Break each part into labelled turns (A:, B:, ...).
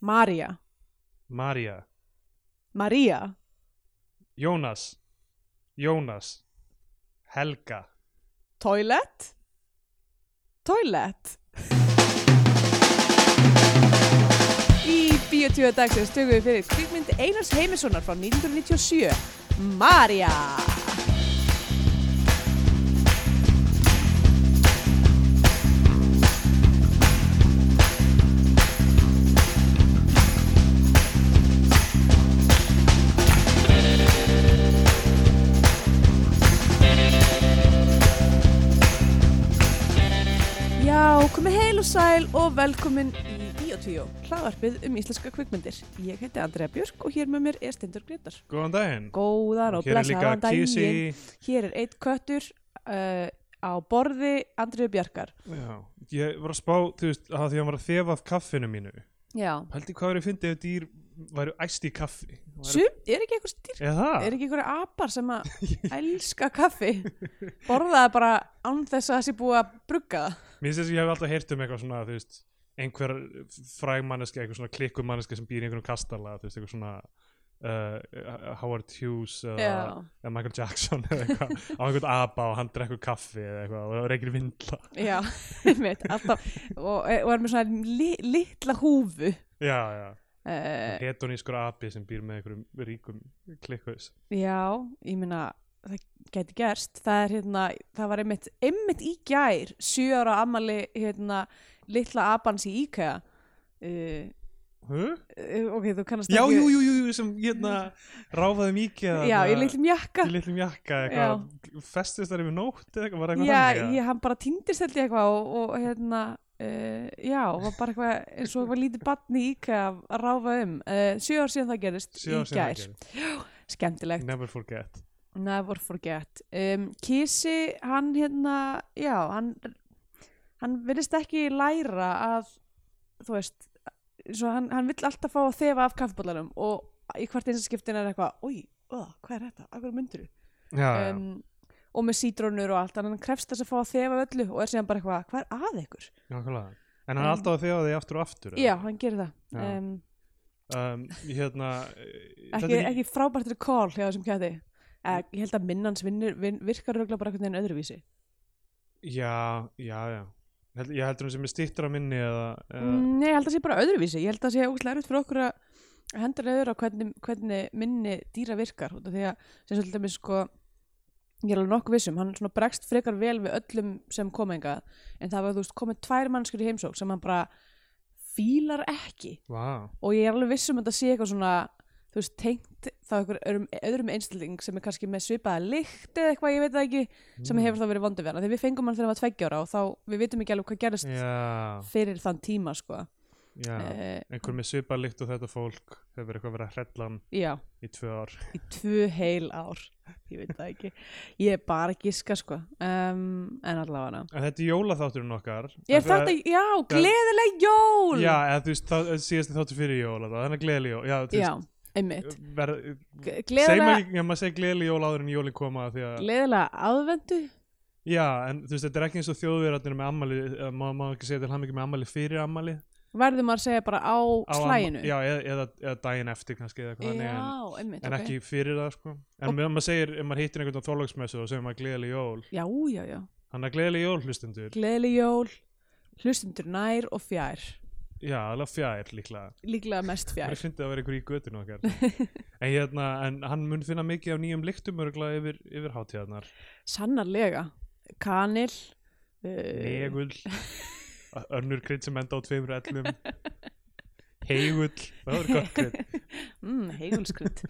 A: María,
B: María,
A: María,
B: Jónas, Jónas, Helga.
A: toilet, toilet. Í Bíotvíða dagsins tökum við fyrir kvikmynd Einars Heimissonar frá 1997, María. Já, komið heil og sæl og velkomin í Bíotvíó, hlaðvarpið um íslenska kvikmyndir. Ég heiti Andrea Björk og hér með mér er Stendur Gretar.
B: Góðan daginn.
A: Góðan og
B: Hér er líka
A: blessaðan daginn.
B: Kisi.
A: Hér er eitt köttur uh, á borði Andriðu Bjarkar.
B: Já, ég var að spá, þú veist, að því að hann var að þefa af kaffinu mínu.
A: Já.
B: Haldi hvað verið fyndið ef dýr væru æst í kaffi?
A: Sum, er ekki eitthvað styrk?
B: Eða það?
A: Er ekki einhverja apar sem að elska kaffi? Borðaði bara án þess að það sé búið að brugga það?
B: Mér finnst þess að ég hef alltaf heyrt um eitthvað svona, þú veist, einhver frægmanneski, eitthvað svona klikkumanneski sem býr í einhverjum kastala, þú veist, eitthvað svona uh, Howard Hughes eða,
A: Já.
B: eða Michael Jackson eða eitthvað, á einhvern apa og hann drekkur kaffi eða eitthvað og það reykir vindla.
A: Já, mitt, alltaf. Og, og er með svona li, litla húfu.
B: Já, já.
A: Uh,
B: Hedonískur api sem býr með einhverjum ríkum klikkuðs.
A: já, ég meina, það gæti gerst. Það er hérna, það var einmitt, einmitt í gær, sjö ára ammali, hérna, litla apans í IKEA. Uh,
B: Huh?
A: uh, ok, þú kannast
B: Já,
A: ekki
B: jú, jú, jú, jú, sem hérna ráfaði mikið
A: Já, í litlum jakka
B: í litlum jakka eitthvað, festist þar yfir nótt eða eitthvað, var eitthvað
A: Já,
B: þannig,
A: ég, hann bara týndist held ég eitthvað og, og hérna uh, já, var bara eitthvað eins og eitthvað lítið batni í IKEA að ráfa um uh, sjö ár síðan það gerist í
B: Sjö ár síðan það
A: gær
B: gerðist.
A: skemmtilegt,
B: Never forget
A: never forget um, Kisi, hann hérna já, hann hann vilist ekki læra að þú veist svo hann, hann vill alltaf fá að þefa af kaffibollanum og í hvert eins skiptin er eitthvað oi, uh, hvað er þetta, akkur myndir
B: Já, já,
A: um, og með sítrónur og allt þannig að hann krefst þess að fá að þefa öllu og er síðan bara eitthvað, hvað er að ykkur?
B: nákvæmlega En hann er alltaf að þefa því aftur og aftur eða?
A: um, Já, hann gerir það
B: Já.
A: um,
B: um, Hérna
A: ekki, ekki frábært er call hjá þessum kæti Eh, ég held að minnans vinnur, vin, virkar röglega bara einhvern veginn öðruvísi
B: Já, já, já Held- Ég heldur hann sem er stýttur á minni eða, eða
A: mm, Nei, ég held að sé bara öðruvísi ég held að sé ógæslega erfitt fyrir okkur að hendur öðru á hvernig, hvernig minni dýra virkar út af því að sem svolítið með sko ég er alveg nokkuð vissum, hann svona bregst frekar vel við öllum sem koma engað en það var þú veist komið tvær mannskur í heimsók sem hann bara fílar ekki
B: Vá,
A: og ég er alveg viss um að þetta sé eitthvað svona þú veist, tengt þá einhver öðrum, öðrum einstilling sem er kannski með svipaða lykt eða eitthvað, ég veit það ekki,
B: Mm.
A: sem hefur þá verið vondur við hana, þegar við fengum hann þegar hann var tveggjára og þá, við vitum ekki alveg hvað gerist
B: já,
A: fyrir þann tíma, sko
B: já
A: Eh,
B: Einhver með svipalikt og þetta fólk hefur eitthvað verið að hrella hann
A: já,
B: í tvö ár
A: í tvö heil ár ég veit það ekki, ég er bara að giska sko, um, en allavega
B: En þetta er jólaþátturinn okkar
A: ég er
B: Af því að-
A: þetta, já, gleðileg jól
B: Já, eða þú veist, það síðast þáttur fyrir jól alltaf, þannig að gleðileg jól, já, þú
A: já
B: veist,
A: einmitt
B: verð,
A: G-
B: segjum
A: gleðilega,
B: ekki, ef maður segir gleðileg jól áður en jólin koma, því að,
A: gleðilega aðvendu
B: já, en þú veist, þetta er ekki eins og þjóðverðarnir með ammali, eh, má, má ekki segja til hann með ammali fyrir ammali.
A: verðum að segja bara á,
B: Á amm-
A: slæginu
B: Já, eða, eða, eða daginn eftir kannski, eða eitthvað þannig, en,
A: Já, einmitt,
B: en
A: ok.
B: ekki fyrir það, sko. En ef maður segir, ef maður hittir einhvern á þorlóksmessu og segir maður gleðileg jól,
A: Já, já, já.
B: þannig að gleðileg jól hlustendur,
A: Gleðileg jól, hlustundur nær og fjær.
B: já, alveg fjær líklega.
A: Líklega mest
B: Það
A: fjær.
B: er fyndið að vera ykkur í götun okkar en, hérna, en hann mun finna mikið af nýjum lyktum örgulega yfir, yfir hátíðarnar
A: Sannarlega. Kanil. Uh,
B: Negull Önnur krydd sem enda á tveimur ellum Heigull Það er gott krydd
A: mm, heigulskrydd.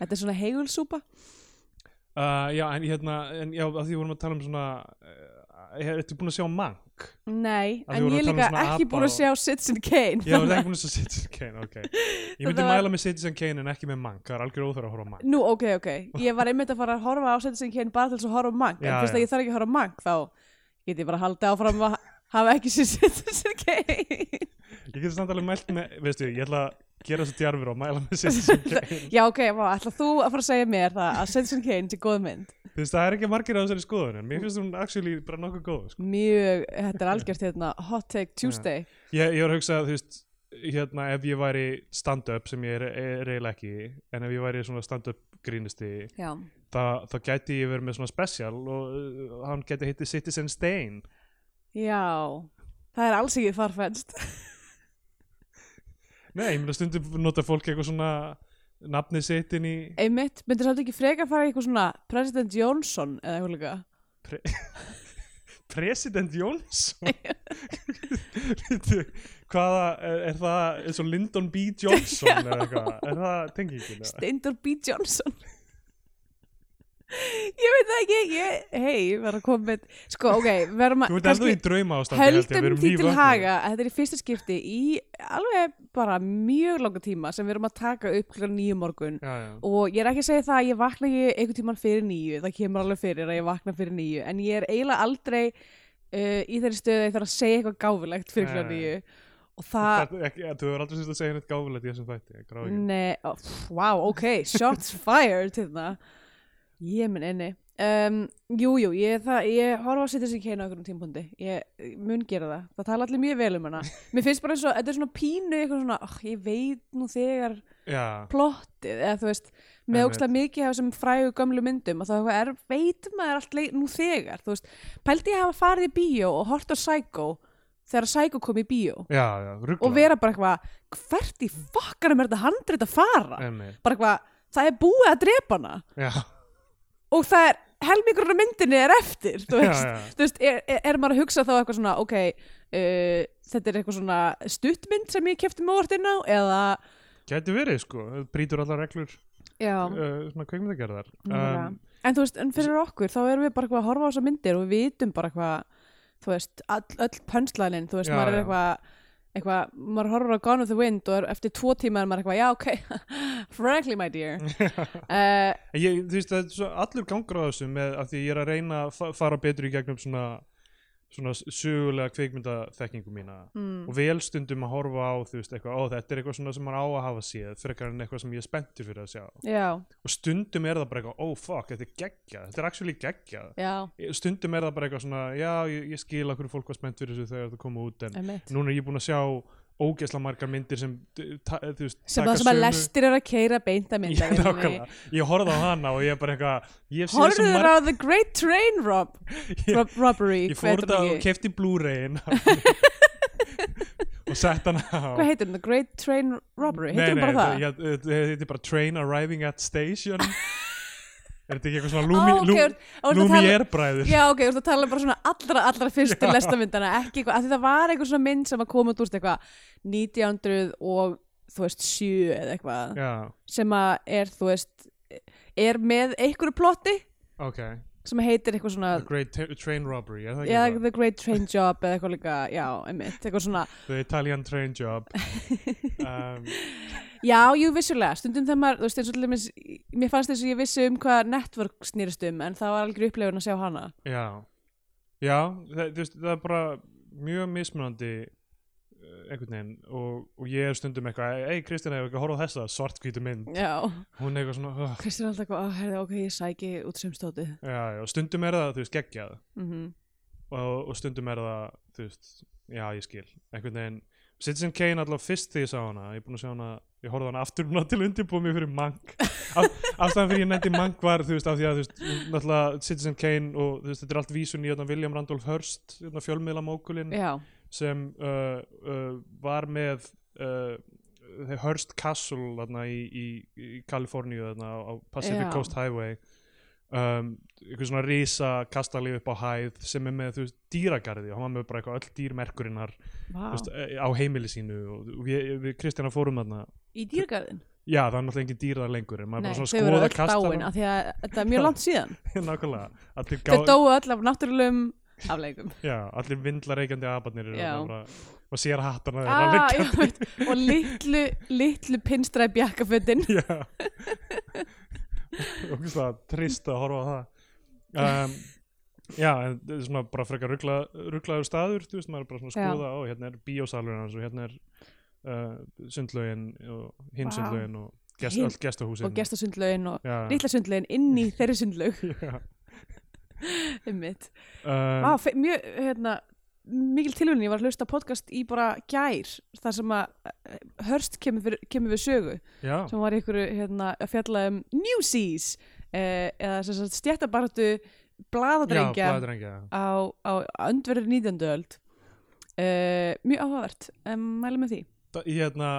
A: Þetta er svona heigulsúpa.
B: uh, Já, en hérna en, já, að Því vorum að tala um svona uh, Ertu búin að sjá Mank?
A: Nei,
B: Af því
A: en
B: vorum
A: ég
B: við að
A: líka
B: tala um svona
A: ekki
B: apa
A: búin
B: og-
A: að sjá Citizen Kane.
B: Já, það er ekki búin að sjá Citizen Kane okay. Ég myndi
A: Þetta var-
B: mæla með Citizen Kane en ekki með Mank Það er algjör óþar að horfa á Mank
A: Nú, ok, ok. Ég var einmitt að fara að horfa á Citizen Kane bara til þess að horfa á mank.
B: Já,
A: en fyrst
B: já.
A: að ég þarf ekki að horfa á mank, þá get ég bara að halda áfram að hafa ekki sér Citizen Kane.
B: Ég geti samt alveg mælt með Veistu, ég ætla að gera þessu djarfur og mæla með Citizen Kane
A: Já, ok, vá, ætla þú að fara að segja mér það að Citizen Kane sé góð mynd?
B: Þú veist, það er ekki margir á þessari skoðun En mér finnst hún actually bara nokkuð góð sko.
A: mjög, þetta er algjört hérna Hot Take Tuesday
B: Ég, ég var að hugsa, þú veist hérna ef ég væri stand-up sem ég er, er eiginlega ekki en ef ég væri svona stand-up grínisti
A: já,
B: þá, þá gæti ég verið með svona special og uh, hann gæti hitti Citizen Stain
A: já það er alls ekki farfænst
B: Nei, ég meina stundum nota fólk eitthvað svona nafni sitt inn í
A: einmitt, myndir svolítið ekki frekar fara í eitthvað svona President Johnson eða eitthvað líka
B: President Johnson Bíddu, Hvaða, er, er það eins og Lyndon B. Johnson eða eitthvað, er það tengingin eða?
A: Steindor B. Johnson ég veit það ekki ég, hei, ég verður að koma með sko, ok, verðum
B: Þú
A: að
B: veit ennþá í drauma ástandi
A: höldum því til haga að þetta er í fyrsta skipti í alveg bara mjög langa tíma sem við erum að taka upp klukkan nýju morgun
B: Já, já,
A: og ég er ekki að segja það að ég vakna ég einhvern tíman fyrir nýju, það kemur alveg fyrir að ég vakna fyrir nýju, en ég er eiginlega aldrei uh, í þeirri stöðu að ég þarf að segja eitthvað gáfulegt fyrir klukkan nýju
B: Nei.
A: og
B: Það,
A: það, Mm.
B: það, ekki, þú hefur aldrei sérst að segja neitt gáfulegt í þessum þætti, ég grá ekki.
A: ne, ó, pff, wow, ok shots fired til það ég minn enni um, jú, jú, ég, það, ég horfa að setja sér kæna okkur um tímpundi, ég ég mun gera það það tala allir mjög vel um hana mér finnst bara eins og, þetta er svona pínu eitthvað svona, oh, ég veit nú þegar
B: Já,
A: plottið eða þú veist, með
B: Einmitt.
A: ógstlega mikið af þessum frægu gömlu myndum að þá er, veit maður allt leið nú þegar þú veist, pældi ég að hafa farið í bíó og hort á Psycho þegar Psycho kom í bíó
B: já, já, ruggla.
A: og vera bara eitthvað hvert í fokkanum er þetta handrit að fara
B: Einmitt,
A: bara eitthvað, það er búið að drepa hana
B: já,
A: og það er helmingurinn af myndinni er eftir þú
B: já,
A: veist,
B: já.
A: þú veist, er, er, er maður að hugsa þá eitthvað svona, ok uh, þetta er eitthvað svona stuttmynd sem ég kefti mig orðin á eða,
B: Gæti verið, sko, það brýtur allar reglur,
A: já
B: uh, svona kveikmyndagerðar.
A: Nákvæmlega.
B: Um,
A: en þú veist, en fyrir okkur þá erum við bara eitthvað að horfa á þessar myndir og við vitum bara eitthvað, þú veist, all, öll pönslænin, þú veist,
B: Já,
A: maður er
B: já.
A: eitthvað eitthvað, maður horfur á Gone with the Wind og er, eftir tvo tíma er maður eitthvað, já, ok frankly, my dear uh,
B: En Ég, þú veist, það er svo allur gangur á þessu með að því ég er að reyna að fa- fara betur í gegnum svona, svona sögulega kveikmyndaþekkingu mína
A: mm,
B: og vel stundum að horfa á, þú veist, eitthvað, ó, þetta er eitthvað svona sem maður á að hafa séð, frekar en eitthvað sem ég er spenntur fyrir að sjá.
A: já,
B: Og stundum er það bara eitthvað, ó, fuck, þetta er geggjað, þetta er actually geggjað.
A: já,
B: Stundum er það bara eitthvað svona, já, ég, ég skil að hverju fólk var spennt fyrir þessu þegar það koma út, en
A: emitt
B: núna er ég búin að sjá ógeðsla margar myndir sem, eh, ta, eh, þú veist,
A: sem
B: taka
A: það sem að
B: sömu-
A: lestir er að keira beinta mynda
B: Já, nákvæmlega. Ég horfði á hana og ég er bara eitthvað, ég hef séð þessu
A: horfður
B: margar
A: á The Great Train Rob
B: Ég,
A: Rob Robbery,
B: ég
A: hvað
B: fór
A: heitir
B: þetta
A: hún
B: og
A: ekki?
B: kefti Blu-rayin og sett hana á
A: hvað heitir hún, The Great Train Robbery heitir hún bara það?
B: Nei, nei, þetta er bara Train Arriving at Station Er þetta ekki eitthvað svona
A: Ó,
B: Lumi,
A: ok,
B: Lú,
A: og- og þú ert að tala-
B: Lumière bræður
A: Já, ok, þú ert að tala um bara svona allra, allra fyrstu lestamyndana, ekki eitthvað, af því það var eitthvað svona mynd sem að koma út úr eitthvað 1900 og, þú veist, 7 eða eitthvað,
B: Já,
A: sem að er, þú veist, er með einhverju plotti
B: ok
A: sem heitir eitthvað svona,
B: The Great T- Train Robbery, er það ekki
A: já,
B: eitthvað?
A: The Great Train Job eða eitthvað líka, já, einmitt, eitthvað svona,
B: The Italian Train Job um,
A: já, jú, vissulega, stundum þegar maður, þú veist, eins og allir, mér fannst eins og ég vissi um hvað network snýrist um, en það var algjör upplifun að sjá hana.
B: Já Já, það, þú veist, það er bara mjög mismunandi eh, einhvern veginn og, og ég er stundum eitthvað, ei Kristina, hefur ekki að horfa á þessa svartkvítu mynd
A: Já,
B: hún er eitthvað svona "Ugh."
A: Kristján er alltaf eitthvað, "Ó, heyrðu, ok, ég sæki út sem stótið.
B: já, já, og stundum er það, þú veist, geggjað
A: Mm
B: og, og stundum er það, þú veist já, ég skil, einhvern veginn Citizen Kane alltaf fyrst því ég sá hana ég er búin að sjá hana, ég horfði á hana aftur núna til undirbúið mér fyrir Mank Af- ástæðan fyrir ég nefndi Mank var, þú veist, af því að þú veist, náttúrulega Citizen Kane og þú veist, þetta er allt vísun í hérna, William Randolph Hearst hérna, fjölmiðlamókulinn
A: Já,
B: sem uh, uh, var með uh, The Hearst Castle þarna, í, í, í Kaliforníu þarna, á á Pacific
A: Já.
B: Coast Highway um, einhver svona risa kastalíf upp á hæð sem er með þú veist, dýragarði og hann var með bara eitthvað öll dýrmerkurinnar
A: vá.
B: wow. veist, eh, á heimili sínu og og við, við Kristjana fórum þarna
A: Í dýrgarðin?
B: já það er náttúrulega engin dýrar lengur en maður
A: Nei,
B: er bara
A: þau
B: svona
A: eru
B: að
A: öll
B: skoða
A: dáin af því að þetta er mjög langt síðan
B: kastalana nákvæmlega allir,
A: Þau
B: gá,
A: dóu öll af náttúrulegum afleikum
B: já, allir vindlareikandi abarnir eru
A: Já.
B: þarna bara, og sér hattana þeirra
A: ah,
B: liggjandi.
A: já, veit, Og litlu, litlu pinstræði bjakkafötin
B: Já Ógustlega trist að horfa á það um, Já, en þetta er svona bara frekar ruggla, rugglaður staður, þú veist, maður er bara svona að skoða ó, hérna er bíósalurinn hans og hérna er uh, sundlaugin og hinn
A: Vá.
B: sundlaugin og gest,
A: Hin-
B: öll gestahúsin
A: og gestasundlaugin og
B: Já,
A: litla sundlaugin inn í þeirri sundlaug
B: já,
A: um mitt
B: um,
A: Vá, fe- mjög, hérna mikil tilvíðin, ég var að hlusta á podcast í bara gær, þar sem að eh, Hörst kemur, fyrir, kemur við sögu
B: já,
A: sem var í einhverju hérna, að fjalla um Newsies eh, eða sem sagt stjættabartu
B: já,
A: blaðadrengja
B: blaðdrengja
A: á, á öndverður 19. öld eh, mjög áhugavert um, mælu með því
B: Þa- hérna,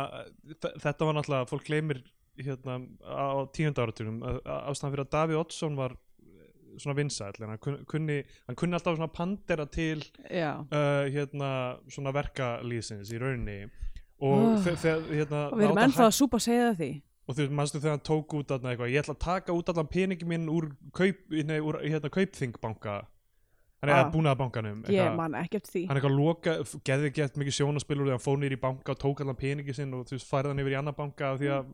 B: þ- þetta var náttúrulega fólk gleymir hérna, á tíunda áratugum ástæðan fyrir að Daví Oddsson var eh, svona vinsæll en hann kun- kunni, hann kunni alltaf svona pandera til
A: já,
B: uh, hérna, svona verkalýsins í rauninni
A: Oh.
B: og þe- þegar hérna,
A: og við erum
B: náði
A: ennþá
B: hann-
A: að súpa að segja það því
B: og þú veist, mannstu þegar hann tók út þarna eitthvað, ég ætla að taka út allan peningi minn úr, kaup, nei, úr hérna, kaupþingbanka hann er
A: Ah.
B: ah. búnaðabankanum
A: ég
B: eitthvað-
A: man ekki eftir því
B: hann eitthvað loka, geði gett mikið sjónaspil úr því að hann fór nýr í banka og tók allan peningi sinn og þú veist, færði hann yfir í annan banka af því að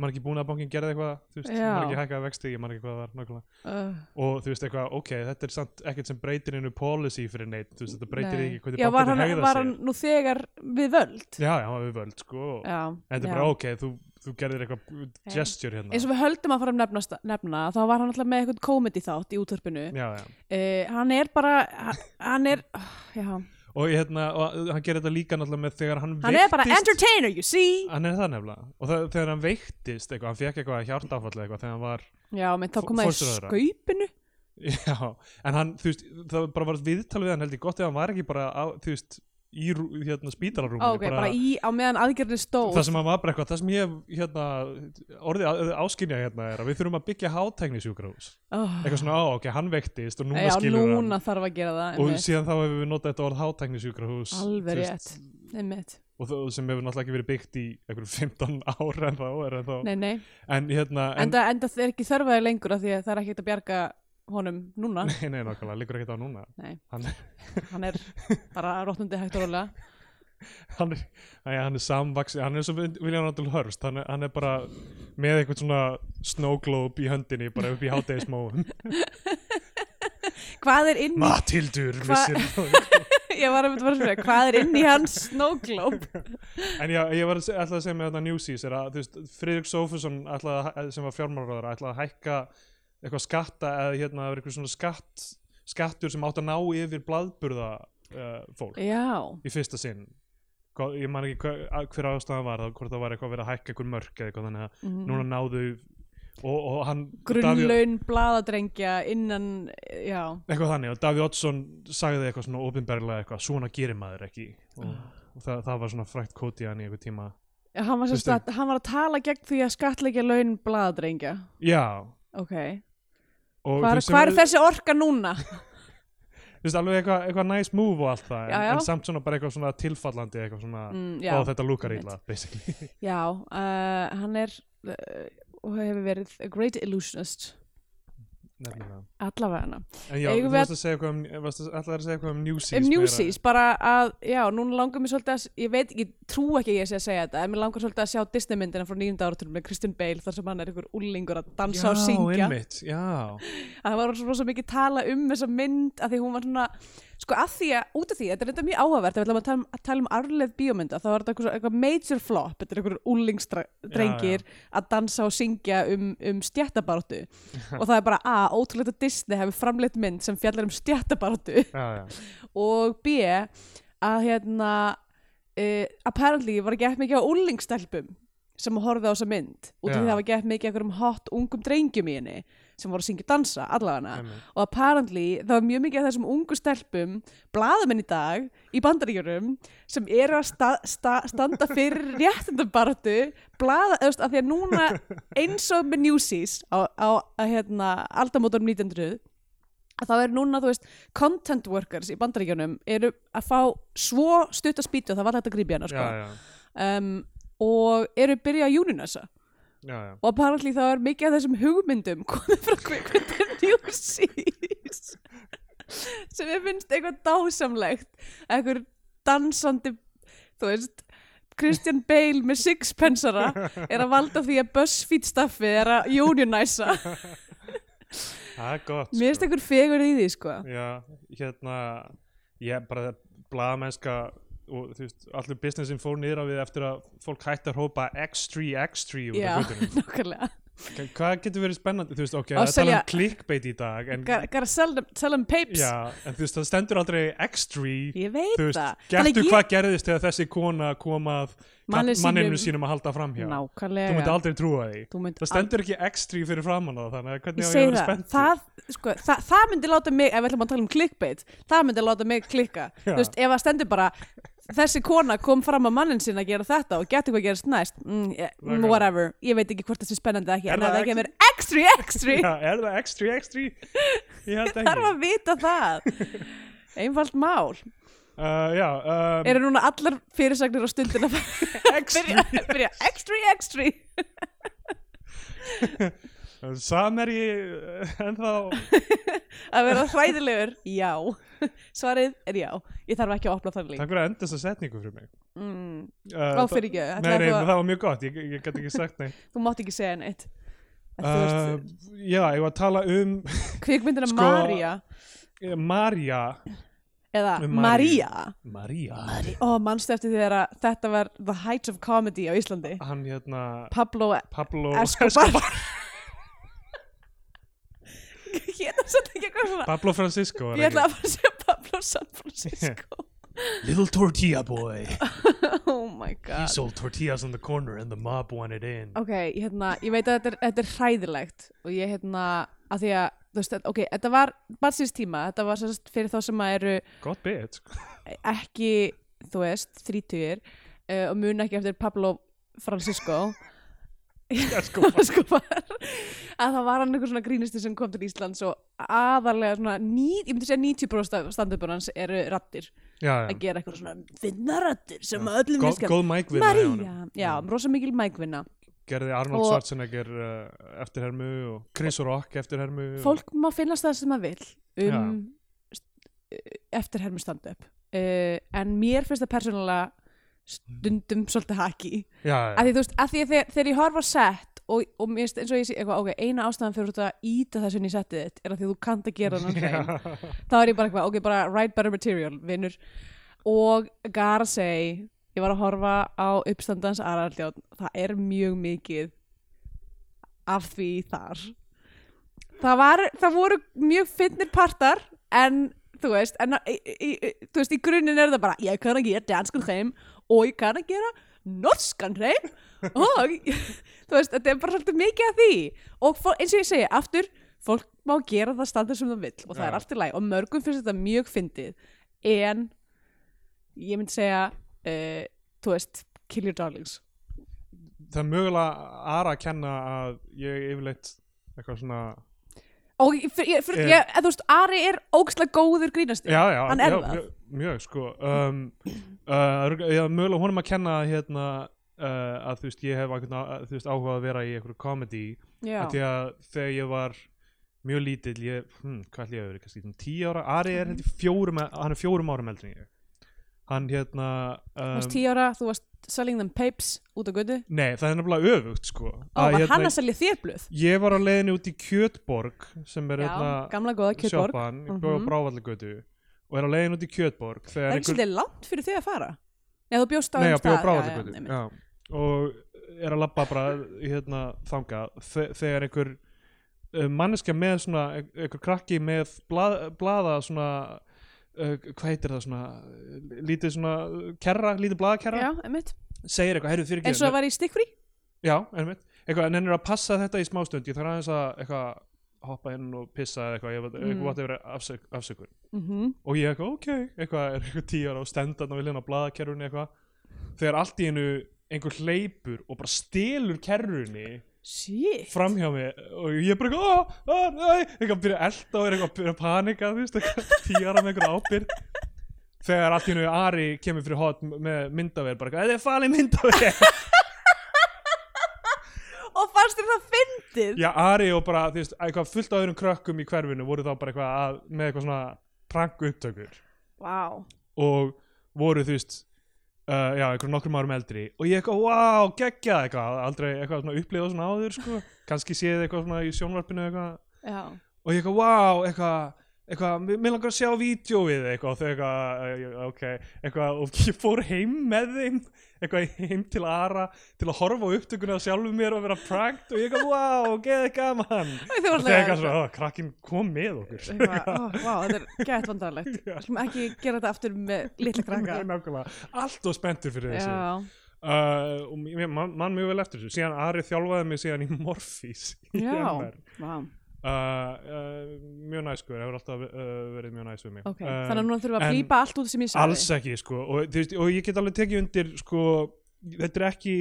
B: maður ekki búin að bankin gerði eitthvað þú veist,
A: Já.
B: maður ekki hækkaði vexti, ég maður ekki hvað það var nákvæmlega
A: uh,
B: og þú veist eitthvað, ok, þetta er samt ekkert sem breytir innu policy fyrir neitt, þú veist, þetta breytir
A: nei.
B: ekki hvernig
A: já, var
B: bankin
A: hann,
B: hegða
A: var
B: sér
A: hann nú þegar við völd
B: já, já, hann var við völd, sko og
A: já,
B: þetta er
A: já.
B: bara, ok, þú, þú gerðir eitthvað gesture hérna
A: eins og við höldum að fara um nefnast, nefna þá var hann alltaf með eitthvað komedi þátt í útvarpinu
B: já, já.
A: uh, hann er bara hann- hann er, ah, já
B: og hérna, og hann gerir þetta líka náttúrulega með þegar hann
A: hann er bara
B: veiktist-
A: entertainer, you see
B: hann er það nefnilega, og það, þegar hann veiktist eitthvað, hann fekk eitthvað hjartafall eða eitthvað þegar hann var
A: já, menn þá
B: Fó-
A: komaði
B: fósturöðra.
A: skaupinu
B: Já, en hann, þú veist, það bara var viðtal við hann held ég gott ef hann var ekki bara, á, þú veist, í rú- hérna spítalarúminu,
A: ok, bara, í, á meðan aðgerðin stóð
B: það sem hann var bara eitthvað, það sem ég, hef, hérna, orðið áskynja hérna er að við þurfum að byggja hátæknisjúkrahús,
A: oh,
B: eitthvað svona, á, ok, hann vektist og núna
A: já,
B: skilur
A: núna þarf að gera það
B: hann og
A: einmitt.
B: síðan þá hefur við notað þetta orð hátæknisjúkrahús,
A: alveg
B: þú
A: rétt, einmitt
B: og það sem hefur náttúrulega ekki verið byggt í einhverjum 15 ára en þá, er en þá,
A: nei, nei,
B: en hérna, en,
A: enda, enda þeir ekki þörfaði lengur af því að það er ekki hægt að bjarga honum núna,
B: nei, nei, nákvæmlega, liggur ekkert á núna,
A: Nei.
B: hann,
A: hann er bara rótnandi hægt og rólega
B: hann er, æja, hann er samvaksi hann er svo William Randall Hurst hann er, hann er bara með eitthvað svona snowglobe í höndinni bara upp í hátegismóum
A: hvað er inn í
B: Matildur
A: Hva-
B: vissir
A: ég var að mynda að spyrja, hvað er inn í hans snowglobe
B: en já, ég var að se- ætlaði að segja með þetta newsies er að þú veist, Friðrik Sófusson ætlaði, að hæ- sem var fjármálaráður ætlaði að hækka eitthvað skatta eða hérna, það var eitthvað svona skatt skattur sem átt að ná yfir blaðburða uh, fólk
A: já,
B: í fyrsta sinn Hvað- ég man ekki hver, hver ástæðan var það hvort það var eitthvað verið að hækka eitthvað mörk eða eitthvað þannig að núna náðu og, og hann Davíð-
A: Mhm. grunnlaun blaðadrengja innan, já
B: eitthvað þannig og Davíð Oddsson sagði eitthvað svona ofinberlega eitthvað svona gerir maður ekki og,
A: Ah.
B: og það, það var svona frækt kóti hann í eitthvað tíma
A: Já, hann var, sem
B: Veistu-
A: sagt, hann var að tala gegn því að skattleggja laun blaðadrengja
B: já
A: ok,
B: og
A: hvað
B: þú
A: er,
B: veist,
A: hvar er
B: sem-
A: þessi orka núna?
B: þú veist alveg eitthvað, eitthvað nice move og allt það en,
A: Já, já.
B: en samt svona bara eitthvað svona tilfallandi eitthvað svona
A: Mm,
B: Já,
A: já,
B: og þetta lúkar
A: einmitt.
B: illa, basically
A: já uh, hann er uh, og hefur verið a great illusionist
B: Nefnilega.
A: allavega hana
B: En já,
A: Eigum
B: þú
A: við
B: varst að segja eitthvað um, varst að, ætlaðir að segja eitthvað um newsies
A: um newsies, bara að, já, núna langar mér svolítið að, ég veit ekki, trú ekki að ég sé að segja þetta, en mér langar svolítið að sjá Disney myndina frá nýjunda áratunum með Christian Bale þar sem hann er ykkur úlingur að dansa og syngja
B: einmitt, já
A: að það var svo rosa mikið tala um þessa mynd að því hún var svona sko að því að, út af því, þetta er þetta mjög áhugavert ef við ætlum að tala um, að tala um arleð bíómynda þá var þetta eitthvað, eitthvað major flop þetta er eitthvað úlingsdrengir að dansa og syngja um, um stjættabartu og það er bara a, ótrúlegt að Disney hefur framleitt mynd sem fjallar um stjættabartu
B: já, já.
A: og b, að hérna uh, apparently var ekki eftir mikið á úlingstelpum sem horfði á þessa mynd út af því
B: Já.
A: það var gett mikið einhverjum hot ungum drengjum í henni sem voru að syngja og dansa allavega
B: Einmitt.
A: og apparently það var mjög mikið af þessum ungu stelpum blaðamenn í dag í bandaríkjörum sem eru að sta sta standa fyrir réttindabartu blaða, eðust, að því að núna eins og með newsies á, á að, hérna, aldamótorum 1900 að þá er núna, þú veist, content workers í bandaríkjunum eru að fá svo stutt að spýta, það var þetta að grípa í hana,
B: já,
A: sko.
B: já,
A: Um, og eru byrjað að unionessa
B: já, já.
A: og apparently þá er mikið af þessum hugmyndum komið frá kvikmyndin Newsies sem ég finnst eitthvað dásamlegt eitthvað dansandi þú veist Christian Bale með sixpensara er að valda því að BuzzFeed staffið er að unionæsa
B: það er gott
A: mér finnst eitthvað fegur í því sko
B: Já, hérna ég bara blaðamennska og þú veist, allur businessin fór niður á við eftir að fólk hætti að hrópa X3, X3 út
A: já,
B: af hlutunum
A: nákvæmlega
B: K- Hvað getur verið spennandi, þú veist, ok,
A: Og
B: það tala
A: selja-
B: um clickbait í dag en,
A: Gotta gotta sell them, sell them papes
B: já, en þú veist, það stendur aldrei X3,
A: Ég veit
B: þú veist,
A: það
B: gertu
A: Þannig
B: hvað gerðist þegar þessi kona kom að
A: Manni sínum.
B: manninu sínum að halda fram hjá Þú myndi
A: Nákvæmlega
B: aldrei trúa því
A: Þú mynd
B: Það stendur ekki X3 fyrir framann á það, þannig að
A: Ég
B: hvernig á ég
A: segi
B: að vera
A: það,
B: spennt
A: það, sko, það, það myndi láta mig, ef við ætlum að tala um clickbait, það myndi láta mig klikka.
B: Já.
A: Þú veist, ef það stendur bara, þessi kona kom fram að mannin sinna að gera þetta og geti hvað gerist næst, mm, yeah, mm,
B: Nákvæmlega.
A: whatever, ég veit ekki hvort það sé spennandi eða ekki,
B: Er
A: en ef
B: það
A: það
B: ekki-
A: kemur extra, extra,
B: Já, er það X3, X3? Ég held
A: þarf
B: ekki
A: að vita það. Einfalt mál.
B: uh, Já, um,
A: Eru núna allar fyrirsagnir á stundin að
B: X3
A: byrja, byrja extra, extra.
B: um, Samherji eh, ennþá
A: Að vera hræðilegur, já. Svarið er já. Ég þarf ekki að opna þannig.
B: Takk fyrir að endast að setningu fyrir mig
A: Mm,
B: uh,
A: á fyrir ekki,
B: það, nei, nei,
A: þú, að-
B: það var mjög gott, ég, ég gæti ekki sagt neitt
A: þú mátt ekki segja neitt. En þú veist,
B: uh, Já, ég var að tala um
A: kvikmyndina
B: Sko-
A: Maria
B: eh, Marja
A: eða
B: Um Maríu.
A: Maria
B: Marja
A: og mannstu eftir þegar að þetta var The Heights of Comedy á Íslandi
B: Hann hérna
A: Pablo
B: Pablo
A: Escobar hérna satt ekki eitthvað svona
B: Pablo Francisco
A: ég ætla að fara að segja Pablo San Francisco
B: Little tortilla boy
A: oh my god
B: sold tortillas on the corner and the mob wanted in
A: ok, hérna, ég veit að þetta er, þetta er hræðilegt og ég hérna að því að, þú veist, ok, þetta var barsins tíma, þetta var sérst fyrir þá sem að eru
B: Gott bit sko.
A: ekki, þú veist, þrítugir uh, og muna ekki eftir Pablo Francisco
B: Escobar.
A: sko bara að það var hann einhver svona grínisti sem kom til Íslands og aðalega svona ní, ég myndi segja 90% standupur hans eru rattir
B: Já,
A: að
B: já
A: gera eitthvað svona finnarattir sem að öllum
B: Góð-
A: vilskjum
B: Góð mic við
A: María, já, rosa mikil mækvinna
B: Gerði Arnold
A: Og-
B: Schwarzenegger uh, eftirhermu og Chris Rock eftirhermu og-
A: fólk má finnast það sem það vil um eftir hermi standup uh, en mér finnst það persónulega stundum svolítið haki
B: Já, já,
A: að því þú veist, að því að þegar, þegar ég horfa á sett og, og mér finnst eins og ég sé eitthvað, ok, eina ástæðan fyrir þú ert að íta þessu inn í settið þitt er að því að þú kannt að gera hann hrein þá er ég bara eitthvað, ok, bara write better material, vinnur og gara seg ég var að horfa á uppstandans aðraldjón, það er mjög mikið af því þar það, var, það voru mjög finnir partar en þú veist, en, í, í, í, þú veist í grunninn er það bara, ég kann að gera danskan hreim og ég kann að gera norskan hreim og þú veist, þetta er bara svolítið mikið af því og fó- eins og ég segi, aftur fólk má gera það standa sem það vill og það
B: Já.
A: er allt í læg og mörgum finnst þetta mjög fyndið en ég myndi segja uh, þú veist, kill your darlings
B: það er mögulega aðra að kenna að ég yfirleitt eitthvað svona
A: og ég- fyr- ég- fyr-
B: Eh.
A: ég- þú veist, Ari er ógstlega góður grínasti
B: já, já,
A: Hann er
B: já,
A: það.
B: mjög, mjög sko um, uh, örg- já, mögulega honum að kenna hérna, uh, að þú veist ég hef einhvern á- þú veist, áhuga að vera í einhverju komedi
A: Já.
B: því að þegar ég var mjög lítill ég, hm, hvað ætli ég að vera, kannski um tíu ára Ari er hérna fjórum, hann er fjórum árum eldri en ég hann hérna
A: Þú varst
B: um,
A: 10 ára, þú varst selling them papes út á götu
B: nei, það er nefnilega öfugt sko
A: og var hann að selja þér blöð
B: ég var á leiðinni út í Kjötborg sem er
A: Já,
B: hérna
A: gamla góða kjötborg
B: sjoppan, ég bjóð á
A: Mhm.
B: Brávallagötu og er á leiðin út í Kjötborg
A: Það
B: þegar
A: er ekki svolítið langt fyrir þig að fara Nei, þú bjóst á
B: nei,
A: einum
B: ég
A: stað.
B: bjóð á
A: Já, já,
B: Brávallagötu
A: einmitt.
B: já. og er að labba bara hérna, þanga þegar einhver uh, manneska með svona ein- einhver krakki með blað, blaða svona uh, hvað heitir það svona uh, lítið svona uh, kerra, lítið blaðakerra
A: Já, einmitt
B: segir eitthvað, heyrðu fyrir
A: Eins og það var í stikkfrí
B: Já, einmitt. Eitthvað, en ennur að passa þetta í smástund, ég þarf aðeins að eitthvað, hoppa inn og pissa eða eitthvað, ég veit,
A: Mm.
B: eitthvað vatn yfir afsök, afsökun.
A: Mhm.
B: Og ég eitthvað, ok, eitthvað, er eitthvað tíu ára og stenda þarna við hljóna á blaðakerrunni eitthvað. Þegar allt í einu einhver hleypur og bara stelur kerrunni
A: Shit
B: fram hjá mig og ég bara eitthvað, "Ah, ah, nei, eitthvað byrja að elta og er eitthvað að byrja að panika, þú veist, eitthvað tíu ára með einhver ábyrg. Þegar allt í einu Ari kemur fyrir hot með myndavér, bara eitthvað, þetta er falið myndavér.
A: Og fannst þér það fyndið?
B: Já, Ari og bara, þú veist, eitthvað fullt af öðrum krökkum í hverfinu voru þá bara eitthvað að, með eitthvað svona prank upptökur
A: Vá
B: og voru, þú veist, uh, já, einhverjum nokkrum árum eldri og ég eitthvað, wow, geggjað eitthvað, aldrei eitthvað svona upplifað svona áður, sko, kannski séð eitthvað svona í sjónvarpinu eitthvað
A: Já
B: og ég eitthvað, wow, eitthvað, eitthvað, "Mig- mig langar að sjá vídjóið eitthvað, og þau eitthvað, "Eh, ok eitthvað, og ég fór heim með þeim eitthvað heim til Ara til að horfa á upptökuna af sjálfum mér og vera prankt og ég eitthvað, wow, geðið gaman
A: Þau voru
B: og þau
A: alveg-
B: eitthvað svo, "Ah, krakkinn kom með okkur
A: Eitthvað, ó, vá, þetta er gætt vandarlegt
B: Já.
A: Skulum ekki gera þetta aftur með litla krakka
B: Nei, nákvæmlega, allt og spenntur fyrir þessu
A: Já,
B: uh, og mér- man, man mjög vel eftir þessu síðan Ari þjálfaði mig síðan í Morfís í
A: já,
B: MR
A: vá
B: uh, uh, mjög næskur, hefur alltaf uh, verið mjög næs við mig
A: Ok,
B: um,
A: þannig að núna þurfum við
B: en
A: að blípa allt út sem ég sagði
B: alls ekki sko og, þú veist, og ég get alveg tekið undir sko þetta er ekki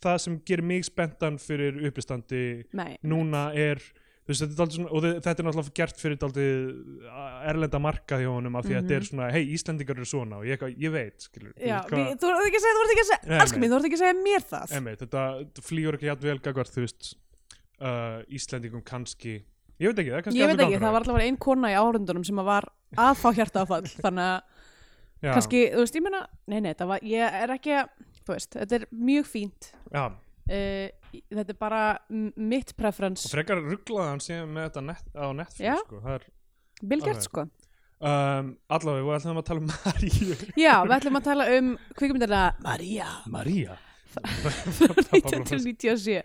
B: það sem gerir mig spenntan fyrir uppistandi
A: Nei,
B: núna er þú veist, þetta er dálítið svona, og þe- þetta er náttúrulega gert fyrir daldið erlenda marka hjá honum af því að þetta er svona, hei, Íslendingar eru svona og ég, eitthvað, ég veit, skilur
A: Mhm. já, við, þú voru ekki að segja, þú voru ekki að
B: Nei,
A: segja Elsku
B: nei.
A: mín, þú voru ekki að segja mér það
B: emi, þetta þetta flýgur ekki jafn vel gagvart, þú veist uh, Íslendingum kannski ég veit ekki, það er kannski
A: Ég veit
B: alveg
A: ekki,
B: gangráð.
A: það var alltaf ein kona í árundunum sem að var að fá hjarta Þannig að
B: já,
A: kannski, þú veist, ég meina Nei, nei, það var, ég er ekki að Þú veist, þetta er mjög fínt
B: já,
A: uh, Þetta er bara m- mitt preference
B: og frekar rugglaði hann síðan með þetta net, á
A: Já.
B: Netflix sko, það er
A: Bilgjart,
B: alveg.
A: sko
B: Um, allavega, við ætlum að tala um Maríu
A: Já, við ætlum að tala um kvikmyndina Maria
B: Maríu?
A: 1997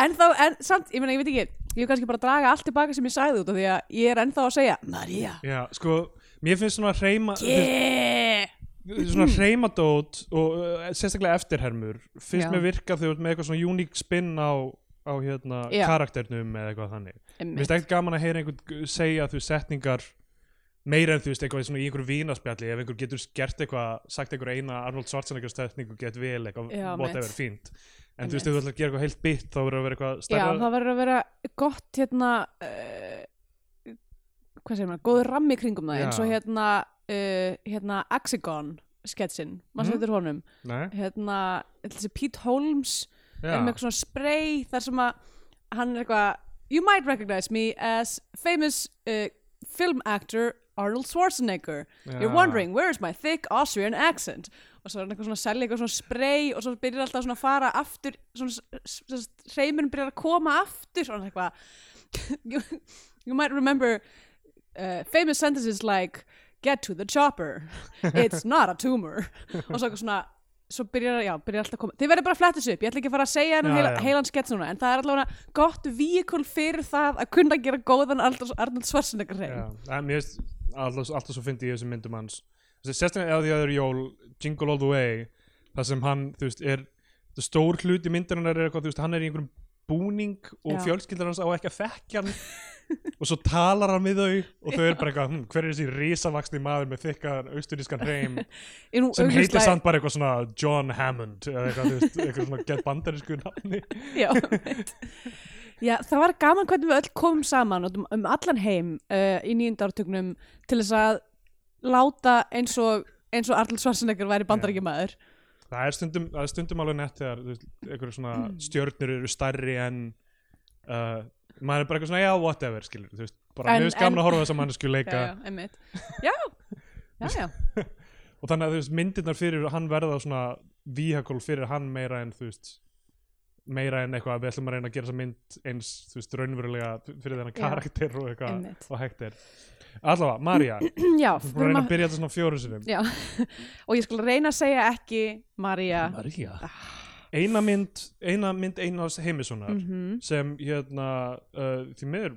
A: en þá, en samt, ég meina, ég veit ekki ég er kannski bara að draga allt tilbaka sem ég sagði út af því að ég er ennþá að segja Maria
B: Já, sko, mér finnst svona hreima
A: yeah!
B: finnst-
A: Mm.
B: svona hreimadót og uh, sérstaklega eftirhermur finnst
A: Já.
B: mér virka þegar þú ert með eitthvað svona uník spinn á, á hérna,
A: Já.
B: karakternum eða eitthvað þannig Mér
A: Einmitt.
B: finnst ekkert gaman að heyra einhvern g- segja þú veist, setningar meira en þú veist eitthvað svona í einhverju vínaspjalli ef einhver getur gert eitthvað, sagt einhver eina Arnold Schwarzenegger setningu get vel eitthvað,
A: Já,
B: whatever,
A: mitt.
B: fínt en þú veist, ef þú ætlar að gera eitthvað heilt bytt þá verður að vera eitthvað
A: Já,
B: stærra
A: það verður að vera gott hérna uh, hvað segir maður, góður rammi í kringum það
B: Já.
A: eins og hérna uh, hérna Axigon sketsin, maður
B: Mhm.
A: setur honum
B: Nei,
A: hérna, þessi Pete Holmes
B: já,
A: er með eitthvað svona spray þar sem að hann er eitthvað You might recognize me as famous uh, film actor Arnold Schwarzenegger You're
B: Já.
A: wondering where is my thick Austrian accent og svo er hann eitthvað svona að selja eitthvað svona spray og svo byrjar alltaf svona að fara aftur svona hreimurinn byrjar að koma aftur og hann er eitthvað you, you might remember uh, famous sentences like get to the chopper it's not a tumor og svo eitthvað svona svo byrjar, já, byrjar alltaf að koma þið verður bara að fletta þessu upp, ég ætla ekki að fara að segja hennan
B: Já,
A: heila,
B: já.
A: heilan skets núna en það er allavega gott víkul fyrir það að kunna gera góðan Arnold Arnold Schwarzenegger hreim
B: já. En Mér finnst alltaf, alltaf svo fyndi ég þessu myndum hans Þessi- sérstaklega eða því að það er jól Jingle All The Way það sem hann, þú veist, er það stór hlut í myndirinn er eitthvað, þú veist, hann er í einhverjum búning og
A: Já.
B: fjölskyldar hans á ekki að þekkja hann og svo talar hann við þau og þau er bara eitthvað, hm, hver er þessi risavaksni maður með þykkan austurískan hreim
A: Ég er nú
B: sem heitir
A: augljóslega-
B: samt bara eitthvað svona John Hammond eða eitthvað, þú veist, eitthvað svona get bandarísku nafni
A: Já, einmitt. Já, það var gaman hvernig við öll komum saman út um, um allan heim uh, í nýjunda ártugnum til þess að láta eins og, eins og Arnold Schwarzenegger væri bandarækjamaður.
B: Það er stundum, það er stundum alveg nett þegar þú veist, einhverju svona
A: Hmm.
B: stjörnur eru stærri en uh, maður er bara eitthvað svona já, whatever, skilur þú veist, bara
A: En-
B: mjög skaman
A: en-
B: að horfa á þess að manneskju
A: Já,
B: leika
A: já, einmitt. Já, já, já.
B: og þannig að þú veist, myndirnar fyrir hann verða svona vehicle fyrir hann meira en þú veist meira en eitthvað, við ætlum að reyna að gera þessa mynd eins, þú veist, raunverulega fyrir þennan
A: Já.
B: karakter og eitthvað
A: Einmitt.
B: og hægt er allavega, Marja, þú
A: já
B: voru að
A: þurfum
B: reyna að
A: að,
B: byrja þetta svona fjóru sinum
A: já. Og ég skal reyna að segja ekki Maria.
B: Marja eina mynd, eina mynd Einars Heimissonar
A: Mm
B: sem hérna uh, því miður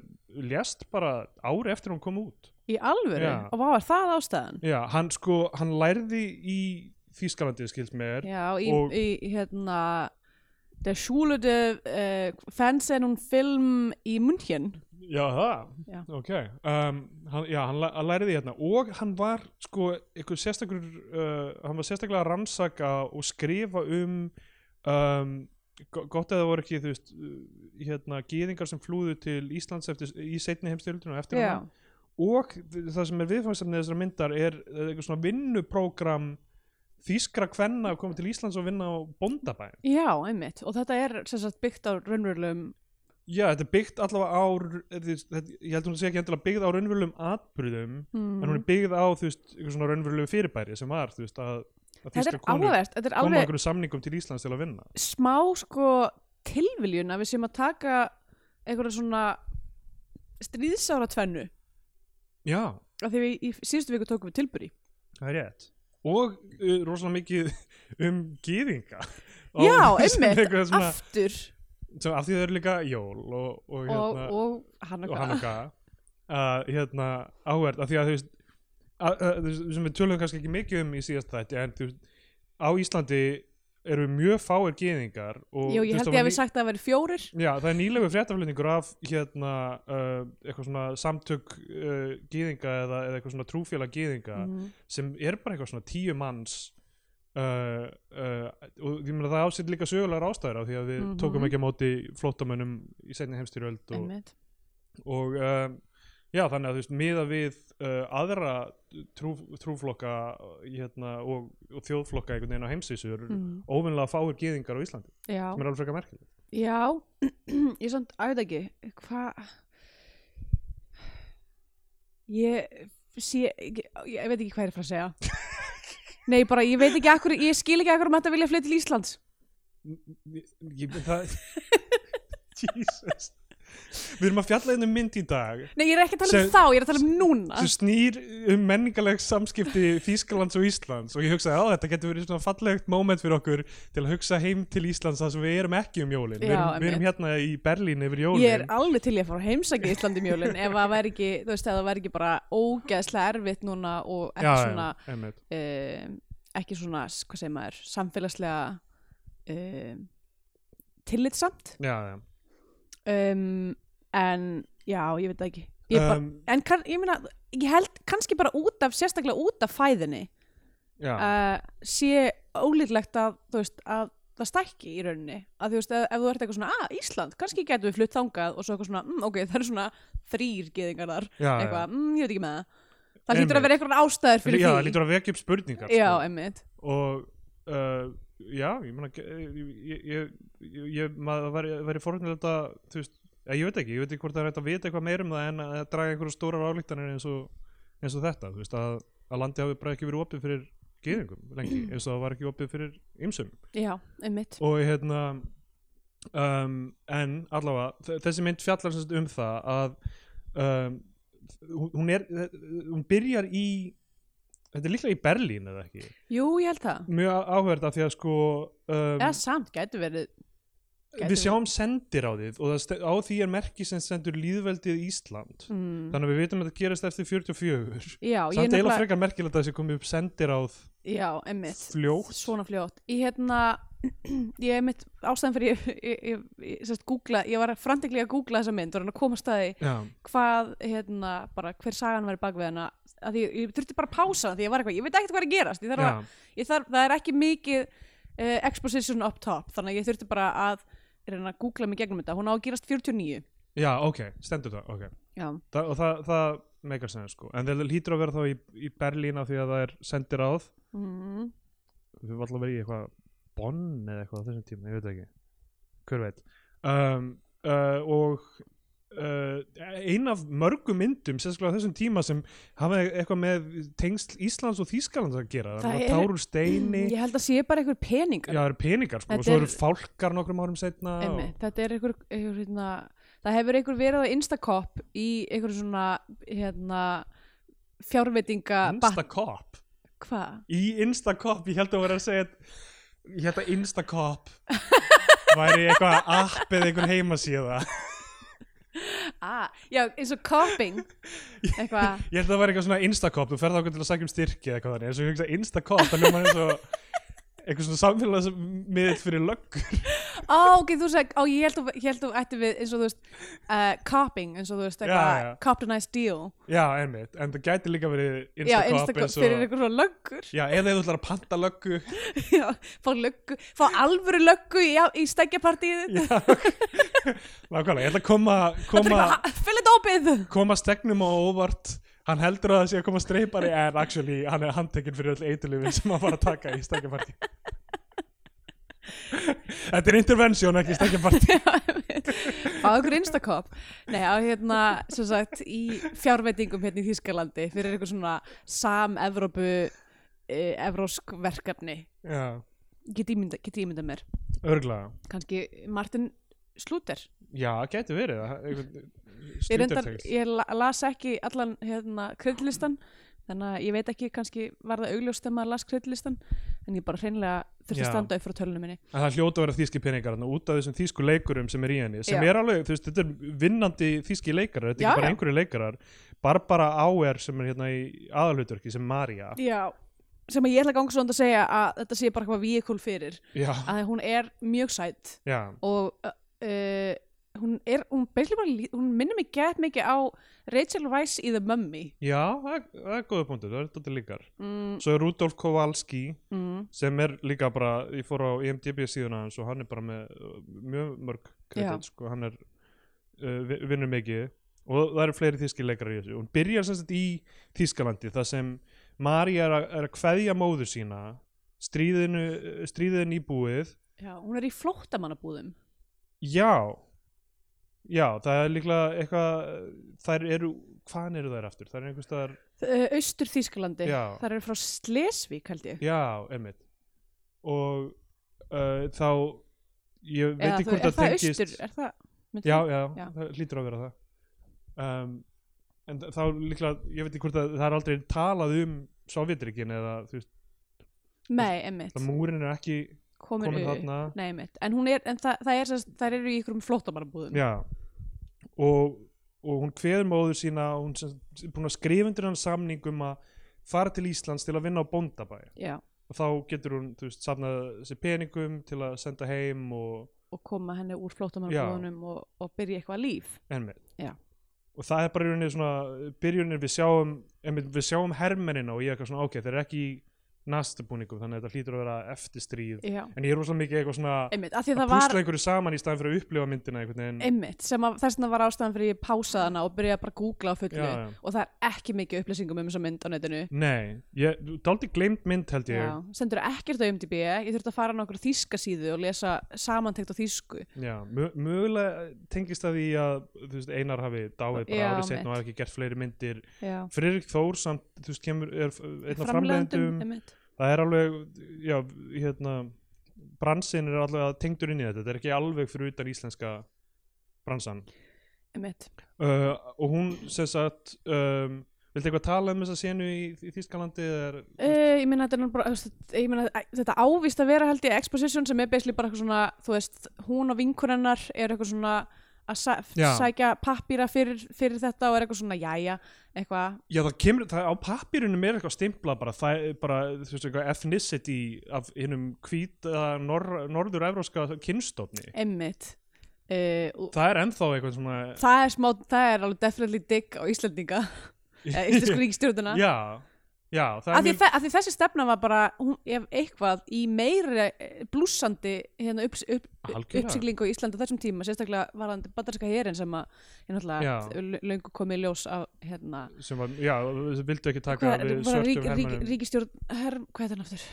B: lést bara ári eftir hún kom út
A: Í alvöru?
B: Já.
A: Og hvað var það ástæðan?
B: já, hann sko, hann lærði í Þýskalandi skilt með þér
A: Já, í,
B: Og-
A: í hérna Der Schule de uh, Fernsehen und Film í München.
B: já, það,
A: Já.
B: ok um, hann, já, hann, læ- hann lærði hérna og hann var sko, eitthvað sérstakur uh, hann var sérstaklega að rannsaka og skrifa um um go- gott að það voru ekki þú veist, uh, hérna, gýðingar sem flúðu til Íslands eftir, í seinni heimstyrjöldinu og eftir hana
A: Já,
B: og það sem er viðfangsefnið þessar myndar er eh, eitthvað svona vinnuprógram þýskra kvenna að koma til Íslands og vinna á bóndabæn
A: já, einmitt. Og þetta er sem sagt byggt á raunverulegum,
B: Já, þetta er byggt allavega á eh, þú veist, þetta, ég held hún að segja ekki endilega byggð á raunverulegum atbyrðum en
A: mm,
B: hún er byggð á þú veist, eitthvað svona raunverulegu fyrirbæri sem var þú veist, að, að
A: þetta er
B: þýskra konur
A: áhverst, þetta er
B: koma að
A: alveg
B: einhverju samningum til Íslands til að vinna
A: smá sko tilviljun að við séum að taka einhverja svona stríðsára tvennu
B: já,
A: af því við í síðustu viku tókum við tilbúri
B: það er rétt og uh, rosalega mikið um gýðinga Og
A: já,
B: sem
A: einmitt,
B: eitthvað svona,
A: aftur
B: sem, af því það eru líka jól og, og,
A: og,
B: hérna,
A: og hann
B: og Hanukka uh, hérna áhverð af því að þú veist að, að, þú veist, sem við tölum kannski ekki mikið um í síðast þætti en þú veist á Íslandi eru mjög fáir gyðingar og
A: Jú,
B: þú
A: ég
B: veist,
A: held ég
B: það var
A: að
B: ný-
A: við sagt að það væri fjórir
B: Já, það er nýlegu fréttaflutningur af hérna uh, eitthvað svona samtök uh, gyðinga eða, eða eitthvað svona trúfélag gyðinga
A: Mhm.
B: sem er bara eitthvað svona tíu manns uh, uh, og ég meina það ásett líka sögulegar ástæður á því að við
A: Mhm.
B: tókum ekki á móti flóttamönnum í seinni heimstyrjöld og,
A: einmitt
B: og um, já þannig að þú veist miða við uh, aðra trú, trúflokka uh, hérna, og, og þjóðflokka einhvern veginn á heimsvísu eru
A: Mhm.
B: óvinnilega fáir gyðingar á Íslandi
A: já,
B: sem er alveg frekar merkilegt
A: já, ég samt að þetta ekki hvað ég sé ég, ég veit ekki hvað ég er frá að segja nei, bara ég veit ekki akkur ég skil ekki akkur um þetta vilja flytja til Íslands
B: ég, ég, það, Jesus við erum að fjalla einu mynd í dag
A: nei, ég er ekki að tala
B: Sem-
A: um þá, ég er að tala um núna
B: sem snýr um menningaleg samskipti Þýskalands og Íslands og ég hugsaði að þetta getur verið svona fallegt moment fyrir okkur til að hugsa heim til Íslands þar sem við erum ekki um jólin við
A: Já,
B: erum, við erum hérna í Berlín yfir jólin
A: Ég er alveg til ég að fara að heimsækja Íslandi mjólin ef það væri ekki, þú veist, ef það væri ekki bara ógeðslega erfitt núna og ekki
B: já,
A: svona,
B: já, einmitt.
A: um, ekki svona, s- hvað segir maður, samfélagslega um, tillitsamt.
B: já, já.
A: Um, en já, ég veit það ekki. Ég bara,
B: um,
A: en kann, ég meina, ég held kannski bara út af, sérstaklega út af fæðinni,
B: já.
A: uh, sé ólíklegt að, þú veist, að það stækki í rauninni að þú veist, ef, ef þú ert eitthvað svona, að Ísland kannski getum við flutt þangað og svo eitthvað svona mm, ok, það eru svona þrýr geðingar þar
B: já, já.
A: eitthvað, mm, ég veit ekki með það það hlýtur
B: Einmitt.
A: að vera eitthvað ástæður fyrir
B: já, það
A: því
B: lítur að vekja upp spurningar
A: já,
B: sko.
A: emmitt
B: og uh, já, ég meina ge- ég, ég, ég, ég maður væri, væri forhundilegt að þú veist, já, ég veit ekki, ég veit ekki hvort það er hægt að vita eitthvað meir um það en að draga einhverju stórar álíktanir eins og, eins og þetta, þú veist að, að landi hafi bara ekki verið opið fyrir geðingum lengi, eins og það var ekki opið fyrir ymsum
A: já, emmitt
B: og hérna um, en allavega þ- þessi mynd fjallar sem sagt um það að um, hún- hún er hún byrjar í þetta er líklega í Berlín eða ekki
A: jú, ég held það
B: mjög áhverð af því að sko um,
A: eða samt, gætu verið gæti
B: við sjáum sendiráðið og það, st- á því er merki sem sendur líðveldið Ísland
A: mm.
B: þannig að við vitum að þetta gerist eftir 44
A: já, ég
B: samt eiginlega frekar merkilegt að þessi komið upp sendiráð
A: já, emmitt
B: fljótt
A: svona fljótt ég hérna, ég er mitt ástæðan fyrir ég, ég, ég, ég, sest, googla, ég var frantiklega að googla þessa mynd og reyna að koma staði
B: já,
A: hvað, hérna, bara hver sagan væri bak við hana að því ég, ég þurfti bara að pása hana því ég var eitthvað, ég veit ekkert hvað er að gerast ég þarf að,
B: já,
A: ég þarf, það er ekki mikið uh, exposition up top, þannig að ég þurfti bara að reyna að googla mig gegnum þetta, hún á að gerast 49
B: já, ok, stendur það ok
A: já,
B: Þa, og það, það meikar sem sko en það hlýtur að vera þá í, í Berlín af því að það er sendir áð
A: mm,
B: við varum alltaf verið í eitthvað Bonn eða eitthvað á þessum tíma, ég veit það ekki hver veit um, uh, og uh, ein af mörgum myndum sérstaklega á þessum tíma sem hafa eitthvað með tengsl Íslands og Þýskalands að gera
A: Það
B: það er
A: eru-
B: tárur steini
A: ég held að sé bara einhver peningar
B: Já, það eru peningar sko,
A: Þetta
B: og svo
A: er-
B: eru fálkar nokkrum árum setna og...
A: Einmitt, þetta er einhver, einhver hérna, það hefur einhver verið á Instacop í einhver svona hérna, fjárveitinga
B: Instacop
A: hvað?
B: Í Instacop, ég held að vera að segja ég held að Instacop væri eitthvað app eða einhver heimasíða
A: Ah, já, eins og copping eitthvað,
B: Ég held að það væri eitthvað svona Instacop, þú ferð ákveð til að sækja um styrki eða eitthvað þannig, eins og ég hugsa Instacop, það ljóma eins og eitthvað svona samfélagsmiðill fyrir löggur.
A: ó, ok, þú seg ó, ég held þú, ég held þú ætti við eins og þú veist uh, copping, eins og þú veist
B: Já,
A: eitthvað,
B: já.
A: copped a nice deal
B: Já, einmitt, en það gæti líka verið
A: já,
B: Instacop,
A: Instacop
B: eins og...
A: fyrir einhver svona löggur
B: Já, eða ef þú ætlar að panta löggu,
A: já, fá löggu, fá alvöru löggu í, í stegjapartíð
B: já, nákvæmlega, ég ætla að koma, koma,
A: fyllit opið
B: koma stegnum á óvart, hann heldur að það sé að koma streipari, en actually, hann er handtekinn fyrir öll eitulifin sem hann var að taka í stekjapartí. Þetta er intervention, ekki stekjapartí.
A: á einhver Instacop nei, á hérna, sem sagt, í fjárveitingum hérna í Þýskalandi fyrir einhver svona sam-Evrópu eh, evrósk verkefni
B: Já,
A: get ímynda, get ímynda mér
B: örglega.
A: kannski Martin Slúter
B: Já, gæti verið það- einhvern-
A: ég, reyndar,
B: stundartext
A: ég la- las ekki allan hérna, kryddlistan þannig að ég veit ekki kannski var það augljóst þegar maður las kryddlistan en ég bara hreinlega þurfti
B: Já.
A: að standa upp frá tölunum minni
B: En það hljóta að vera þýski peningar þarna, út af þessum þýsku leikurum sem er í henni sem
A: Já.
B: er alveg, þú veist, þetta er vinnandi þýski leikarar, þetta er
A: Já,
B: ekki bara
A: já.
B: einhverju leikarar Barbara Auer sem er hérna í aðalhuturki sem Maria
A: Já, sem að ég ætla að ganga svona að segja að þetta sé bara eitthvað víkul fyrir
B: Já,
A: að hún er mjög sætt
B: já,
A: og uh, uh, hún er, hún, basically bara, lí- hún minnir mig gett mikið á Rachel Weisz í The Mummy
B: já það er, það er góða punktur, það er þetta líkar
A: mm,
B: Svo er Rudolf Kowalski
A: mm,
B: sem er líka bara, ég fór á E IMDb síðuna hans og hann er bara með uh, mjög mörg kredit, sko, hann er uh, vi- vinnur mikið og það eru fleiri þíski leikarar í þessu hún byrjar sem sagt í Þískalandi þar sem María er, að- er að kveðja móður sína stríðinu, uh, stríðin í búið
A: Já, hún er í flóttamannabúðum
B: já já, það er líklega eitthvað þær eru, hvaðan eru þær aftur? þær eru einhvers staðar,
A: Austur Þýskalandi,
B: Já.
A: þar eru frá Slesvík held ég
B: já, emmitt og uh, þá ég veit
A: Eða þú-
B: ekki hvort
A: er
B: það tengist
A: austur, er það, myndi
B: já,
A: það-
B: já,
A: Já.
B: það hlýtur að vera það um, en þa- þá líklega ég veit ekki hvort að það er aldrei talað um Sovjetrikkin eða þú veist
A: nei, emmitt,
B: það múrin er ekki
A: komin
B: komin
A: upp
B: þarna
A: nei, emmitt, en, hún er, en það, það er sem sagt- þær eru í ykkur um flóttamannabúðum
B: já og, og hún kveður móður sína og hún sem, sem búin að skrifa undir hann samning um að fara til Íslands til að vinna á bóndabæ
A: Já,
B: og þá getur hún, þú veist, safnað sér peningum til að senda heim og
A: og koma henni úr flóttamannabúðunum og, og byrja eitthvað líf
B: einmitt
A: Já.
B: og það er bara í rauninni svona byrjunir við sjáum, einmitt, við sjáum hermennina og ég er eitthvað svona ok, þeir eru ekki í nastabúningum þannig að þetta hlýtur að vera eftir stríð
A: Já,
B: en ég er rosalega mikið eitthvað svona að
A: emmitt, af því að
B: púsla
A: það var
B: einhverju saman í staðan fyrir að upplifa myndina einhvern veginn
A: einmitt, sem að þess vegna var ástæðan fyrir ég pásaði hana og byrjaði bara að googla á fullu
B: Já, já.
A: og það er ekki mikið upplýsingum um þessa mynd á netinu
B: nei, ég, daldi gleymd mynd held ég
A: Já, sendur ekkert á IMDb, ég þurfti að fara á nokkur þýska síðu og lesa samantekt á þýsku
B: Já, mö- mögulega tengist það því að þú veist, Einar hafi dáið bara
A: Já,
B: árið setn
A: mitt.
B: og hafi ekki gert fleiri myndir
A: Já,
B: Friðrik Þór samt, þú veist, kemur er einn
A: framleiðendum,
B: af framleiðendum
A: einmitt
B: það er alveg já, hérna, bransin er alveg tengdur inn í þetta, þetta er ekki alveg fyrir utan íslenska bransan
A: Einmitt.
B: uh, og hún sem sagt um, viltu eitthvað tala um þessa senu í, í Þýskalandi eða er,
A: Uh, ég meina þetta er nú bara, þú veist, ég meina æ, þetta ávist að vera held ég exposition sem er basically bara eitthvað svona, þú veist, hún og vinkurinnar er eitthvað svona að sæ,
B: Já.
A: sækja pappýra fyrir, fyrir þetta og er eitthvað svona jæja, eitthvað,
B: já það kemur, það, á pappirunum er eitthvað stimpla bara, það, er bara þú veist, eitthvað ethnicity af hinnum hvíta nor, norður-evróska kynstofni
A: emmitt uh, og
B: það er ennþá eitthvað svona
A: það er smá, það er alveg definitely digg á Eh, Íslandinga eða Íslandsku ríkistjórnuna
B: já, já, það
A: af
B: er
A: því,
B: mjög-
A: þe- af því þessi stefna var bara hún, ef eitthvað í meiri blúsandi hérna, upp, upp,
B: Algjörlega.
A: uppsiglingu í Íslandi á þessum tíma sérstaklega varðandi bandarska herin sem að ég
B: Já.
A: náttúrulega l- löngu komið í ljós af hérna
B: sem var, já, vildu ekki taka
A: hvað er bara rík,
B: við svörtum
A: rík,
B: hermönnum
A: ríkistjórn her, hvað er það aftur?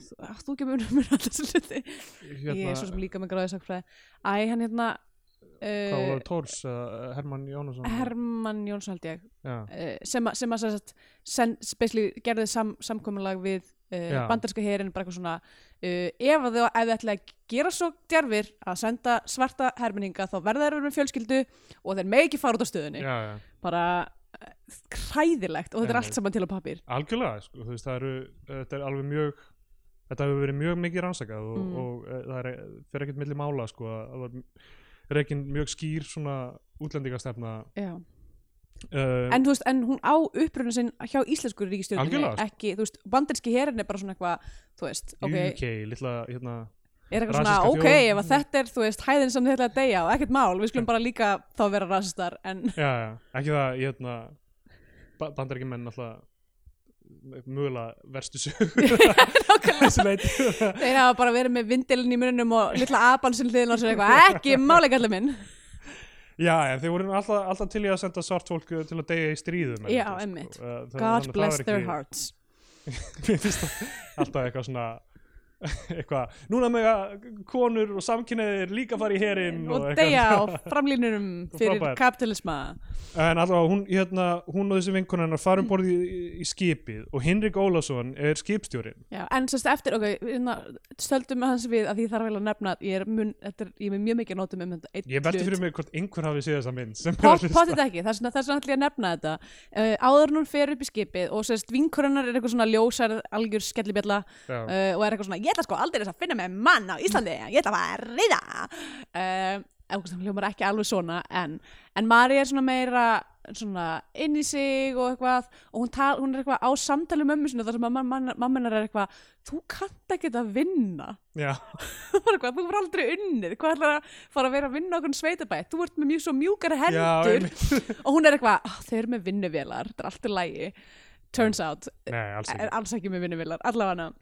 A: Þú- Átt þú ekki munum mér alltaf sem hluti
B: Hérna-
A: ég er svo sem líka með gráði sagfræði æ, hann hérna
B: Hvað
A: uh,
B: var Tórs, uh, Hermann Jónasson?
A: Hermann Jóns held ég
B: Já,
A: uh, sem, að- sem að sem sagt, sen, basically gerði sam, samkominlag við uh,
B: Já.
A: bandarska herin bara eitthvað svona uh, ef að þau ef þau ætla að gera svo djarfir að senda svarta herminninga þá verða þeir að vera með fjölskyldu og þeir megi ekki fara út á stöðunni
B: já, já.
A: bara uh, hræðilegt og þetta er
B: Einmitt.
A: allt saman til á pappir
B: Algjörlega, sko, þú veist, það eru, þetta er alveg mjög, þetta hefur verið mjög mikið rannsakað og,
A: Mm.
B: og e, það er, fer ekkert milli mála, sko, að það var reikin mjög skýr svona útlendingastefna.
A: Já.
B: Uh,
A: en þú veist, en hún á upprunni sinn hjá íslensku ríkistjórnum
B: Algjörlega, sko.
A: ekki, þú veist, bandarski herin er bara svona eitthvað þú veist, ok,
B: UK, litla, hérna,
A: er eitthvað svona,
B: Rasíska
A: ok,
B: þjóð.
A: ef að þetta er þú veist, hæðin sem þið ætla að deyja og ekkert mál, við skulum bara líka þá vera rasistar, en
B: já, já, ekki það, hérna, bandar ekki menn alltaf mögulega verstu sögur
A: Nákvæmlega.
B: þessu leiti
A: Þeir hafa bara verið með vindilinn í mununum og litla apan sem hliðin á sér eitthvað ekki máleikallar minn
B: Já, en þeir voru nú alltaf, alltaf til í að senda svart fólk uh, til að deyja í stríðum.
A: Já,
B: erlendis,
A: einmitt.
B: sko. Uh, það- þannig að
A: God
B: það
A: bless
B: var
A: their
B: ekki-
A: hearts
B: Mér finnst það alltaf eitthvað svona eitthvað, núna með konur og samkynniðir líka fara í herinn
A: og
B: eitthvað.
A: deyja á framlínunum fyrir
B: Frábær.
A: kapitalisma
B: En allavega, hún, hérna, hún og þessi vinkunar hennar fara um borð í, í skipið og Hinrik Ólafsson er skipstjórin.
A: Já, en sérst eftir, ok, hérna, stöldum hans við að því þarf vel að nefna að ég er, mun, þetta er, ég er með mjög mikið nótum um þetta einn
B: Ég velti
A: hlut.
B: fyrir mig hvort einhver hafi séð þessa mynd sem er að
A: Pott-
B: hlusta.
A: Pottit ekki, þess vegna, þess vegna ætlum ég að nefna þetta uh, áður en hún fer upp í skipið og sérst vinkorinnar er eitthvað svona ljósar algjör skellibjalla uh,
B: Já.
A: og er eitthvað svona, ég ætla sko aldrei að finna með mann á Íslandi, ég ætla að fara að reyða uh, eitthvað sem hljómar ekki alveg svona en, en Mari er svona meira svona inn í sig og eitthvað og hún, tal, hún er eitthvað á samtali með mömmu sinni þar sem að mamminar er eitthvað þú kannt ekki að vinna
B: Já,
A: bara eitthvað, þú verður aldrei unnið hvað ætlar að fara að vera að vinna okkur sveitabæ þú ert með mjög svo mjúkara hendur og hún er eitthvað, "Ah, þau eru með vinnuvélar þetta er allt í lægi turns out,
B: nei, alls
A: er
B: ekki.
A: alls ekki með vinnuvélar allavega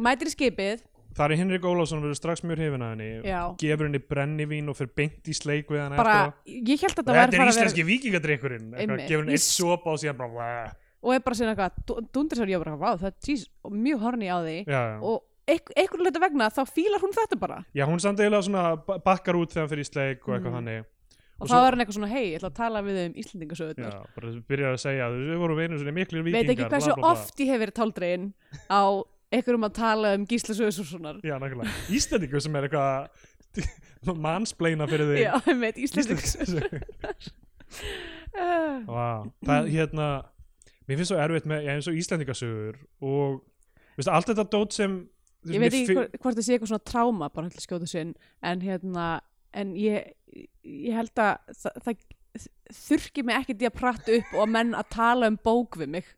A: mætir í skipið
B: Það er Hinrik Ólafsson verður strax mjög hrifin að henni,
A: Já.
B: gefur henni brennivín og fer beint í sleik við hann
A: bara,
B: eftir á.
A: ég held að þetta væri
B: sko- Þetta
A: bara
B: er
A: að vera
B: íslenski vikingadrykkurinn. eitthvað,
A: Einmitt.
B: Gefur henni
A: Ég
B: eitt
A: s-
B: sopa og síðan bara...
A: og er bara að segja eitthvað, dundur sér ég var bara, vá, það er jeez, og mjög horni á því
B: Já, já.
A: og eik- einhvern leita vegna þá fílar hún þetta bara
B: Já, hún samt eiginlega svona ba- bakkar út þegar hann fyrir í sleik og eitthvað þannig.
A: Mm. og,
B: Og
A: þá
B: svo-
A: er hann eitthvað svona, hei, ég ætla að tala við þau um Íslendingasöðunar
B: Já, bara byrjar að segja að við vorum einu svona miklir vikingar.
A: veit ekki
B: bla,
A: hversu
B: bla, bla.
A: oft ég hef verið táldregin á einhverjum að tala um Gísla Svöðssonar
B: Já, nákvæmlega. Íslendingu sem er eitthvað mannsbleina fyrir þig.
A: já, ég veit, Íslendinga
B: Íslendingu.
A: uh,
B: Vá. Það, hérna, mér finnst svo erfitt með, já, eins og Íslendingasögur og, veistu, allt þetta dót sem... þú
A: ég veit
B: veist, mér
A: ekki
B: fi-
A: hvort, hvort það sé eitthvað svona tráma bara hægt að skjóta sinn en hérna, en ég ég held að það, það þurki mig ekkert í að prata upp og menn að tala um bók við mig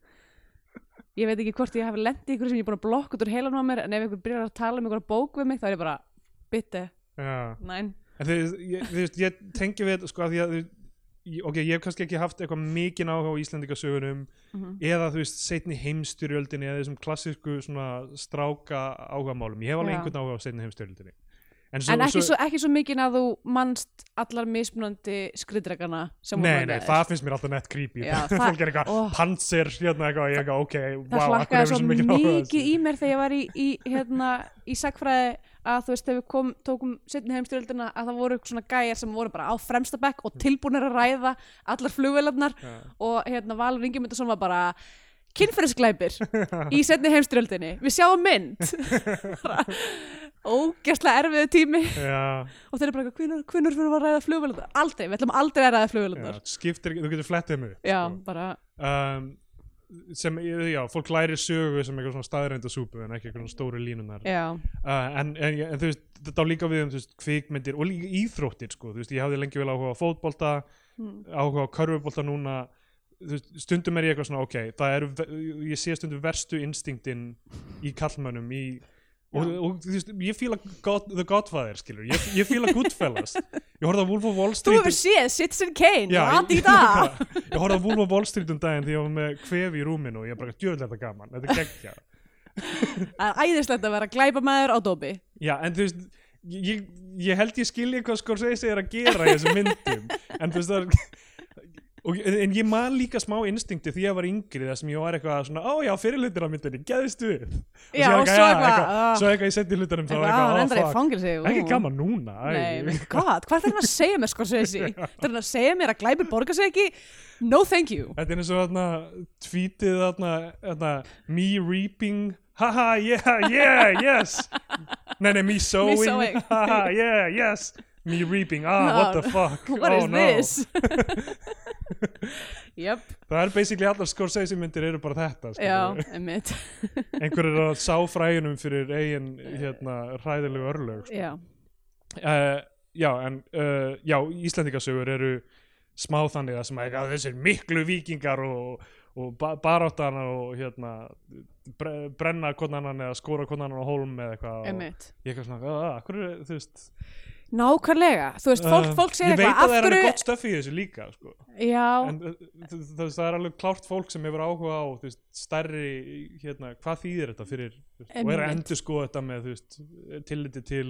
A: ég veit ekki hvort ég hef lendið ykkur sem ég er búin að blokka út úr heilanum á mér en ef ykkur byrjar að tala um ykkur bók við mig þá er ég bara, bitte,
B: Já.
A: næn
B: En þú veist, ég- þú veist, ég tengi við, þetta, sko, að því að, þú veist, ég- ok, ég hef kannski ekki haft eitthvað mikið áhuga á Íslendingasögunum
A: Mhm.
B: eða, þú veist, setni heimstyrjöldinni eða þessum klassísku svona stráka áhugamálum. Ég hef
A: Já.
B: alveg einhvern áhuga á setni heimstyrjöldinni.
A: en ekki svo, ekki svo mikið að þú manst allar mismunandi skriðdregana sem
B: Nei,
A: voru
B: nei,
A: með
B: það finnst mér alltaf nett creepy
A: Já,
B: þegar
A: það-
B: fólk er eitthvað
A: ó.
B: panser hérna eitthvað, ég eitthvað, ok,
A: það
B: wow, akkur
A: hlakkaði
B: hefur
A: svo
B: svo mikið
A: mikið í mér þegar ég var í, í hérna, í sagfræði að þú veist, þegar við kom, tókum setni heimstyrjöldina að það voru eitthvað svona gæjar sem voru bara á fremsta bekk og tilbúinir að ræða allar flugvélarnar
B: Já.
A: og hérna Valur Ingemyndarsson var bara kynferðisglæpir í setni heimstyrjöldinni við sjáum mynd Bara ógeðslega erfiðu tími
B: Já,
A: og þeir eru bara eitthvað, hvernig fyrir að ræða flugvélarnar aldrei, við ætlum aldrei að ræða
B: já,
A: flugvélarnar
B: skiptir ekki, þú getur flettið mig upp,
A: já, bara
B: sko. um, sem, já, fólk læri sögu sem eitthvað svona staðrænda súpu en ekki eitthvað svona stóru línunar uh,
A: já,
B: en, en, ég- en þú veist, þetta á líka við um þú veist, kvikmyndir og líka íþróttir sko, þú veist, ég hafði lengi vel áhuga á fótbolta
A: Hmm.
B: áhuga á körfubolta núna þú veist, stundum er ég eitthvað svona ok það eru, ve- ég sé stundum verstu instinktin í kallmönnum í, og,
A: Já.
B: og þú veist, ég fíla God, The Godfather, skilur, ég, ég fíla Goodfellas ég horfði á Wolf of Wall
A: þú
B: Street um-
A: hefur séð Citizen Kane,
B: Já, ég-
A: aðið í dag
B: ég horfði á Wolf of Wall Street um daginn því ég var með kvefi í rúminu og ég bara, djöðlega þetta er gaman, þetta er geggja
A: Það er æðislegt að vera glæpamaður á dópi.
B: Já, en þú veist ég, ég held ég skilja hvað Scorsese er að gera í þessum myndum en þú veist það er Og, en ég man líka smá instinkti því ég var yngri þar sem ég var eitthvað svona, ó já, fyrirlutir á myndinni, geðist við og
A: Já,
B: síðan
A: og svo
B: "Já,"
A: eitthvað, "Ah."
B: svo eitthvað í sendi hlutunum þá
A: Það
B: var
A: er að
B: eitthvað,
A: reyndar í
B: ó,
A: fangilsi.
B: fuck, ekki gaman núna æ."
A: Nei, men god, hvað er það að segja mér sko þessi? Það er að segja mér að glæpir borga sig ekki? No thank you.
B: þetta er eins og þarna tweetið þarna, þarna me reaping, haha, yeah, yeah, yes nei, nei, me sowing,
A: sowing.
B: haha, yeah, yes me reaping, ah, what the fuck
A: What is
B: oh, no.
A: this? Jöp,
B: Það er basically allar Scorsese myndir eru bara þetta skilur
A: já,
B: við.
A: einmitt.
B: Einhver er að sá fræjunum fyrir eigin hérna, hræðilegu örlög sko.
A: Já,
B: uh, Já, en uh, já, Íslendingasögur eru smá þannig að sem að að þessir miklu vikingar og, og ba baráttana og hérna bre brenna konanan eða skóra konanan á hólm eða eitthvað og
A: einmitt.
B: ég eitthvað svona, að, að, hverju, þú veist
A: Nákvæmlega, þú veist, fólk,
B: uh,
A: fólk segir
B: Ég veit
A: eitthvað,
B: að það
A: af
B: er alveg
A: hverju,
B: gott stöfi í þessu líka sko.
A: já,
B: en uh, þú- þú veist, það er alveg klárt fólk sem hefur áhuga á þú veist, stærri, hérna, hvað þýðir þetta fyrir, þú veist, og er að
A: Einmitt.
B: endur skoða þetta með þú veist, tilliti til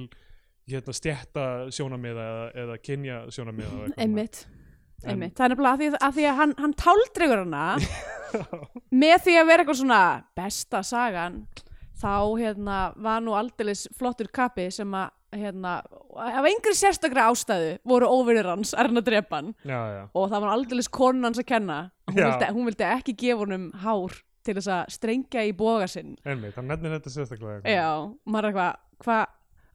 B: hérna, stjætta sjónamiða eða, eða kynja sjónamiða og eitthvað
A: einmitt.
B: En-
A: Einmitt. Það er nefnilega að því að, því að hann, hann táldregur hana með því að vera eitthvað svona besta sagan þá hérna, var nú aldeilis flottur kapi sem að hérna, af einhver sérstakra ástæðu voru óvinnir hans, Erna Drepan
B: já, já,
A: og það var aldeilis konun hans að kenna hún
B: Já.
A: vildi, hún vildi ekki gefa honum hár til þess að strengja í boga sinn
B: einmitt, hann nefnir þetta sérstaklega eitthvað.
A: já, maður er eitthvað hva,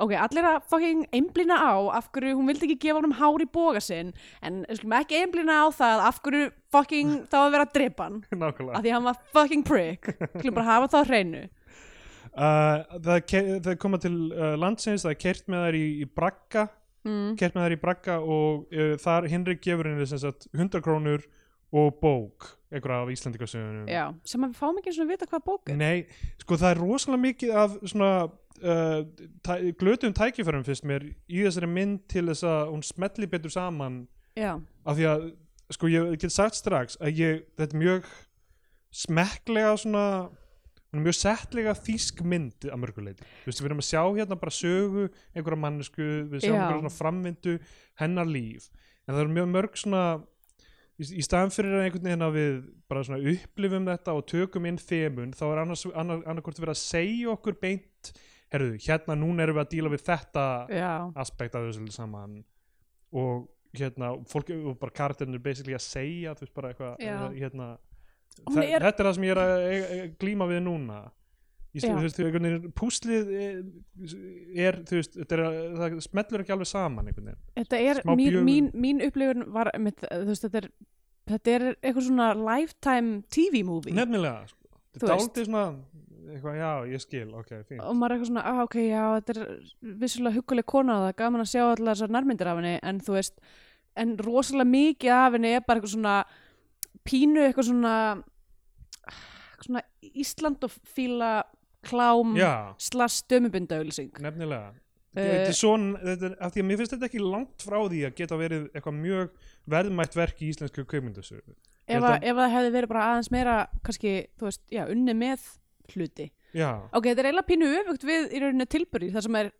A: ok, allir að fucking einblina á af hverju hún vildi ekki gefa honum hár í boga sinn en við skulum ekki einblina á það af hverju fucking þá að vera Drepan
B: nákvæmlega
A: af því að hann var fucking prick skulum bara hafa það á hreinu
B: uh, það, er ke- það er koma til uh, landsins, það er kert með þær í, í bragga
A: mm.
B: kert með þær í bragga og uh, þar Hinrik gefur henni sem sagt 100 krónur og bók, einhverja af Íslandikasögunum
A: Já, sem að við fáum ekki eins og að vita hvað bók er.
B: Nei, sko það er rosalega mikið af svona uh, tæ, glötum tækifærum fyrst mér í þessari mynd til þess að hún smetli betur saman
A: Já,
B: af því að, sko ég get sagt strax að ég, þetta er mjög smekklega svona hún er mjög settlega þýsk mynd að mörguleiti, þú veist, við erum að sjá hérna bara sögu einhverja mannesku, við sjáum
A: Já.
B: einhverja svona framvindu hennar líf en það eru mjög mörg svona í, í staðan fyrir að einhvern veginn að við bara svona upplifum þetta og tökum inn þemun, þá er annars, annar, annarkvort verið að segja okkur beint herruðu, hérna núna erum við að díla við þetta
A: já,
B: aspekt af þessu saman og hérna, fólk og bara karakterinu basically að segja, þú veist bara
A: Já.
B: eitthvað hérna,
A: Hún
B: þa-
A: er-
B: þetta er það sem ég er að e- e- glíma við núna Í stu-
A: Já.
B: þú veist, einhvern veginn, púslið er, er, þú veist, þetta er að- það smellur ekki alveg saman einhvern veginn
A: þetta er,
B: Smá
A: mín,
B: bjögun.
A: mín, mín upplifun var, mitt, þú veist, þetta er, þetta er eitthvað svona lifetime TV movie
B: nefnilega, sko.
A: Þú
B: þetta er
A: veist.
B: dálítið svona eitthvað, já, ég skil, ok, fín
A: og maður er eitthvað svona, ah, ok, já, þetta er vissulega hugguleg kona og það er gaman að sjá allar þessar nærmyndir af henni, en þú veist, en rosalega mikið af henni er bara eitthvað svona pínu, eitthvað svona, eitthvað svona Íslandofíla klám
B: já,
A: slags dömubindauglising.
B: nefnilega
A: Eh.
B: Þetta er svona, þetta er, af því að mér finnst þetta ekki langt frá því að geta verið eitthvað mjög verðmætt verk í íslensku kaupmyndasögu. Ég
A: ef,
B: held
A: að,
B: að-
A: ef að það hefði verið bara aðeins meira kannski, þú veist, já, unni með hluti.
B: Já,
A: Ok, þetta er eiginlega pínu öfugt við í rauninni tilbyrði, þar sem er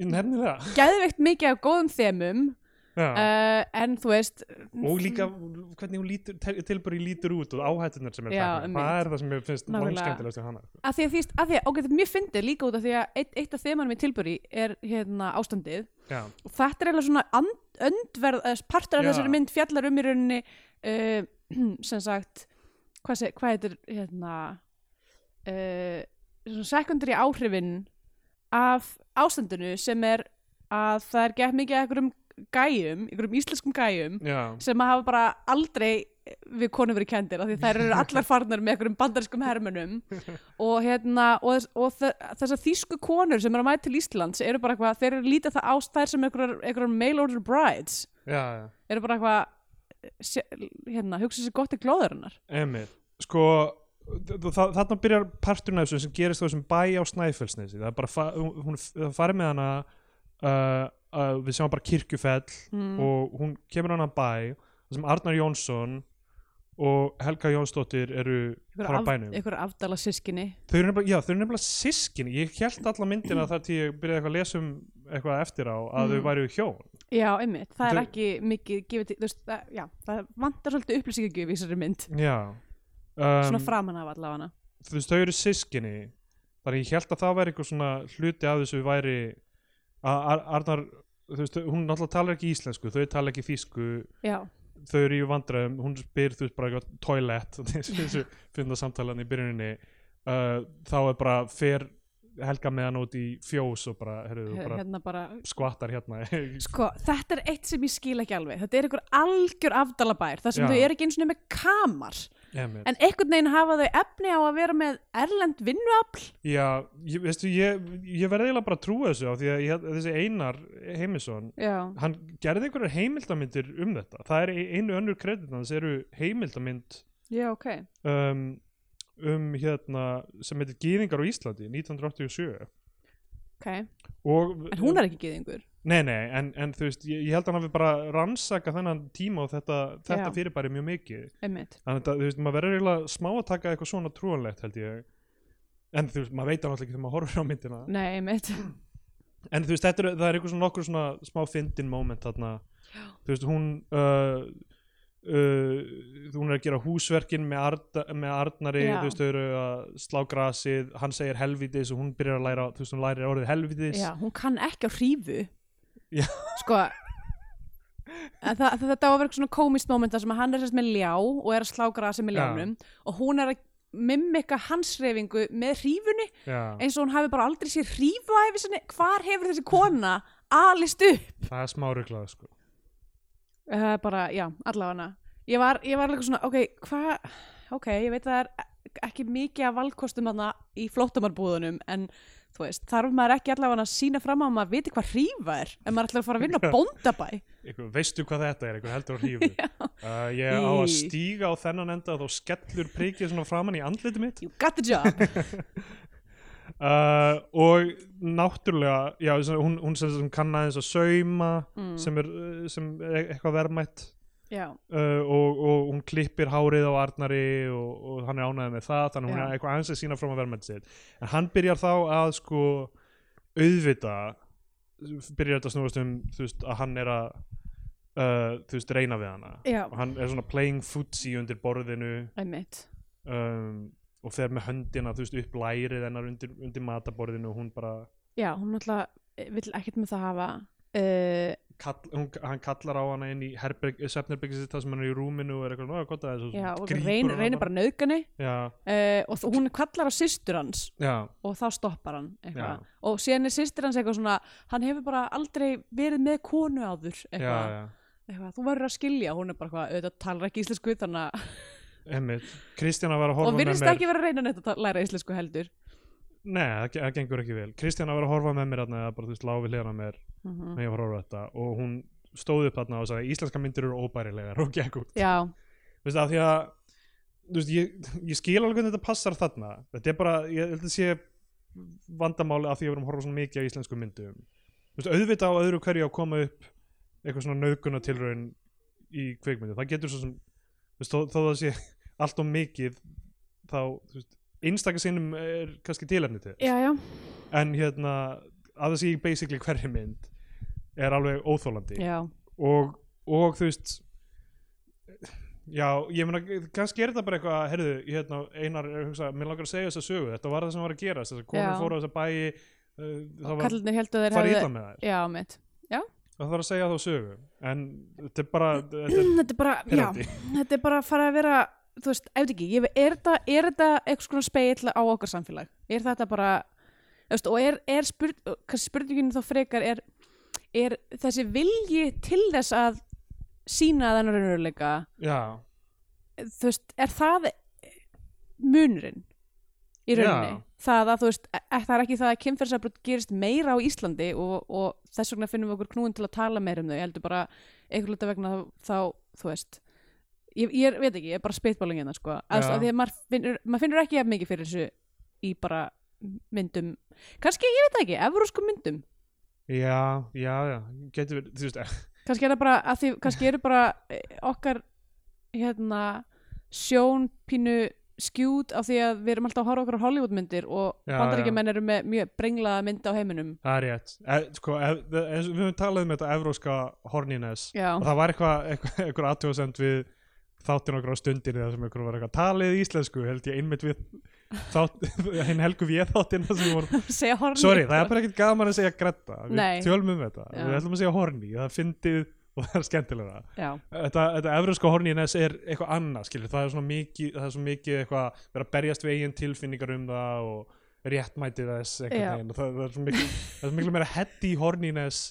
B: nefnilega.
A: gæðveikt mikið af góðum þemum,
B: Já.
A: uh, en þú veist
B: og líka hvernig hún lítur, tel- tilbury lítur út og áhættunar sem er
A: Já,
B: það
A: einmitt.
B: það er það sem ég finnst
A: Nákvæmlega.
B: langskemmtilegast við hana sko.
A: að því að því, að því að, ok, þetta er mjög fyndið líka út af því að eitt, eitt af þemanum í tilbyrði er hérna ástandið
B: já,
A: og þetta er eiginlega svona and, öndverð, eh, partur af
B: Já.
A: þessari mynd fjallar um í rauninni uh, sem sagt hvað, seg, hvað heitir hérna uh, sekundari áhrifin af ástandinu sem er að það er gett mikið af einhverjum gæjum, einhverjum íslenskum gæjum
B: já,
A: sem hafa bara aldrei við konum verið kendir af því þær eru allar farnar með einhverjum bandariskum hermönum og, hérna, og, þess, og þe- þessar þýsku konur sem eru að mæta til Íslands eru bara eitthvað, þeir eru lítið það ástæðir sem einhverjar einhverjar mail order brides
B: já,
A: eru bara eitthvað sé- hérna, hugsa sér gott í glóðurinnar
B: emir sko, þ- þ- þa- þarna byrjar parturinn af þessu sem gerist á þessum bæ á Snæfellsnesi það er bara, fa- hún, hún það farið með hana uh, uh, við sjáum bara kirkjufell
A: Hmm. Mm.
B: og hún kemur á hana bæ þar sem Arnar Jónsson og Helga Jónsdóttir eru frá bænum
A: einhverjar afdala sískinni
B: Þau eru nefnilega, já, þau eru nefnilega sískin Ég held alla myndina þar til ég byrjaði eitthvað að lesa um eitthvað eftir á að þau væru hjón
A: já, einmitt, það er
B: Þau-
A: ekki mikið gefið til, þú veist, það, já, það vantar svolítið upplýsingagjöf í þessari mynd
B: Já
A: svona
B: um,
A: framan af allavega
B: Þú veist, þau eru sískinni Þar ég held að það væri eitthvað svona hluti af þessu væri að Ar- Arnar, þú veist, hún náttúrulega talar ekki íslensku þau tala ekki þýsku
A: já,
B: þau eru í vandræðum, hún spyr þú veist bara eitthvað toilet, þessu finna samtalan í byrjuninni uh, þá er bara fer Helga með hann út í fjós og bara, heyrðu, þú bara
A: hérna bara
B: skvattar hérna
A: Sko, þetta er eitt sem ég skil ekki alveg. Þetta er einhver algjör afdalabær, þar sem
B: Já.
A: þau eru ekki eins og með kamar.
B: Emil.
A: En einhvern veginn hafa þau efni á að vera með erlend vinnuafl.
B: Já, ég, veistu, ég, ég verði eiginlega bara að trúa þessu á því að ég, þessi Einar Heimisson,
A: Já.
B: hann gerði einhverjar heimildamindir um þetta. Það er ein- einu önnur kredit hans eru heimildamind
A: Já, ok.
B: um, um hérna sem heitir Gýðingar á Íslandi 1987
A: Ok. En
B: og
A: hún er ekki geðingur.
B: Nei, nei, en, en þú veist, ég, ég held að hann hafi bara rannsaka þennan tíma og þetta, þetta
A: Já.
B: fyrirbæri mjög mikið.
A: Einmitt.
B: Þannig að þú veist, maður verður eiginlega smá að taka eitthvað svona trúanlegt held ég. En þú veist, maður veit það náttúrulega ekki þegar maður horfir á myndina.
A: Nei, einmitt.
B: en þú veist, þetta er, það er eitthvað svona nokkur svona smá fyndin moment þarna þú veist, hún uh, uh, hún er að gera húsverkin með, Arda, með Arnari
A: Já.
B: þú veist, þau eru að slá grasið hann segir helvítis og hún byrjar að læra þú veist, hún lærir orðið helvítis
A: Já, hún kann ekki á hrífu
B: Já.
A: Sko en það, það, Þetta á að vera eitthvað svona komist moment þar sem að hann er sérst með ljá og er að slá grasi með
B: Já.
A: ljánum og hún er að mimika hans reyfingu með hrífunni
B: Já.
A: eins og hún hafi bara aldrei sér hrífu á æfi sinni Hvar hefur þessi kona alist upp?
B: það er smá ruglað sko.
A: Uh, bara, já, allavega Ég var, ég var alveg svona, ok, hvað Ok, ég veit að það er ekki mikið af valkostum hana í flóttamarbúðunum en þú veist, þarf maður ekki allavega að sína fram á að maður viti hvað hrífa er en maður ætlar að fara að vinna á bóndabæ
B: Ykkur, veistu hvað þetta er, einhver heldur á hrífu uh, ég á að
A: Í.
B: stíga á þennan enda og þá skellur prikið svona framan í andliti mitt
A: You got the job
B: uh, og náttúrulega já, sem- hún, hún sem, sem kann aðeins að sauma
A: Mm.
B: sem er uh, sem er eitthvað verðmætt
A: Já,
B: uh, og, og hún klippir hárið á Arnari og, og hann er ánæðið með það þannig hún
A: Já.
B: er eitthvað aðeins að sína fram að verðmætt sitt en hann byrjar þá að sko auðvita byrjar þetta að snúast um þú veist að hann er að Uh, þú veist, reyna við hana
A: Já.
B: og hann er svona playing footsie undir borðinu
A: einmitt
B: um, og fer með höndina þú veist, upp lærið hennar undir, undir mataborðinu og hún bara
A: Já, hún náttúrulega eh, vill ekkert með það hafa uh,
B: kall, hún, hann kallar á hana inn í svefnirbyggisins það sem hann er í rúminu og er eitthvað náða gott að þessu
A: Já, og reynir, reynir bara nöðgani
B: já,
A: uh, og þ- hún kallar á systur hans
B: já,
A: og þá stoppar hann eitthvað
B: Já.
A: og síðan er systir hans eitthvað svona hann hefur bara aldrei verið með konu áður
B: já,
A: eitthvað,
B: já
A: eitthvað. þú verður að skilja, hún er bara eitthvað auðvitað talar ekki íslensku þannig að
B: Einmitt. Kristjana var að horfa
A: og
B: með
A: virðist
B: mér
A: ekki vera að reyna neitt að ta- læra íslensku heldur
B: Nei, það ge- það gengur ekki vel Kristjana var að horfa með mér þarna eða bara þú veist láfi hlera mér
A: mm
B: með ég var að horfa á þetta og hún stóð upp þarna og sagði íslenska myndir eru óbærilegar og gekk út
A: Já,
B: þú veist af því að þú veist, ég, ég skil alveg hvernig þetta passar þarna þetta er bara, ég held að sé vandamáli af því að við erum að horfa svona mikið á íslensku myndum þú veist, auðvitað á öðru hverju að koma upp eitthvað svona nöðguna tilraun í kveikmyndu, það getur svo sem þú veist, þó, þó það sé allt og mikið þá, þú veist, einstaka sinnum er kannski tilefni til þess.
A: já, já,
B: en hérna, að það sé í basically hverju mynd er alveg óþólandi
A: já.
B: og, og þú veist já, ég meina kannski er þetta bara eitthvað, heyrðu, hérna Einar, er að hugsa, mér langar að segja þessa sögu þetta var það sem var að gerast, þess að
A: Já.
B: konur fóru á þessa bæi uh, það var
A: kallinir heldur að þeir
B: farið illa með þær
A: Já, mitt
B: og það var að segja þá sögu en þetta er bara, þetta er
A: Þetta er bara, já,
B: perandi
A: þetta er bara að fara að vera þú veist, ef þetta ekki, ég, er, þetta, er þetta eitthvað svona speill á okkar samfélag er þetta bara þú veist, og er, er spurt, kannski spurningin þá frekar er, er þessi vilji til þess að sína þennan raunveruleika
B: já,
A: þú veist, er það munurinn í rauninni
B: Já.
A: það að þú veist, e- það er ekki það að kynferðsabrot gerist meira á Íslandi og, og þess vegna finnum við okkur knúin til að tala meira um þau, ég heldur bara einhver hluta vegna þá, þá, þú veist ég, ég er- veit ekki, ég er bara speitbáling hérna sko, að,
B: Já.
A: að því að maður finnur, maður finnur ekki jafn mikið fyrir þessu í bara myndum, kannski, ég veit það ekki evróskum myndum,
B: já, já, já getur verið, þú veist, eh,
A: kannski er það bara að því, kannski eru bara eh, okkar hérna sjón pínu skjút af því að við erum alltaf að horfa okkur á Hollywoodmyndir og
B: Já,
A: bandaríkjumenn eru með mjög brenglaða mynd á heiminum
B: það er rétt e, sko, e, e, við höfum talað um þetta evróska horniness
A: Já,
B: og það var eitthvað eitthvað, eitthvað aðtjóðsend við þáttin okkur á stundinni þar sem ykkur var eitthvað talið íslensku held ég einmitt við þátt, hinn helgu við þáttin voru,
A: segja horni
B: sorry, það er bara ekkert gaman að segja gretta, við
A: Nei.
B: tölum um þetta
A: Já.
B: við ætlum að segja horni, það er fyndið og það er skemmtilega
A: Já,
B: þetta, þetta evrenska horni NS er eitthvað annað skilur, það er svona mikið, það er svona mikið eitthvað, vera að berjast við eigin tilfinningar um það og réttmætið þess
A: Já.
B: einhvern veginn og það, það er svona miklu, það er svona miklu meira heady horni NS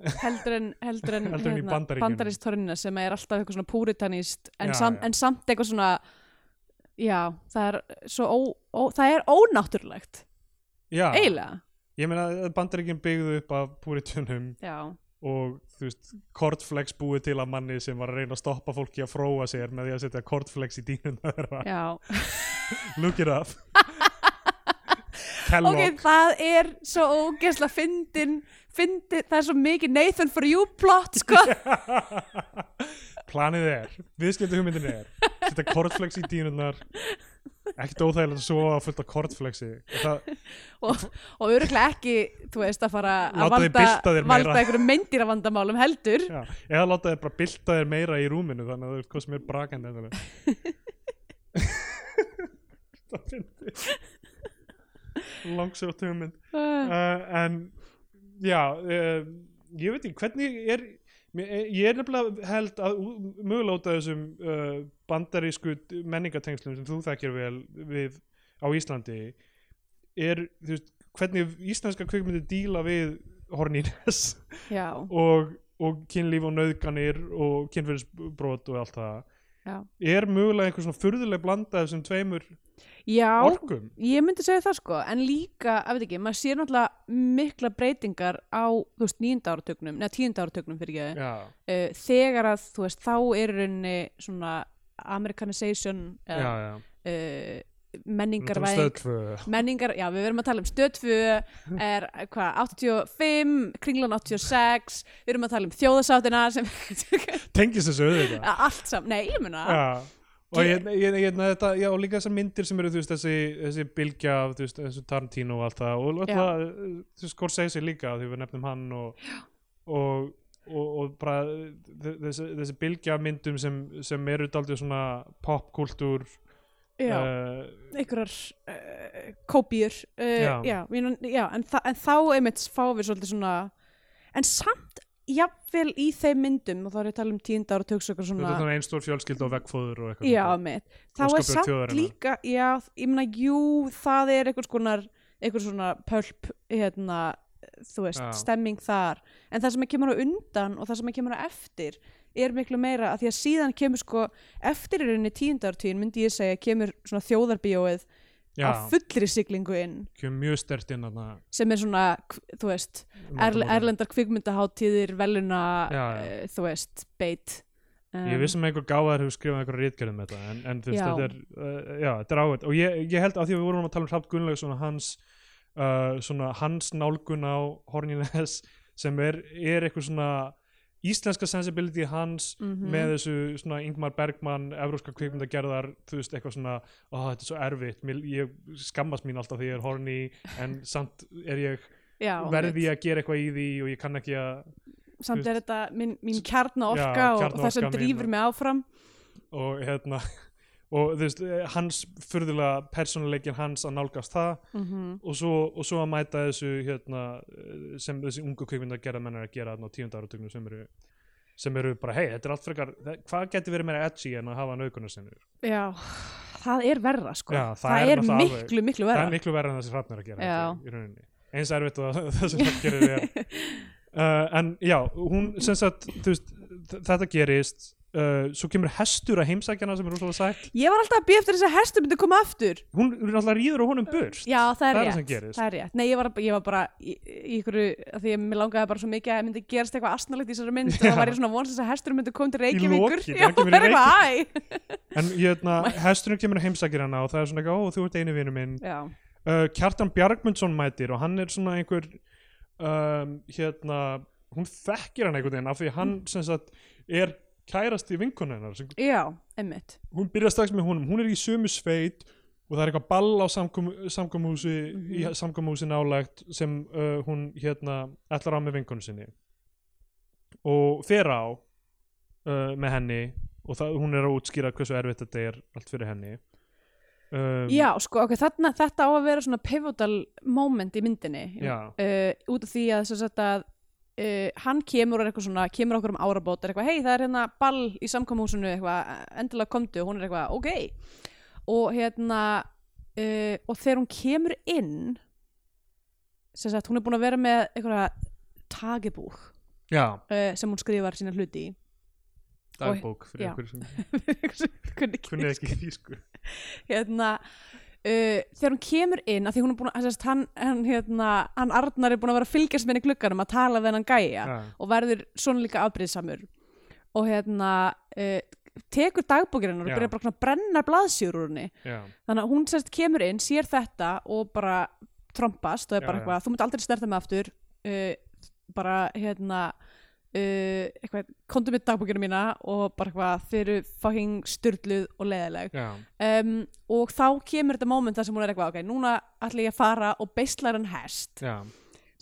A: heldur en, heldur en,
B: Heldur en í Bandaríkjunum.
A: bandarískt hornina sem er alltaf eitthvað svona púritanist en,
B: Já,
A: sam,
B: já.
A: en samt eitthvað svona Já, það er svo ó, ó, það er ónáttúrulegt
B: Já,
A: eiginlega,
B: ég meina bandaríkinn byggðu upp af púritunum
A: já,
B: og þú veist, kortflex búið til að manni sem var að reyna að stoppa fólki að fróa sér með því að setja kortflex í dýnum þeirra,
A: já
B: look it up Kellogg
A: ok, það er svo ógeðslega fyndin, fyndin, það er svo mikið Nathan for you plot, sko
B: planið er, viðskipta hugmyndin er setja kortflex í dýnurnar ekkert óþægilegt að sofa fullt af kortflexi það,
A: og, og öruglega ekki, þú veist, að fara að
B: Láta þig
A: valda,
B: bylta þér meira.
A: valda einhverjum myndir að vandamálum heldur
B: já, eða láta þér bara bylta þér meira í rúminu þannig að þú veist hvað sem er brakandi endilega. það finnir langsjótt hugmynd
A: uh,
B: uh, en já uh, ég veit ekki hvernig er mér- eh, ég er nefnilega held að ú- mögulega út af þessum uh, bandarísku menningatengslum sem þú þekkir vel við á Íslandi er þú veist hvernig íslenska kvikmyndi díla við horniness
A: já,
B: og, og kynlíf og nauðganir og kynfyrirsbrot og allt það
A: já,
B: er mögulega einhver svona furðuleg blanda af þessum tveimur
A: já
B: orkum
A: ég myndi segja það sko, en líka að veit ekki, maður sér náttúrulega mikla breytingar á, þú veist, nýjunda áratögnum neða tíunda áratögnum fyrir ekki
B: já,
A: uh, þegar að, þú veist, þá er rauninni svona americanization
B: já,
A: eða,
B: já,
A: uh,
B: Stöð
A: menningarvæðing
B: tvö.
A: menningar, já við verum að tala um stöðtfu er hvað, 85 kringlan 86, við erum að tala um þjóðasáttina sem
B: tengist þessu auðvitað
A: allt saman, nei ég muna
B: Já, og ég, ég, ég, þetta, já, og líka þessar myndir sem eru þú veist, þessi, þessi bylgja af þú veist, þessu Tarantino og allt það og
A: Já.
B: alltaf, þú veist, Scorsese líka því við nefnum hann og og, og, og bara þ- þessi, þessi bylgja af myndum sem, sem eru daldið svona popkultúr
A: já,
B: uh,
A: einhverjar uh, kópýr uh,
B: Já.
A: já. Já, já, en, þa en þá einmitt fáum við svolítið svona en samt jafnvel í þeim myndum og þá er ég að tala um tíndar og tökst okkur
B: þetta
A: svona
B: er svona einstór fjölskylda og vegfóður og eitthvað
A: Já,
B: svona.
A: mitt. Þá er
B: Óskapur
A: samt
B: þjóðarinnar.
A: líka, já, ég meina, jú, það er einhvers konar, einhvers svona pölp, hérna, þú veist,
B: Já.
A: stemming þar. En það sem er kemur á undan og það sem er kemur á eftir er miklu meira að því að síðan kemur sko, eftir í rauninni tíundartíðin myndi ég segja, kemur svona þjóðarbíóið á
B: já,
A: fullri siglingu inn
B: kemur mjög stert inn þarna
A: sem er svona, kv- þú veist, er, erlendar kvikmyndaháttíðir, veluna,
B: Já, já.
A: eh, þú veist, beit.
B: Ég
A: Um,
B: vissum að einhver gáðar hefur skrifað einhverja rítgerðum þetta en, en þú veist,
A: Já.
B: þetta er, uh, já, þetta er áhvert og ég, ég held að því að við vorum að tala um Hrafn Gunnlaugsson og hans uh, svona hans nálgun á Horniness sem er, er eitthvað svona íslenska sensibility hans
A: mhm.
B: með þessu svona Ingmar Bergman evróska kvikmyndagerðar, þú veist, eitthvað svona ó, þetta er svo erfitt, Mér, ég skammast mín alltaf því ég er horny en samt er ég,
A: já,
B: verði ég að gera eitthvað í því og ég kann ekki að
A: samt
B: Þú
A: er þetta mín, mín kjarna orka
B: Já,
A: og, og
B: kjarnaorka
A: það sem
B: mín
A: drýfur
B: og-
A: mig áfram
B: og hérna og þú veist, eh, hans furðulega persónuleikin hans að nálgast það
A: mm -hmm.
B: og svo, og svo að mæta þessu hérna, eh, sem þessi ungu kvikmynd að gera menn er að gera þarna á tíundar áratögnum sem eru sem eru bara, hei, þetta er allt frekar þe- hvað geti verið meira edgy en að hafa naukunar sinni
A: já, það er verra sko
B: Já, það
A: það
B: er
A: er
B: náttúrulega alveg-
A: miklu, miklu
B: það er
A: verra
B: miklu verið en þessi hrafnir að gera
A: Já.
B: held ég, í rauninni eins erfitt og það sem það gerir er uh, en já, hún sem sagt, þú veist, þ- þetta gerist uh, svo kemur hestur að heimsækjana sem er úrslega sætt
A: ég var alltaf að býja eftir þess að hestur myndi koma aftur
B: hún hún náttúrulega rýður á honum burst
A: já, það er
B: það er það sem
A: rétt
B: gerist
A: það er rétt, nei ég var, ég var bara í, í ykkur, því að mér langaði bara svo mikið að það myndi gerast eitthvað astnalegt í þessari mynd og
B: Já.
A: það var ég svona vons þess að hestur myndi koma til
B: lokin,
A: Reykjavíkur
B: hann
A: já,
B: kemur í
A: það er eitthvað æ
B: En hérna, hesturinn kemur að heimsækir hana og það er svona eitthvað, ó, þú ert einu vinur minn.
A: já,
B: Uh, Kjartan Bjargmundsson mætir og hann er svona einhver, um, hérna, hún þekkir hann einhvern veginn af því hann sem sagt er kærasti í vinkonu hennar. sem-
A: já, emmitt
B: Hún byrjar strax með honum, hún er í sömu sveit og það er eitthvað ball á samkomu- samkomuhúsi,
A: Mhm.
B: í samkomuhúsi nálægt sem uh, hún hérna ætlar á með vinkonu sinni. Og fer á uh, með henni og það, hún er að útskýra hversu erfitt þetta er allt fyrir henni um,
A: já, sko, ok, þarna, þetta á að vera svona pivotal moment í myndinni
B: já,
A: uh, út af því að, sem sagt, að uh, hann kemur og er eitthvað svona, kemur okkur um árabót er eitthvað, hei það er hérna ball í samkomhúsinu eitthvað, endilega komdu, hún er eitthvað ok, og hérna uh, og þegar hún kemur inn sem sagt, hún er búin að vera með eitthvað tagebúk
B: já,
A: uh, sem hún skrifar sína hluti í
B: dagbók fyrir
A: já.
B: einhver sem
A: Kunni ekki.
B: kunni ekki sko. þýsku
A: hérna Uh, þegar hún kemur inn, af því hún er búin að sem sagt, hann, hann, hérna, hann Arnar er búin að vera að fylgjast með henni í glugganum að tala við hennan gæja
B: já,
A: og verður svona líka afbrýðsamur og hérna uh, tekur dagbókirinn og
B: Já.
A: byrjar bara svona að brenna blaðsjur úr henni
B: já,
A: þannig að hún sérst kemur inn, sér þetta og bara trompast og er
B: Já,
A: bara
B: já.
A: eitthvað þú munt aldrei snerta mig aftur uh, bara Eh, hérna uh, eitthvað, komdu með dagbúkina mína og bara eitthvað, þið eru fucking styrluð og leðileg
B: já,
A: um, og þá kemur þetta moment þar sem hún er eitthvað, ok, núna ætla ég að fara og beislar hann hest
B: já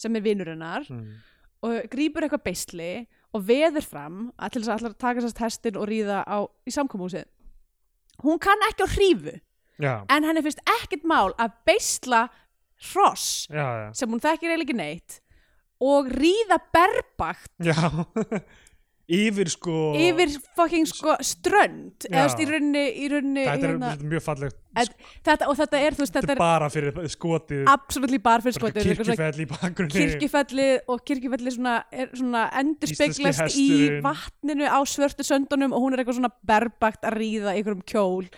A: sem er vinur hennar
B: mm,
A: og grýpur eitthvað beisli og veður fram að til þess að ætlar að taka sérst hestin og ríða á, í samkomúsið hún kann ekki á hrífu
B: já,
A: en henni finnst ekkert mál að beisla hross
B: já, já
A: sem hún þekkir eiginlega ekki neitt og ríða berbakt
B: Já, yfir sko
A: yfir fucking sko strönd
B: Já.
A: eða þú veist, í rauninni, í rauninni
B: Þetta er
A: hérna,
B: mjög fallegt
A: en, þetta, og þetta er þú veist,
B: Þetta
A: þetta
B: er bara fyrir það- skotið
A: er absolutt bar fyrir
B: bara
A: skotu
B: Kirkjufell í bakgrunni
A: kirkjufellið og kirkjufellið svona, er svona endurspeglast í
B: hesturinn.
A: vatninu á svörtu söndunum og hún er eitthvað svona berbakt að ríða í einhverjum kjól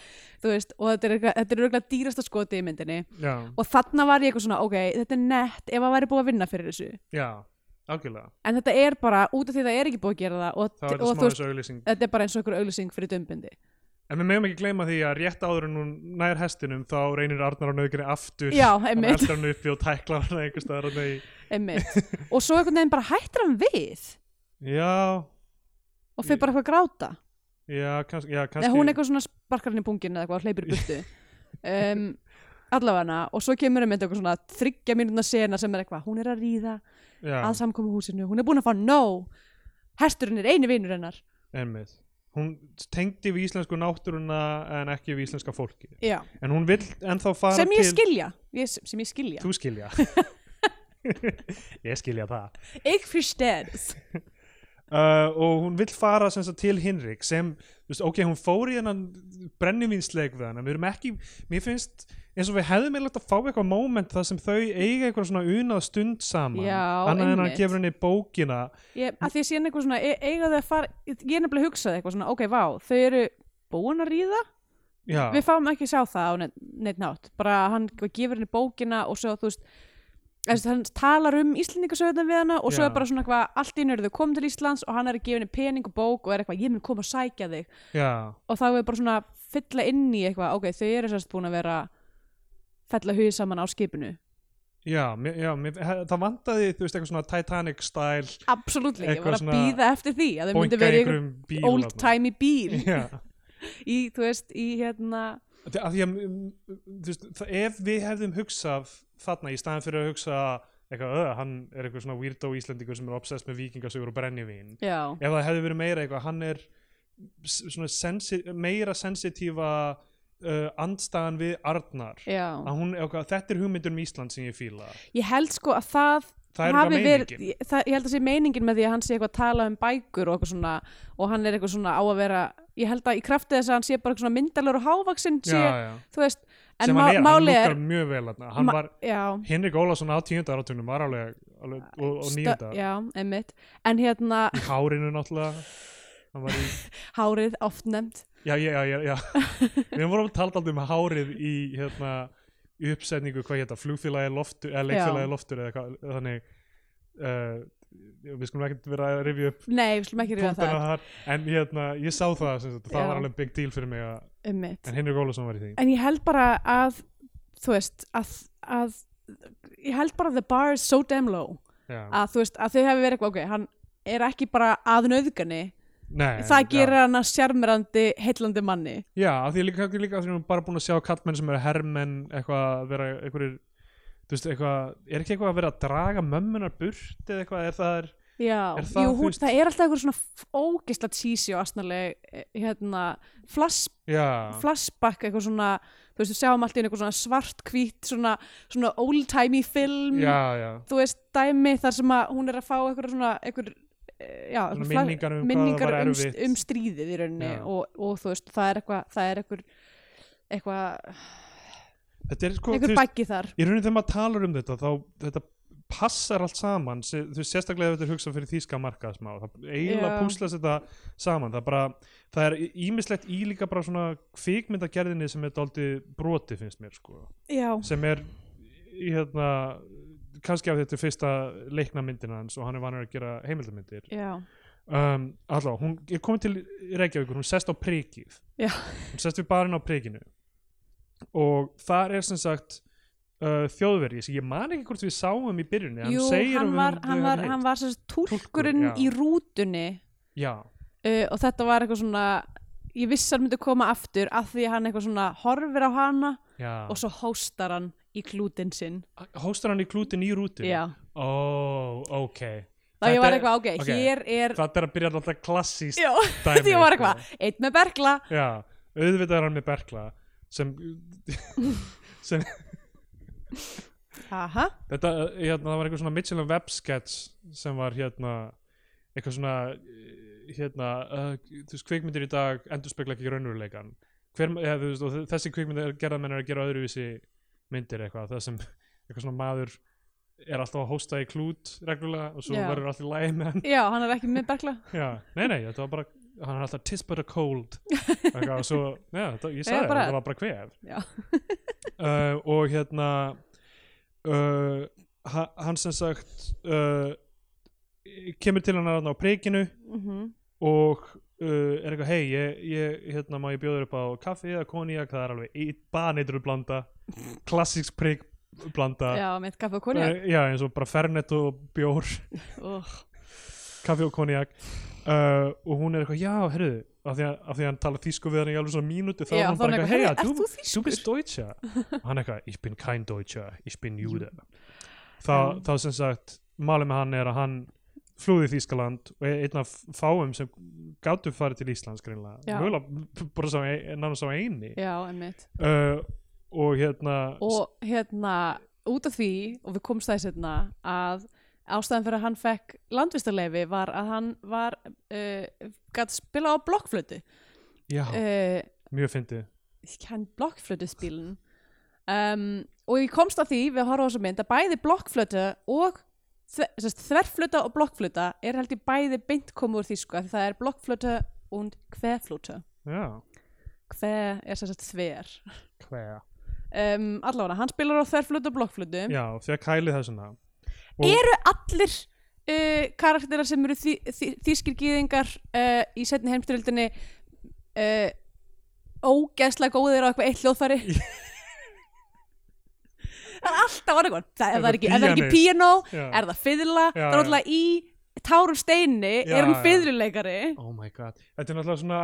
A: þú veist, og þetta er eitthvað- þetta er auðvitað dýrasta skoti í myndinni
B: Já,
A: og þarna var ég eitthvað svona, ok, þetta er nett ef að væri búið að vinna fyrir þessu
B: já, algjörlega
A: en þetta er bara, út af því það er ekki búið að gera það og,
B: Það
A: og
B: var þetta smá
A: þú veist,
B: þessu auglýsing
A: þetta er bara eins og einhver auglýsing fyrir dömbindi
B: En við megum ekki gleyma því að rétt áður en hún nær hestinum þá reynir Arnar á nöðgrinni aftur
A: Já,
B: Hann
A: einmitt.
B: eltar hann uppi og tæklar hann einhvers staðar hann í
A: einmitt, og svo einhvern veginn bara hættir hann við
B: Já,
A: og fyrir bara eitthvað að gráta
B: já, kannski, já, kannski
A: eða hún eitthvað svona sparkar hann í pungin eða eitthvað, hleypir í burtu um, allavega og svo kemur einmitt eitthvað svona þryggja mínúna sena sem er eitthvað, hún er að ríða
B: já,
A: að samkomi húsinu, hún er búin að fá no hesturinn er eini vinur hennar
B: einmitt Hún tengdi við íslensku náttúruna en ekki við íslenska fólki
A: Já.
B: En hún vill ennþá fara
A: sem ég
B: til
A: skilja ég, sem ég skilja,
B: Þú skilja Ég skilja það
A: ég fyrstæðis
B: uh, Og hún vill fara sem sagt, til Hinrik sem, þú veist, ok, hún fór í hennan brennivínsleik við hann Við erum ekki, mér finnst eins og við hefðum meðlægt að fá eitthvað moment þar sem þau eiga eitthvað svona unað stund saman
A: Já,
B: Annað en hann
A: einmitt.
B: gefur henni bókina
A: ég, að því að síðan eitthvað svona, e- eiga þau að fara ég er nefnilega hugsað eitthvað svona, ok, vá þau eru búin að ríða
B: Já,
A: við fáum ekki að sjá það á neitt, neitt nátt bara hann gefur henni bókina og svo þú veist þess, hann talar um Íslendingasöðuna við hana og svo
B: Já.
A: er bara svona eitthvað, allt í nörðu þau komið til Íslands og hann er að gefa henni pening og bók og er eitthvað, ég mun koma að sækja þig
B: já,
A: og þá er bara svona að fylla inn í eitthvað ok, þau eru sérst búin að vera fella hugið saman á skipinu
B: já, mér, já mér, he- það vantaði, þú veist, eitthvað svona Titanic style
A: absolutt ekki, ég var
B: Eitthvað
A: að
B: svona
A: býða eftir því að þau
B: Boinka
A: myndi vera í
B: einhverjum bíl
A: einhver old
B: þarna.
A: time í bíl
B: Já
A: í, þú veist, í hérna
B: Af því- af því að, mm, þú veist, það, ef við hefðum hugsað þarna í staðan fyrir að hugsa eitthvað, öða, hann er eitthvað svona weirdo íslendingur sem er obsessed með vikingasögur og brennivín
A: já,
B: ef það hefði verið meira eitthvað, hann er s- svona sensi, meira sensitífa uh, andstaðan við Arnar
A: já
B: að hún, er eitthvað, þetta er hugmyndun um Ísland sem ég fíla
A: ég held sko að það
B: Það er
A: hafi
B: bara
A: verið-
B: meiningin.
A: ég- það, ég held að sé meiningin með því að hann sé eitthvað að tala um bækur og eitthvað svona og hann er eitthvað svona á að vera ég held að í krafti þess að hann sé bara eitthvað svona myndalur og hávaksinn sé,
B: já, já.
A: þú veist en má,
B: sem hann er, hann
A: máli er
B: lukkar mjög vel þarna. hann
A: Ma-
B: var,
A: já,
B: Henrik Ólafsson á tíundar átunum var alveg, alveg og, og
A: stö-
B: nýjundar í
A: já, einmitt en hérna,
B: hárinu náttúrulega hann var í
A: hárið oft nefnd
B: Já, já, já, já, já. Við vorum að tala alltaf um hárið í hérna, í uppsetningu, hvað hérna, flugfélagi loftur, eða leikfélagi loftur eða hvað, þannig uh, við skulum ekkert vera að rifja upp
A: nei, við slum ekki ríða
B: punktana
A: það
B: þar, en hérna, ég sá það sem sagt, það
A: Já.
B: var alveg big deal fyrir mig að,
A: einmitt,
B: en Henrik Ólafsson var í því.
A: en ég held bara að þú veist, að, að ég held bara að the bar is so damn low
B: Já.
A: að þú veist, að þau hafi verið eitthvað ok, hann er ekki bara að nöðgani
B: Nei,
A: það gerir
B: Já,
A: hann að sjarmirandi heillandi manni
B: já af því líka, líka af því við erum bara búin að sjá kallmenn sem eru herrmenn, eitthvað að vera, einhverjir, þú veist, eitthvað, er ekki eitthvað að vera að draga mömmunar burt eða eitthvað, er það er,
A: já,
B: Er það,
A: Jú,
B: þú
A: hún,
B: veist-
A: það er alltaf einhver svona f- ógeðslega tísi og astnaleg eh, hérna, flash,
B: já,
A: flashback eitthvað svona, þú veist, við sjáum alltaf einhver svona svart hvít, svona, svona old-timey film,
B: já, já.
A: þú veist, dæmi þar sem að hún er að fá einhver svona einhver, eh, já,
B: Svona
A: einhver flash-
B: minningar um hvað
A: minningar
B: það var
A: um,
B: erfitt.
A: um stríðið í rauninni
B: Já.
A: og, og þú veist, það er eitthvað það er einhver eitthvað,
B: Þetta er sko, þú
A: einhver
B: veist,
A: baggi þar
B: í rauninni þegar maður talar um þetta þá þetta passar allt saman Se- þú veist, sérstaklega ef þetta er hugsað fyrir þýska markaðsmá það eiginlega
A: Já.
B: púslast þetta saman það, bara, það er ímislegt í líka bara svona kvikmyndagerðinni sem er dálítið broti finnst mér sko
A: já,
B: sem er í hérna kannski af þetta er fyrsta leikna myndina hans og hann er vanur að gera heimildamyndir
A: já,
B: um, allá, hún er komin til Reykjavíkur, hún sest á prikið
A: Já.
B: hún sest við barinn á prikinu og þar er sem sagt uh, þjóðverji sem ég man ekki hvort við sáum í byrjunni
A: Jú,
B: segir að
A: hann
B: við
A: var,
B: höfum-
A: hann
B: við
A: var,
B: höfum
A: hann
B: heyrt.
A: var sem sagt túlkurinn
B: Túlkur, já.
A: í rútunni
B: já,
A: uh, og þetta var eitthvað svona ég vissi að hann myndi koma aftur af því að hann eitthvað svona horfir á hana
B: já.
A: og svo hóstar hann í klútin sinn
B: hóstar hann í klútin í rútu
A: já,
B: ó, ok
A: þá ég var
B: er-
A: eitthvað, ok,
B: ok.
A: hér er
B: þetta er að byrja alltaf klassíst
A: já,
B: dæmi
A: því ég var
B: sko.
A: eitthvað, eitt með bergla
B: já, auðvitað er hann með berkla sem, sem
A: aha,
B: þetta, eh, hérna, það var eitthvað svona Mitchell and Webb sketch sem var hérna eitthvað svona eh, hérna, uh, þú veist, kvikmyndir í dag endur spekla ekki raunveruleikan Hver, ja, veist, og þ- þessi kvikmyndir er gerða menn er að gera öðruvísi myndir eitthvað það sem eitthvað svona maður er alltaf að hósta í klút reglulega og svo
A: Já.
B: verður alltaf í lægi með hann
A: já, hann er ekki með bergla
B: já, nei, nei, þetta var bara hann er alltaf tis but a cold eitthvað, og svo, já, þetta, ég
A: Já,
B: sagði það,
A: bara-
B: þetta var bara kvef
A: já,
B: uh, og hérna uh, ha- hann sem sagt uh, kemur til hann á prikinu
A: mm
B: og uh, er eitthvað hei, ég, ég, hérna má ég bjóður upp á kaffi eða koníak, það er alveg baneitur blanda, klassíks prik blanda
A: já, með kaffi og konja
B: Uh, já, eins og bara fernet og bjór
A: uh,
B: kaffi og koníak uh, og hún er eitthvað, já, herru af því að, af því að hann tala þýsku við hann í alveg svona mínútu þá
A: Já,
B: er hann
A: þá er
B: bara
A: hann
B: eitthvað,
A: eitthvað,
B: hei,
A: "Heyrðu, ert
B: þú,
A: þú
B: þú bist deutscher og hann eitthvað, ich bin kein deutscher ich bin jude þá,
A: Já.
B: þá sem sagt, málið með hann er að hann flúði Þýskaland og er einn af fáum sem gátu farið til Íslands greinlega,
A: Já.
B: mjögulega bara sá, nánast á eini
A: já, einmitt
B: uh, og hérna
A: og hérna, út af því og við komst það í setna að ástæðan fyrir að hann fekk landvistarleifi var að hann var uh, gætt spila á blokkflötu
B: já,
A: uh,
B: mjög fyndið
A: hann blokkflötuspílin um, og ég komst að því við að horfa á þessu mynd að bæði blokkflötu og þver- sem sagt, þverflöta og blokkflöta er held ég bæði beint komið úr því sko því það er blokkflötu und kveflötu
B: já,
A: kve er sem sagt þver
B: hver
A: um, allavega hann spilar á þverflötu og blokkflötu
B: já, því að kæli þessuna
A: eru allir uh, karakterar sem eru þý, þý, þýskir gýðingar uh, í setni heimstyrjöldinni uh, ógeðslega góðir á eitthvað eitt hljóðfæri það er alltaf var eitthvað það, ef það er ekki, ef það er ekki piano
B: Já.
A: er það fiðla,
B: Já,
A: það er
B: já.
A: alltaf í Tárum Steini
B: Já,
A: er hann
B: já.
A: fiðluleikari
B: Oh my god, þetta er náttúrulega svona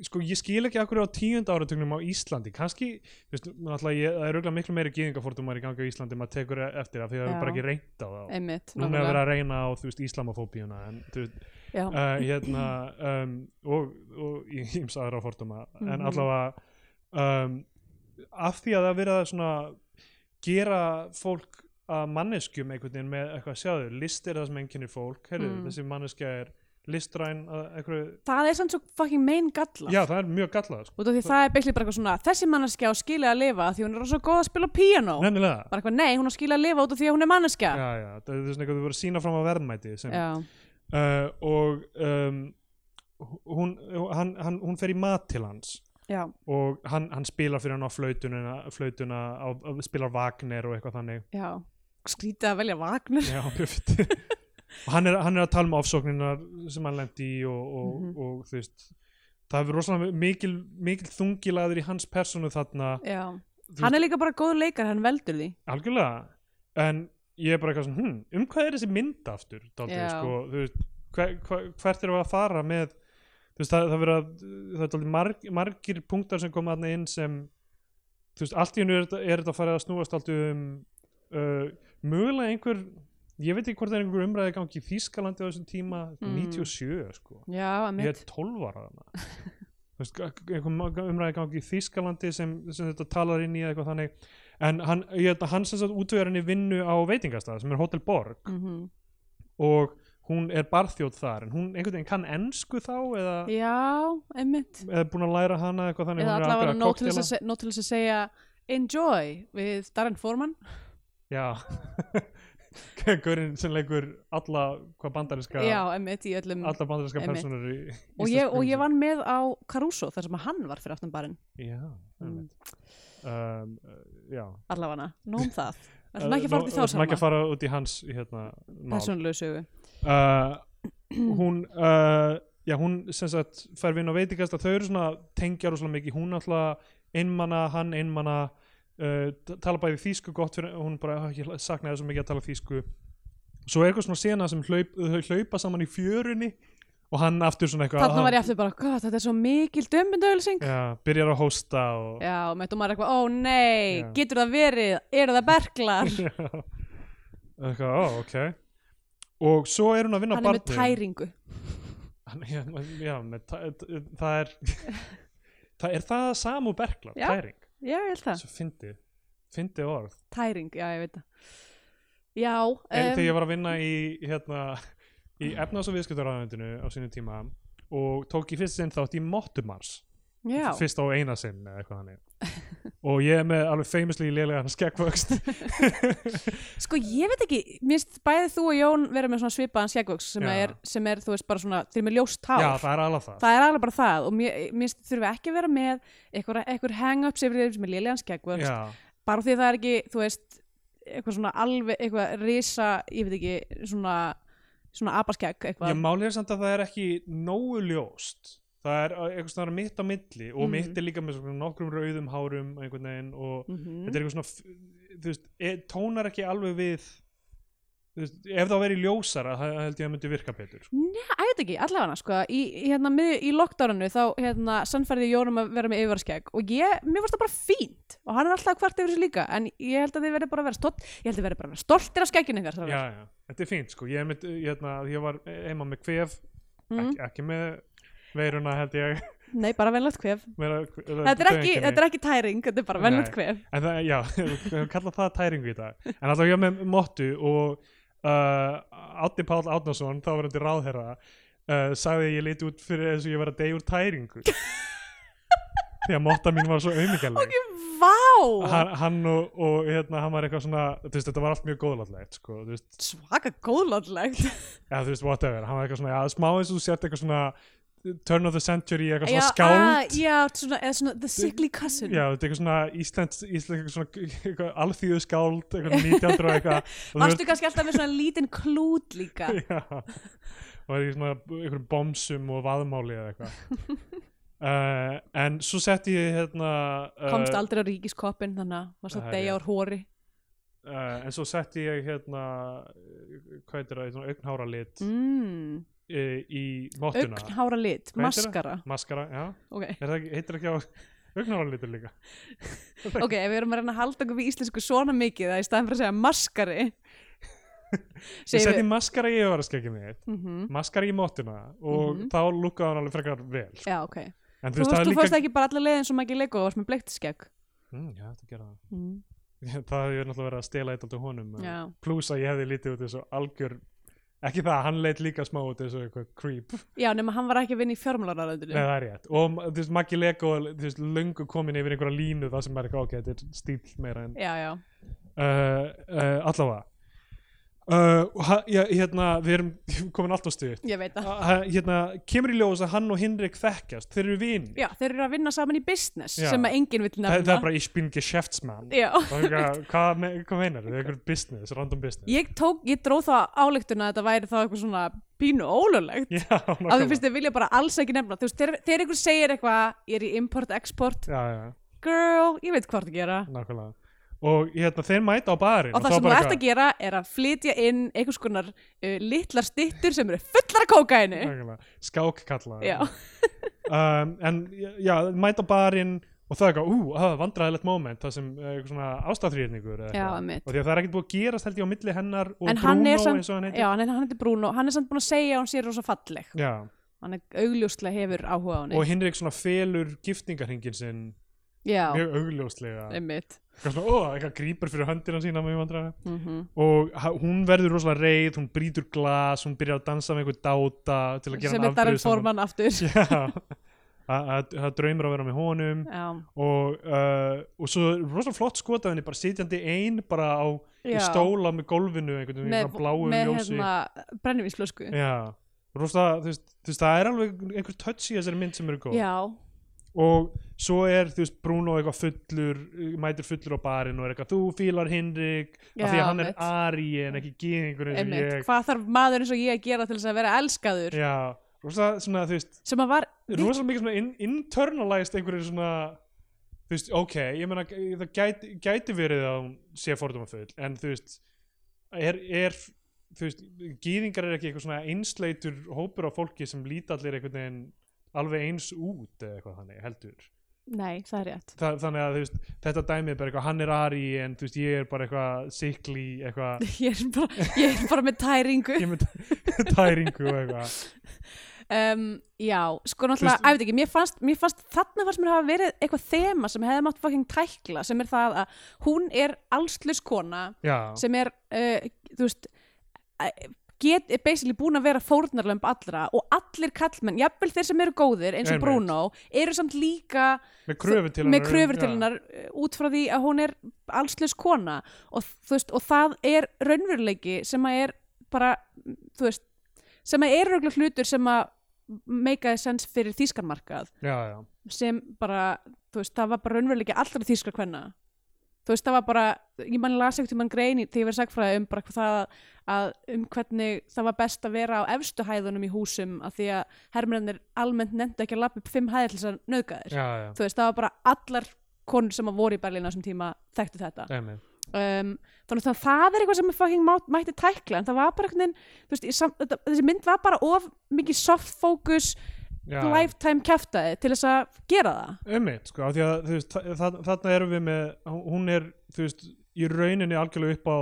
B: sko ég skil ekki akkur á tíunda áratugnum á Íslandi, kannski þú veist, náttúrulega ég, það er auðvitað miklu meiri gýðingafórtumar í gangi á Íslandi en maður tekur eftir það því það
A: Já.
B: er bara ekki reynt á þá
A: einmitt,
B: núna er verið
A: nákvæmlega.
B: að reyna á þú veist íslamofóbíuna en þú veist,
A: Já.
B: uh, hérna um, og, og í íms aðra fórtuma en
A: Mhm.
B: allavega um, af því að það er verið að svona gera fólk að manneskjum einhvern veginn með eitthvað sjáðu, list er það sem enginnir fólk heyrðu,
A: Mm.
B: þessi manneskja er listræn að einhverju
A: það er sann svo fucking mein galla
B: Já, það er mjög gallað sko.
A: út af því það er beiklið bara eitthvað svona þessi manneskja á skilja að lifa af því hún er svo góð að spila á piano
B: Nefnilega
A: bara eitthvað, nei, hún á skilja að lifa út af því að hún er manneskja
B: Já, já, það er svona eitthvað þú voru að sína fram á verðmæti sem,
A: já,
B: uh, og um, hún, hann, hann, hún fer í mat til hans
A: já,
B: og hann, hann spilar fyrir hann á flautununa, flautuna á, á, spilar Wagner og eitthvað þannig
A: já skrítið að velja Wagner
B: Já, mjög fyrir og hann er, hann er að tala um ofsóknina sem hann lendi í og, og,
A: Mhm.
B: og þú veist það hefur rosalega mikil, mikil þungilaður í hans persónu þarna
A: já.
B: Þú
A: hann er líka bara góð leikar, hann veldur því
B: algjörlega en ég er bara eitthvað svona, hm, um hvað er þessi mynd aftur daldið,
A: Já.
B: sko, þú veist hver, hver, hvert erum við að fara með þú veist, það, það verða, það er daldið marg, margir punktar sem koma þarna inn sem þú veist, allt í hennu er, þetta- er þetta farið að snúast allt um uh, mögulega einhver ég veit ekki hvort það er einhver umræði í gangi í Þýskalandi á þessum tíma,
A: Mm.
B: 97 sko,
A: já,
B: ég er 12 ára þarna Þú veist, einhver umræði í gangi í Þýskalandi sem, sem þetta talar inn í eða eitthvað þannig en hann, ég, held að hann sem sagt útvegar henni vinnu á veitingastað sem er Hotel Borg
A: mm
B: og hún er barþjóð þar en hún einhvern veginn kann ensku þá eða,
A: já, einmitt
B: eða búin að læra hana eitthvað þannig
A: eða
B: hún er
A: allavega
B: að
A: nóg til
B: gera
A: þess að se- nóg til þess að segja enjoy við Darren Foreman
B: kokteila. já Gaurin sem leikur alla hvað bandarinska
A: já, einmitt í öllum
B: alla bandarinska
A: Einmitt.
B: personur í,
A: og, ég, og ég vann með á Caruso þar sem að hann var fyrir aftan barinn
B: já,
A: Mm.
B: mm. um, já
A: allavega, nóg um það ætlum ekki að fara út í þá
B: Nú- ætlum ekki að
A: saman
B: fara út í hans hérna, mál
A: persónulegu sögu
B: uh, hún uh, já hún sem sagt fer við inn á veitingast að þau eru svona tengjar og svona mikið hún alltaf einmana, hann einmana uh, t- tala bæði þýsku gott fyrir hún bara, "Ah, ég saknaði svo mikið að tala þýsku svo er eitthvað svona sena sem hlaup, þau hlaupa saman í fjörunni og hann aftur svona eitthvað
A: Þarna var ég aftur bara, hvað, þetta er svo mikil dömbindauðlýsing.
B: já, byrjar að hósta og
A: Já, og mættu maður eitthvað, ó nei,
B: Já.
A: getur það verið, eru það berglar?
B: Já. eitthvað, ó, ok og svo er hún að vinna
A: Hann er með
B: barnið.
A: tæringu.
B: Hann- já, já, með tæ- t- það er það er það samu bergla,
A: Já.
B: tæring
A: Já, ég held það.
B: svo fyndi, fyndi orð
A: Tæring, já, ég veit það. Já,
B: um,
A: um,
B: þegar ég var að vinna í hérna, í efnaðs og viðskiptaráðundinu á sínu tíma og tók í fyrst sinn þátt í Mottumars
A: já,
B: fyrst á eina sinn eða eitthvað þannig og ég er með alveg famously lélega hann skekkvöxt
A: sko ég veit ekki, minnst bæði þú og Jón vera með svona svipaðan sjekkvöks sem,
B: Já.
A: er, sem er, þú veist, bara svona, þeir eru með ljóst hár.
B: já það er alveg það
A: Það er alveg bara það og mér, mér þurfum ekki að vera með eitthvað, eitthvað hang-ups yfir þeim sem er lélegan skeggvöld
B: já,
A: bara því að það er ekki, þú veist eitthvað svona alveg, eitthvað risa ég veit ekki, svona svona apaskegg
B: ég
A: eitthvað
B: máli er samt að það er ekki nógu ljóst það er uh, eitthvað svona mitt á milli og
A: Mhm.
B: mitt er líka með svona nokkrum rauðum hárum einhvern veginn og
A: Mhm.
B: þetta er eitthvað svona f- þú veist, e, tónar ekki alveg við þú veist, ef það væri ljósara það það held ég að myndi virka betur sko.
A: Æ, ég veit ekki, allavega sko í, í, hérna, mið, í lockdownu þá hérna, sannfærði ég Jónum að vera með yfirvarskegg og ég, mér varst það bara fínt og hann er alltaf hvart yfir þessu líka en ég held að þið verði bara að vera stolt ég held að þið verði bara að vera stoltir af skegginu ykkar
B: já, já. þetta er fínt sko. ég, er með, ég, hérna, ég var heima með kvef
A: mm,
B: ekki, ekki með veiruna held ég
A: Nei, bara venlegt kvef
B: meira,
A: þetta er, ekki, þetta er ekki tæring, þetta er bara venlegt
B: Nei.
A: kvef
B: en það, já, við kalla það tæringu í dag en alltaf ég var með mottu og uh, Átni Páll Átnason þá var hann til ráðherra uh, sagði að ég liti út fyrir eins og ég var að deyja úr tæringu því að motta mín var svo auðmikjalleg
A: Vá,
B: hann, hann og, og hérna, hann var eitthvað svona þú veist, þetta var allt mjög góðlátlegt sko, þú veist,
A: svaka góðlandlegt
B: eða þú veist, whatever, hann var eitthvað svona, já, smá eins og þú sért eitthvað svona turn of the century, eitthvað
A: Já,
B: svona skáld
A: ah, Já, svona, eða svona the sickly cousin
B: Já, þetta er eitthvað svona Íslands, Íslands eitthvað svona alþýðu skáld, eitthvað 1900 og eitthvað og
A: Varstu kannski alltaf með svona lítinn klút líka
B: Já, og það er í svona einhverjum bomsum og vaðmáli eða eitthvað uh, En svo setti ég hérna uh,
A: Komst aldrei á ríkiskoppin þannig að varst
B: það
A: að
B: er
A: deyja
B: rétt.
A: úr hóri
B: uh, En svo setti ég hérna uh, hvað heitir það, svona augnhára lit
A: mm,
B: í mottuna
A: Augnhára lit,
B: Hvað heitir það?
A: maskara
B: Maskara, já,
A: okay.
B: er það ekki, heitir ekki á augnáralitur líka
A: ok, ef við erum að reyna að halda okkur við íslensku svona mikið að í staðan fyrir að segja maskari
B: Ég
A: segjum
B: setti
A: við
B: maskara í öðvaraskeggið mitt
A: mm
B: maskara í móttuna og
A: Mhm.
B: þá lúkaði hann alveg frekar vel sko.
A: Já, ok
B: en
A: Þú, veist, þú fórst ekki bara allar leiðin sem ekki leik og varst með bleikt skegg
B: mm, Já, þetta gera það
A: mm.
B: Það hefur náttúrulega verið að stela eitt alltaf honum
A: Já,
B: pluss að ég hefði lítið út eins og algjör ekki það, hann leit líka smá út eins og eitthvað creep,
A: Já nema hann var ekki að vinna í
B: Nei,
A: fjármálararöndinu
B: það er rétt og þú veist, Maggi Lego, þú veist, löngu komin yfir einhverja línu það sem er eitthvað ok, þetta er stíl meira en
A: Já, já
B: uh, uh, allavega uh, og ha- já, hérna, við erum komin allt á stuð
A: Ég veit það.
B: hérna, kemur í ljós að hann og Hinrik þekkjast þeir eru vini
A: Já, þeir eru að vinna saman í business
B: Já.
A: sem að enginn vill
B: það,
A: nefna.
B: það er bara ich bin geschäftsmann
A: Já.
B: Og eitthvað, hvað, me, hvað meinar þau, eitthvað business, random business
A: Ég, tók, ég dróð þá áleiktuna að þetta væri þá eitthvað svona pínu ólulegt.
B: já,
A: Af því
B: nákvæmlega.
A: finnst þið vilja bara alls ekki nefna. Þú veist, þegar, þegar einhver segir eitthvað, ég er í import-export,
B: já, já,
A: girl, ég veit hvað það gera.
B: nákvæmlega og hérna, þeir mæta á barinn
A: Og það
B: þá
A: sem þú
B: bara
A: ert að gera er að flytja inn einhvers konar uh, litlar stittur sem eru fullar af kókainu.
B: Nákvæmlega, skákkalla
A: Já,
B: um, en já, mæta á barinn og það er eitthvað, ú, það er vandræðilegt moment það sem eh, eitthvað svona ástæðþrýrningur
A: já, mitt.
B: og því að það er ekkert búið að gerast held ég á milli hennar og
A: En hann
B: Bruno
A: er samt-
B: eins og hann heitir
A: Já, hann er, hann heitir Bruno, hann er samt búin að segja að hún sé rosa falleg.
B: Já,
A: Hann er augljóslega hefur áhuga á henni.
B: og Hinrik svona felur giftingarhingin sinn
A: Já,
B: mjög augljóslega
A: einmitt.
B: eitthvað svona, ó, eitthvað grípur fyrir höndina sína með vandræða
A: Mm
B: og ha- hún verður rosalega reið, hún brýtur glas hún byrjar að dansa með einhver dáta til að gera
A: sem er
B: hann
A: Darren
B: afbrýðisaman.
A: Forman aftur
B: Já, að- að- það draumur að vera með honum
A: já,
B: og, uh, og svo er rosa flott skot af henni bara sitjandi ein bara á í
A: Já.
B: stóla með gólfinu einhvern veginn í svona bláu
A: með
B: ljósi
A: hérna brennivínsflösku já.
B: Já, rosa, þú veist, þú veist, það er alveg einhver touch í þessari mynd sem eru góð
A: já,
B: og svo er, þú veist, Bruno eitthvað fullur, mætir fullur á barinn og er eitthvað, þú fílar Hinrik af því að
A: Já,
B: hann er
A: einmitt.
B: ari en ekki gýðingur eins og
A: einmitt
B: ég
A: hvað þarf maður eins og ég að gera til þess að vera elskaður
B: Já, rosa, svona, þú veist
A: sem að var
B: rosalega mikið svona in, internalized einhverju svona þú veist, ok, ég meina það gæti, gæti verið að hún sé fordómafull en þú veist er, er þú veist, gýðingar er ekki eitthvað svona einsleitur hópur af fólki sem líta allir einhvern veginn alveg eins út eða eitthvað þannig, heldur
A: Nei, það er rétt.
B: Þa, þannig að þú veist, þetta dæmið bara eitthvað hann er ari en þú veist, ég er bara eitthvað sikli, eitthvað,
A: Ég er bara, ég er bara með tæringu.
B: ég er með tæringu og eitthvað,
A: Um, já, sko náttúrulega,
B: Þú veist-
A: að veit ekki, mér fannst, mér fannst, þarna fannst mér hafa verið eitthvað þema sem hefði mátt fucking tækla, sem er það að hún er allslust kona
B: já
A: sem er, uh, þú veist, eh, get, er basically búin að vera fórnarlömb allra og allir kallmenn, jafnvel þeir sem eru góðir eins og
B: Einmitt.
A: Bruno, eru samt líka
B: með kröfu til um-
A: með kröfur til
B: já.
A: hennar eh, út frá því að hún er allslaus kona og, þú veist, og það er raunveruleiki sem að er bara, mm, þú veist sem að er rauglega hlutur sem að meikaði sens fyrir þýskarmarkað
B: já, já,
A: sem bara, þú veist, það var bara raunveruleiki allra þýskar kvenna þú veist, það var bara, ég mann las ekkert um hann grein í- þegar ég verið sagfræði um bara hvað það að um hvernig það var best að vera á efstu hæðunum í húsum af því að hermennir almennt nefndu ekki að lappa upp fimm hæðir til þess að nöðga þér
B: já, já,
A: þú veist, það var bara allar konur sem að voru í Berlín á þessum tíma þekktu þetta
B: dæmið
A: um, þannig að það er eitthvað sem fucking má, mætti tækla en það var bara einhvern veginn þú veist, í sam, þetta, þessi mynd var bara of mikið soft focus,
B: já, já.
A: lifetime kæftaði til þess að gera það
B: Ummitt, sko, af því að þú veist, þa- þa- þarna erum við með, hún er, þú veist, í rauninni algjörlega upp á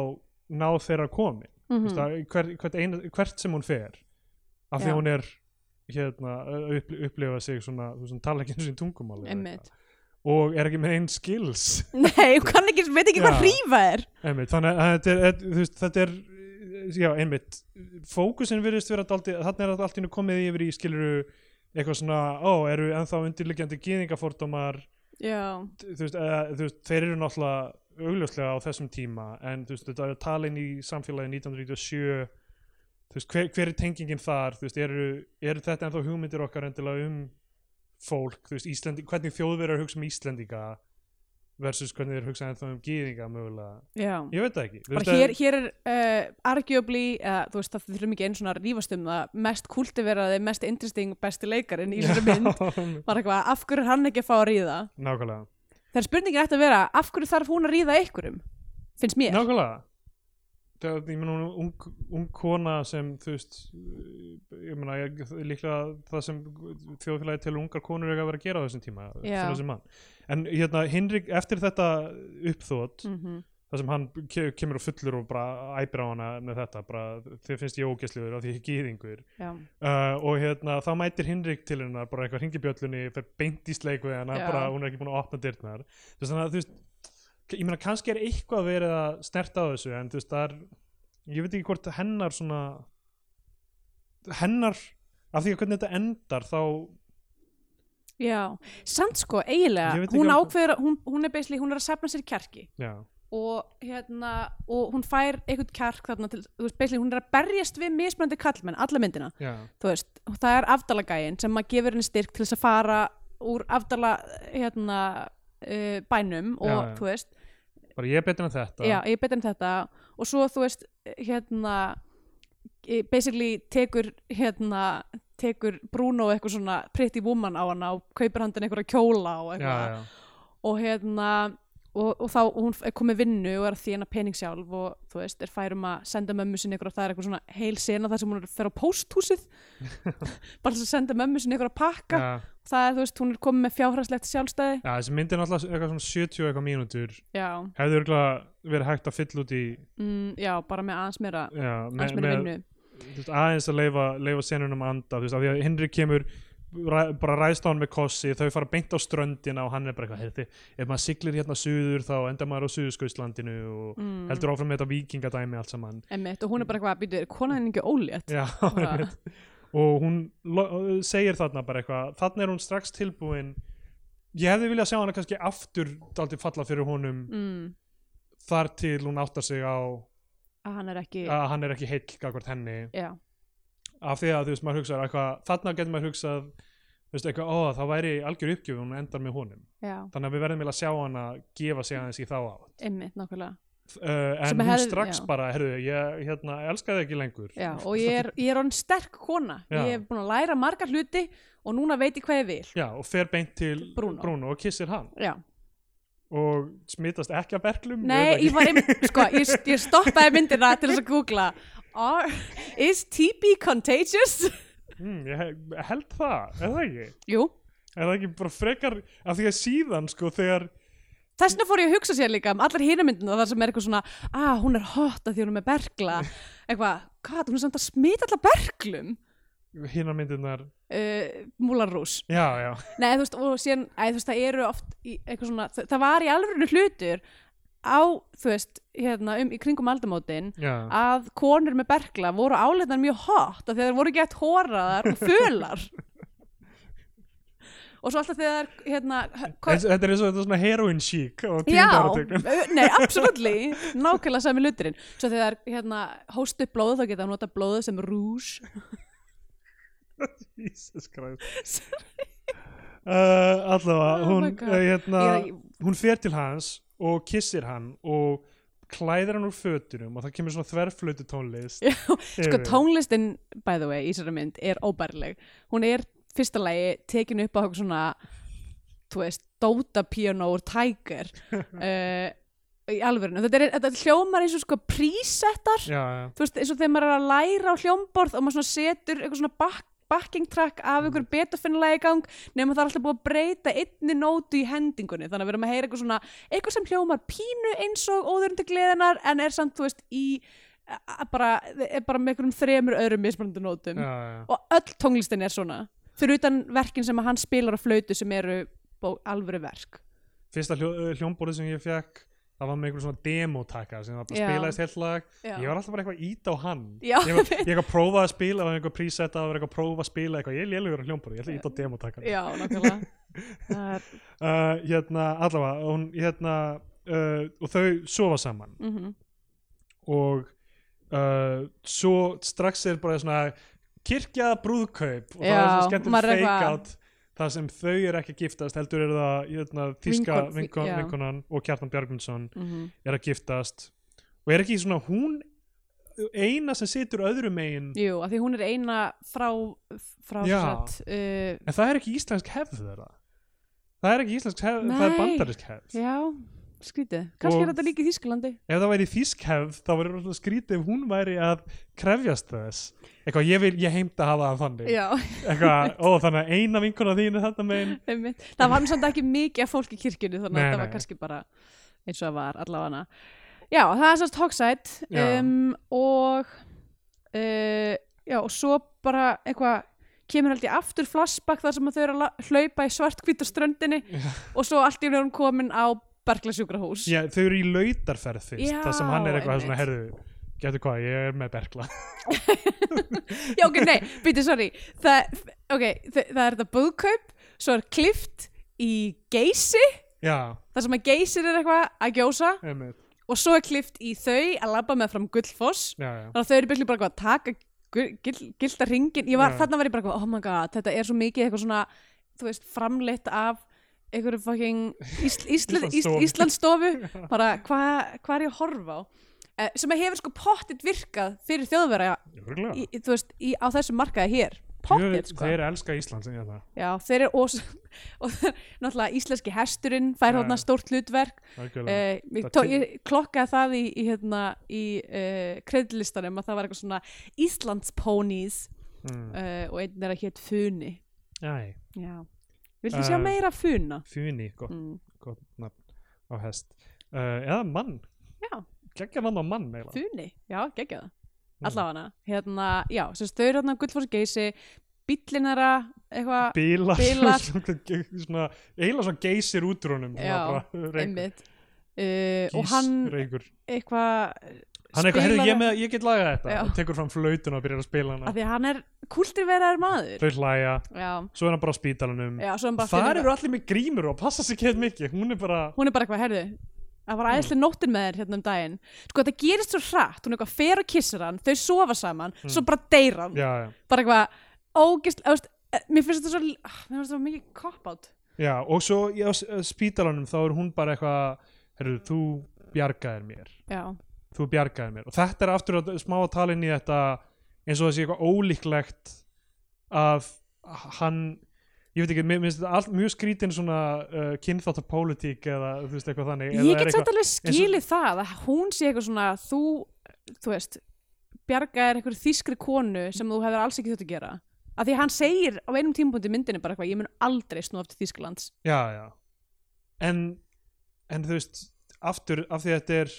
B: náð þeirra komi,
A: mm
B: þú veist, að hver, hvert, eina, hvert sem hún fer, af
A: Já.
B: því að hún er, hérna, að upp, upplifa sig svona, þú veist, hún tala ekki eins og í tungumáli. eða
A: Einmitt.
B: eitthvað. Og er ekki með einn skills,
A: Nei, hún kann ekki, veit ekki hvað
B: Já.
A: hrífa er
B: ummitt, þannig að þetta er, þetta- þú veist, þetta er, já, einmitt, fókusin virðist vera daldi, þarna er þetta allt í hennu komið yfir í skiluru eitthvað svona, ó, eru ennþá undirliggjandi gýðingafordómar
A: Já,
B: þú veist, eða, þú veist, þeir eru náttúrulega augljóslega á þessum tíma en þú veist, þetta er talin í samfélagi 1997 þú veist, hver, hver er tengingin þar, þú veist, eru, eru þetta ennþá hugmyndir okkar endilega um fólk, þú veist, Íslendi, hvernig þjóðverjar hugsa um Íslendinga versus hvernig þeir hugsa ennþá um gýðinga mögulega,
A: já
B: ég veit það ekki þú
A: bara
B: veist,
A: hér, hér er uh, arguably, uh, þú veist það þurfum ekki einu svona að rífast um það, mest kultiveraði, mest interesting, besti leikarinn hérna í þessari mynd
B: mynd
A: var eitthvað, af hverju er hann ekki að fá að ríða
B: nákvæmlega,
A: Það er spurningin eftir að vera, af hverju þarf hún að ríða einhverjum? Finnst mér.
B: nákvæmlega Það, ég meina hún er ung, ung kona sem þú veist ég meina ég, líklega það sem þjóðfélagi til ungar konur eiga að vera að gera á þessum tíma fyrir
A: Já.
B: þessum mann. en hérna Hinrik eftir þetta uppþót
A: Mm
B: þar sem hann ke kemur á fullur og bara æpir á hana með þetta bara þið finnst ég ógæslegur af því ég er gýðingur
A: Já.
B: uh, og hérna þá mætir Hinrik til hennar bara eitthvað hringibjöllunni fer beint í sleik við hennar
A: Já.
B: bara hún er ekki búin að opna dyrnar Þú veist, þannig að þú veist ég meina kannski er eitthvað verið að snerta á þessu en þú veist það er ég veit ekki hvort hennar svona hennar af því að hvernig þetta endar þá
A: Já. Samt sko,
B: Ég
A: eiginlega,
B: veit ekki
A: hún
B: af-
A: ákveður, að- hún, hún er beisli, hún er að safna sér kjarki
B: já,
A: og hérna, og hún fær eitthvað kjark þarna til, þú veist, beisli, hún er að berjast við mismunandi kallmenn, alla myndina,
B: já,
A: þú veist, og það er afdalagægin sem að gefur henni styrk til þess að fara úr afdala, hérna, uh, bænum og,
B: Já, já.
A: þú veist,
B: bara ég er betur en þetta
A: já, ég er betur en þetta og svo þú veist hérna eh, basically tekur hérna tekur Bruno eitthvað svona pretty woman á hana og kaupir handin einhverja kjóla og
B: já,
A: eitthvað
B: já,
A: og hérna og, og þá og hún er komið vinnu og er að þjána pening sjálf og þú veist er færum að senda mömmu sinni ykkur og það er eitthvað svona heil sena þar sem hún er að fer á pósthúsið bara þess að senda mömmu sinni ykkur að pakka
B: já,
A: það er þú veist hún er komið með fjárhræslegt sjálfstæði
B: já þessi myndi náttúrulega eitthvað svona 70 eitthvað mínútur
A: já,
B: hefði örgulega verið hægt að fylla út í
A: mm, já bara með aðeins meira
B: já,
A: aðeins meira vinnu
B: þú veist, aðeins að leifa, leifa senunum að anda þú veist, af því að Henry kemur ræ, bara ræðst á hann með kossi þau fara beint á ströndina og hann er bara eitthvað heyrði, ef maður siglir hérna suður þá endar maður á suðurskauslandinu og
A: Mm.
B: heldur áfram með þetta vikingadæmi allt saman
A: Einmitt, og hún er bara eitthvað að býta, er konan henni ekki ólétt?
B: Já,
A: Bara-
B: einmitt. og hún lo- segir þarna bara eitthvað þarna er hún strax tilbúin ég hefði viljað sjá hana kannski aftur daldið falla fyrir honum
A: Mm,
B: þar til hún áttar sig á
A: að hann er ekki,
B: að hann er ekki heill gagvart henni
A: já,
B: af því að þú veist maður hugsaður eitthvað þarna getur maður hugsað þú veist eitthvað, ó það væri algjör uppgjöf hún endar með honum
A: já,
B: þannig að við verðum eiginlega að sjá hana gefa sig aðeins í þá á
A: einmitt, nákvæmlega.
B: uh,
A: Sem
B: en hún
A: hefði-
B: strax
A: já.
B: bara, herðu, ég hérna, elska þig ekki lengur
A: Já, og ég er, ég er hann sterk kona,
B: Já.
A: ég hef búin að læra margar hluti og núna veit ég hvað ég vil.
B: Já, og fer beint til
A: Bruno.
B: og kissir hann
A: Já,
B: og smitast ekki af berglum
A: Nei, ég
B: veit
A: var einmitt, sko, ég, ég stoppaði myndina til þess að googla Are, Is TB contagious?
B: ekki. mm, ég he- held það, er það ekki
A: Jú,
B: er það ekki bara frekar af því að síðan sko þegar
A: þessna fór ég að hugsa sér líka um allar hinamyndina þar sem er eitthvað svona ah, hún er hot að því hún er með bergla eitthvað, hvað, hún er samt að smita allar berglum
B: hinnar myndirnar
A: uh, múlarrús
B: já, já,
A: Nei, þú veist, og síðan, æ, þú veist, það eru oft í eitthvað svona, það, það var í alveg hlutur á, þú veist, hérna, um, í kringum aldamótin
B: já.
A: að konur með bergla voru áleitnar mjög hot af því að þeir voru gett hóraðar og fölar og svo alltaf þegar hérna, hö-
B: Þetta þetta er eins og þetta er svona heroin chic á
A: já,
B: tíndaratöknum
A: ö- nei, absolutely nákvæmlega sami luturinn svo þegar hérna, hóst upp blóð þá geta hann nota blóðu sem rús
B: Jesus Christ uh, Allavega,
A: Oh
B: hún,
A: my
B: oh
A: God.
B: hérna,
A: Ég-
B: hún fer til hans og kissir hann og klæðir hann úr fötunum og það kemur svona þverflötu tónlist
A: Já, sko
B: Yfir.
A: tónlistin, by the way, í þessari mynd er óbærileg, hún er fyrsta lagi tekin upp á eitthvað svona þú veist, Dota Piano og Tiger uh, í alvörinu, þetta, er, þetta hljómar eins og sko prísettar,
B: Já, já,
A: þú veist, eins og þegar maður er að læra á hljómborð og maður svona setur eitthvað svona back, backing track af einhver betafinnlega í gang nema það er alltaf búið að breyta einni nótu í hendingunni, þannig að við erum að heyra eitthvað svona eitthvað sem hljómar pínu eins og óðurundi gleðinar en er samt, þú veist, í a- a- bara, er bara með einhverjum þremur öðrum mismunandi nótum
B: já, já.
A: og öll tónlistin er svona fyrir utan verkin sem að hann spilar á flautu sem eru bó- alvöru verk
B: Fyrsta hljó, eh, hljómborðið sem ég fekk það var með einhver svona demotaka sem var bara
A: Já.
B: spilaðist heilt lag
A: Já.
B: ég var alltaf bara eitthvað að íta á hann
A: Já,
B: ég var ég var að prófa að spila, það var einhver preset það var eitthvað að prófa að spila eitthvað, ég er lélugur á hljómborðið, ég ætla að íta á demotakan
A: Já, nákvæmlega Það er,
B: uh, hérna, allavega hún, hérna, uh, og þau sofa saman
A: mm
B: og uh, svo strax er bara svona kirkja brúðkaup og það
A: Já,
B: er svona skemmtileg
A: maður er
B: fake
A: eitthvað-
B: out það sem þau eru ekki að giftast heldur er það hérna, þíska
A: Vinkon-
B: vinkon,
A: já.
B: vinkonan og Kjartan Bjargmundsson
A: mhm.
B: er að giftast og er ekki svona hún eina sem situr öðrum megin
A: Jú, af því hún er eina frá, frá
B: Já.
A: satt, uh,
B: en það er ekki íslensk hefð þeirra það er ekki íslensk hefð, það er
A: Nei.
B: bandarisk hefð
A: Já, skrítið Kannski
B: Og-
A: er þetta líka í Þýskalandi
B: ef það væri þýsk hefð þá verður alltaf skrítið ef hún væri að krefjast þess eitthvað ég, vil, ég heimta að hafa það þannig
A: Já,
B: eitthvað, ó þannig að eina vinkona þín er þetta megin
A: einmitt Það var nú samt ekki mikið af fólki í kirkjunni þannig
B: Nei,
A: að það var
B: nei.
A: kannski bara eins og það var allavega Já, það er sérst Hogside
B: Já.
A: um, og uh, já, og svo bara eitthvað kemur held ég aftur flashback þar sem að þau eru að la- hlaupa í svartkvítur ströndinni og svo allt í hún komin á Bergla sjúkrahús
B: Já, þau eru í lautarferð fyrst
A: Já,
B: það sem hann er eitthvað svona,
A: einmitt.
B: herðu getur hvað, ég er með berkla
A: Já, ok, nei, býti, sorry Þa, Ok, þa það er þetta búðkaup Svo er klift í geysi
B: já,
A: Það sem að geysir er eitthvað að gjósa
B: einmitt,
A: Og svo er klift í þau að labba með fram gullfoss
B: já, já
A: Þannig að þau eru byggjum bara eitthvað að taka gu- gill- Gilda ringin Ég var,
B: Já.
A: þarna var ég bara eitthvað, oh my god Þetta er svo mikið eitthvað svona, þú veist, framleitt af einhverju fucking Ísl, Ísl, Ísl,
B: Íslandsstofu.
A: Íslandstofu bara hvað hva er ég að horfa á eh, sem að hefur sko pottit virkað fyrir þjóðverja
B: Örugglega.
A: í, í- þú veist, í, á þessum markaði hér pocket
B: Þeir-
A: sko
B: þeir elska Ísland sem ég það
A: já, þeir eru ós og þeir- náttúrulega íslenski hesturinn fær
B: Já,
A: hérna
B: já.
A: stórt hlutverk
B: algjörlega.
A: eh, ég,
B: Það
A: tó,
B: til-
A: ég klokkaði það í, í, hérna, í eh, kreðlistanum að það var eitthvað svona Íslands ponies
B: Mm.
A: eh, og einn er að hétt Funi
B: Æ,
A: já, viltu sjá
B: Eh.
A: meira af Funa?
B: Funi, gott,
A: Mm.
B: gott nafn á hest uh, eða mann,
A: já,
B: geggja nafn á mann eiginlega.
A: Funi, já, geggja það
B: Mm.
A: allavega hérna, já, sem stöður hérna gullfórs geysi bíllinara, eitthvað
B: bílar,
A: Bilar.
B: svona, svona, eiginlega svona geysir útrúnum
A: Já, einmitt uh, og hann
B: hann reykur.
A: eitthvað
B: hann er eitthvað, heyrðu
A: spilar-
B: ég, með- ég get lagað þetta
A: Já.
B: og tekur fram flautuna og byrjar að spila hana
A: af því að hann er kultiveraður maður
B: þau hlæja,
A: já,
B: svo er hann bara á spítalanum
A: já, svo hann bara
B: þar
A: finnur
B: eru allir með grímur og passa sig ekki mikið hún er bara,
A: hún er bara eitthvað, herðu það var æðislega nóttin með þér hérna um daginn sko þetta gerist svo hratt, hún er eitthvað fer og kissir hann þau sofa saman, svo bara deyr hann
B: Hmm. já, já,
A: bara eitthvað, ógist veist, eh, mér finnst þetta svo, ah, mér finnst þetta mikið cop-out
B: já og svo í- á s- á spítalanum þá er hún bara eitthvað heyrðu, þú bjargaðir mér
A: já,
B: þú bjargaðir mér og þetta er aftur að smá að tala inn í þetta eins og það sé eitthvað ólíklegt að hann ég veit ekki, mér mér finnst þetta allt mjög skrítin svona uh, kynþáttapólitík eða þú veist eitthvað þannig eða
A: ég
B: er
A: get
B: eitthvað-
A: samt alveg skilið það að hún sé eitthvað svona þú, þú veist Bjarga er eitthvað þýskri konu sem þú hefur alls ekki þútt að gera af því að hann segir á einum tímapunkti í myndinni bara eitthvað ég mun aldrei snúa aftur Þýskalands
B: já, já en, en þú veist aftur, af því að þetta er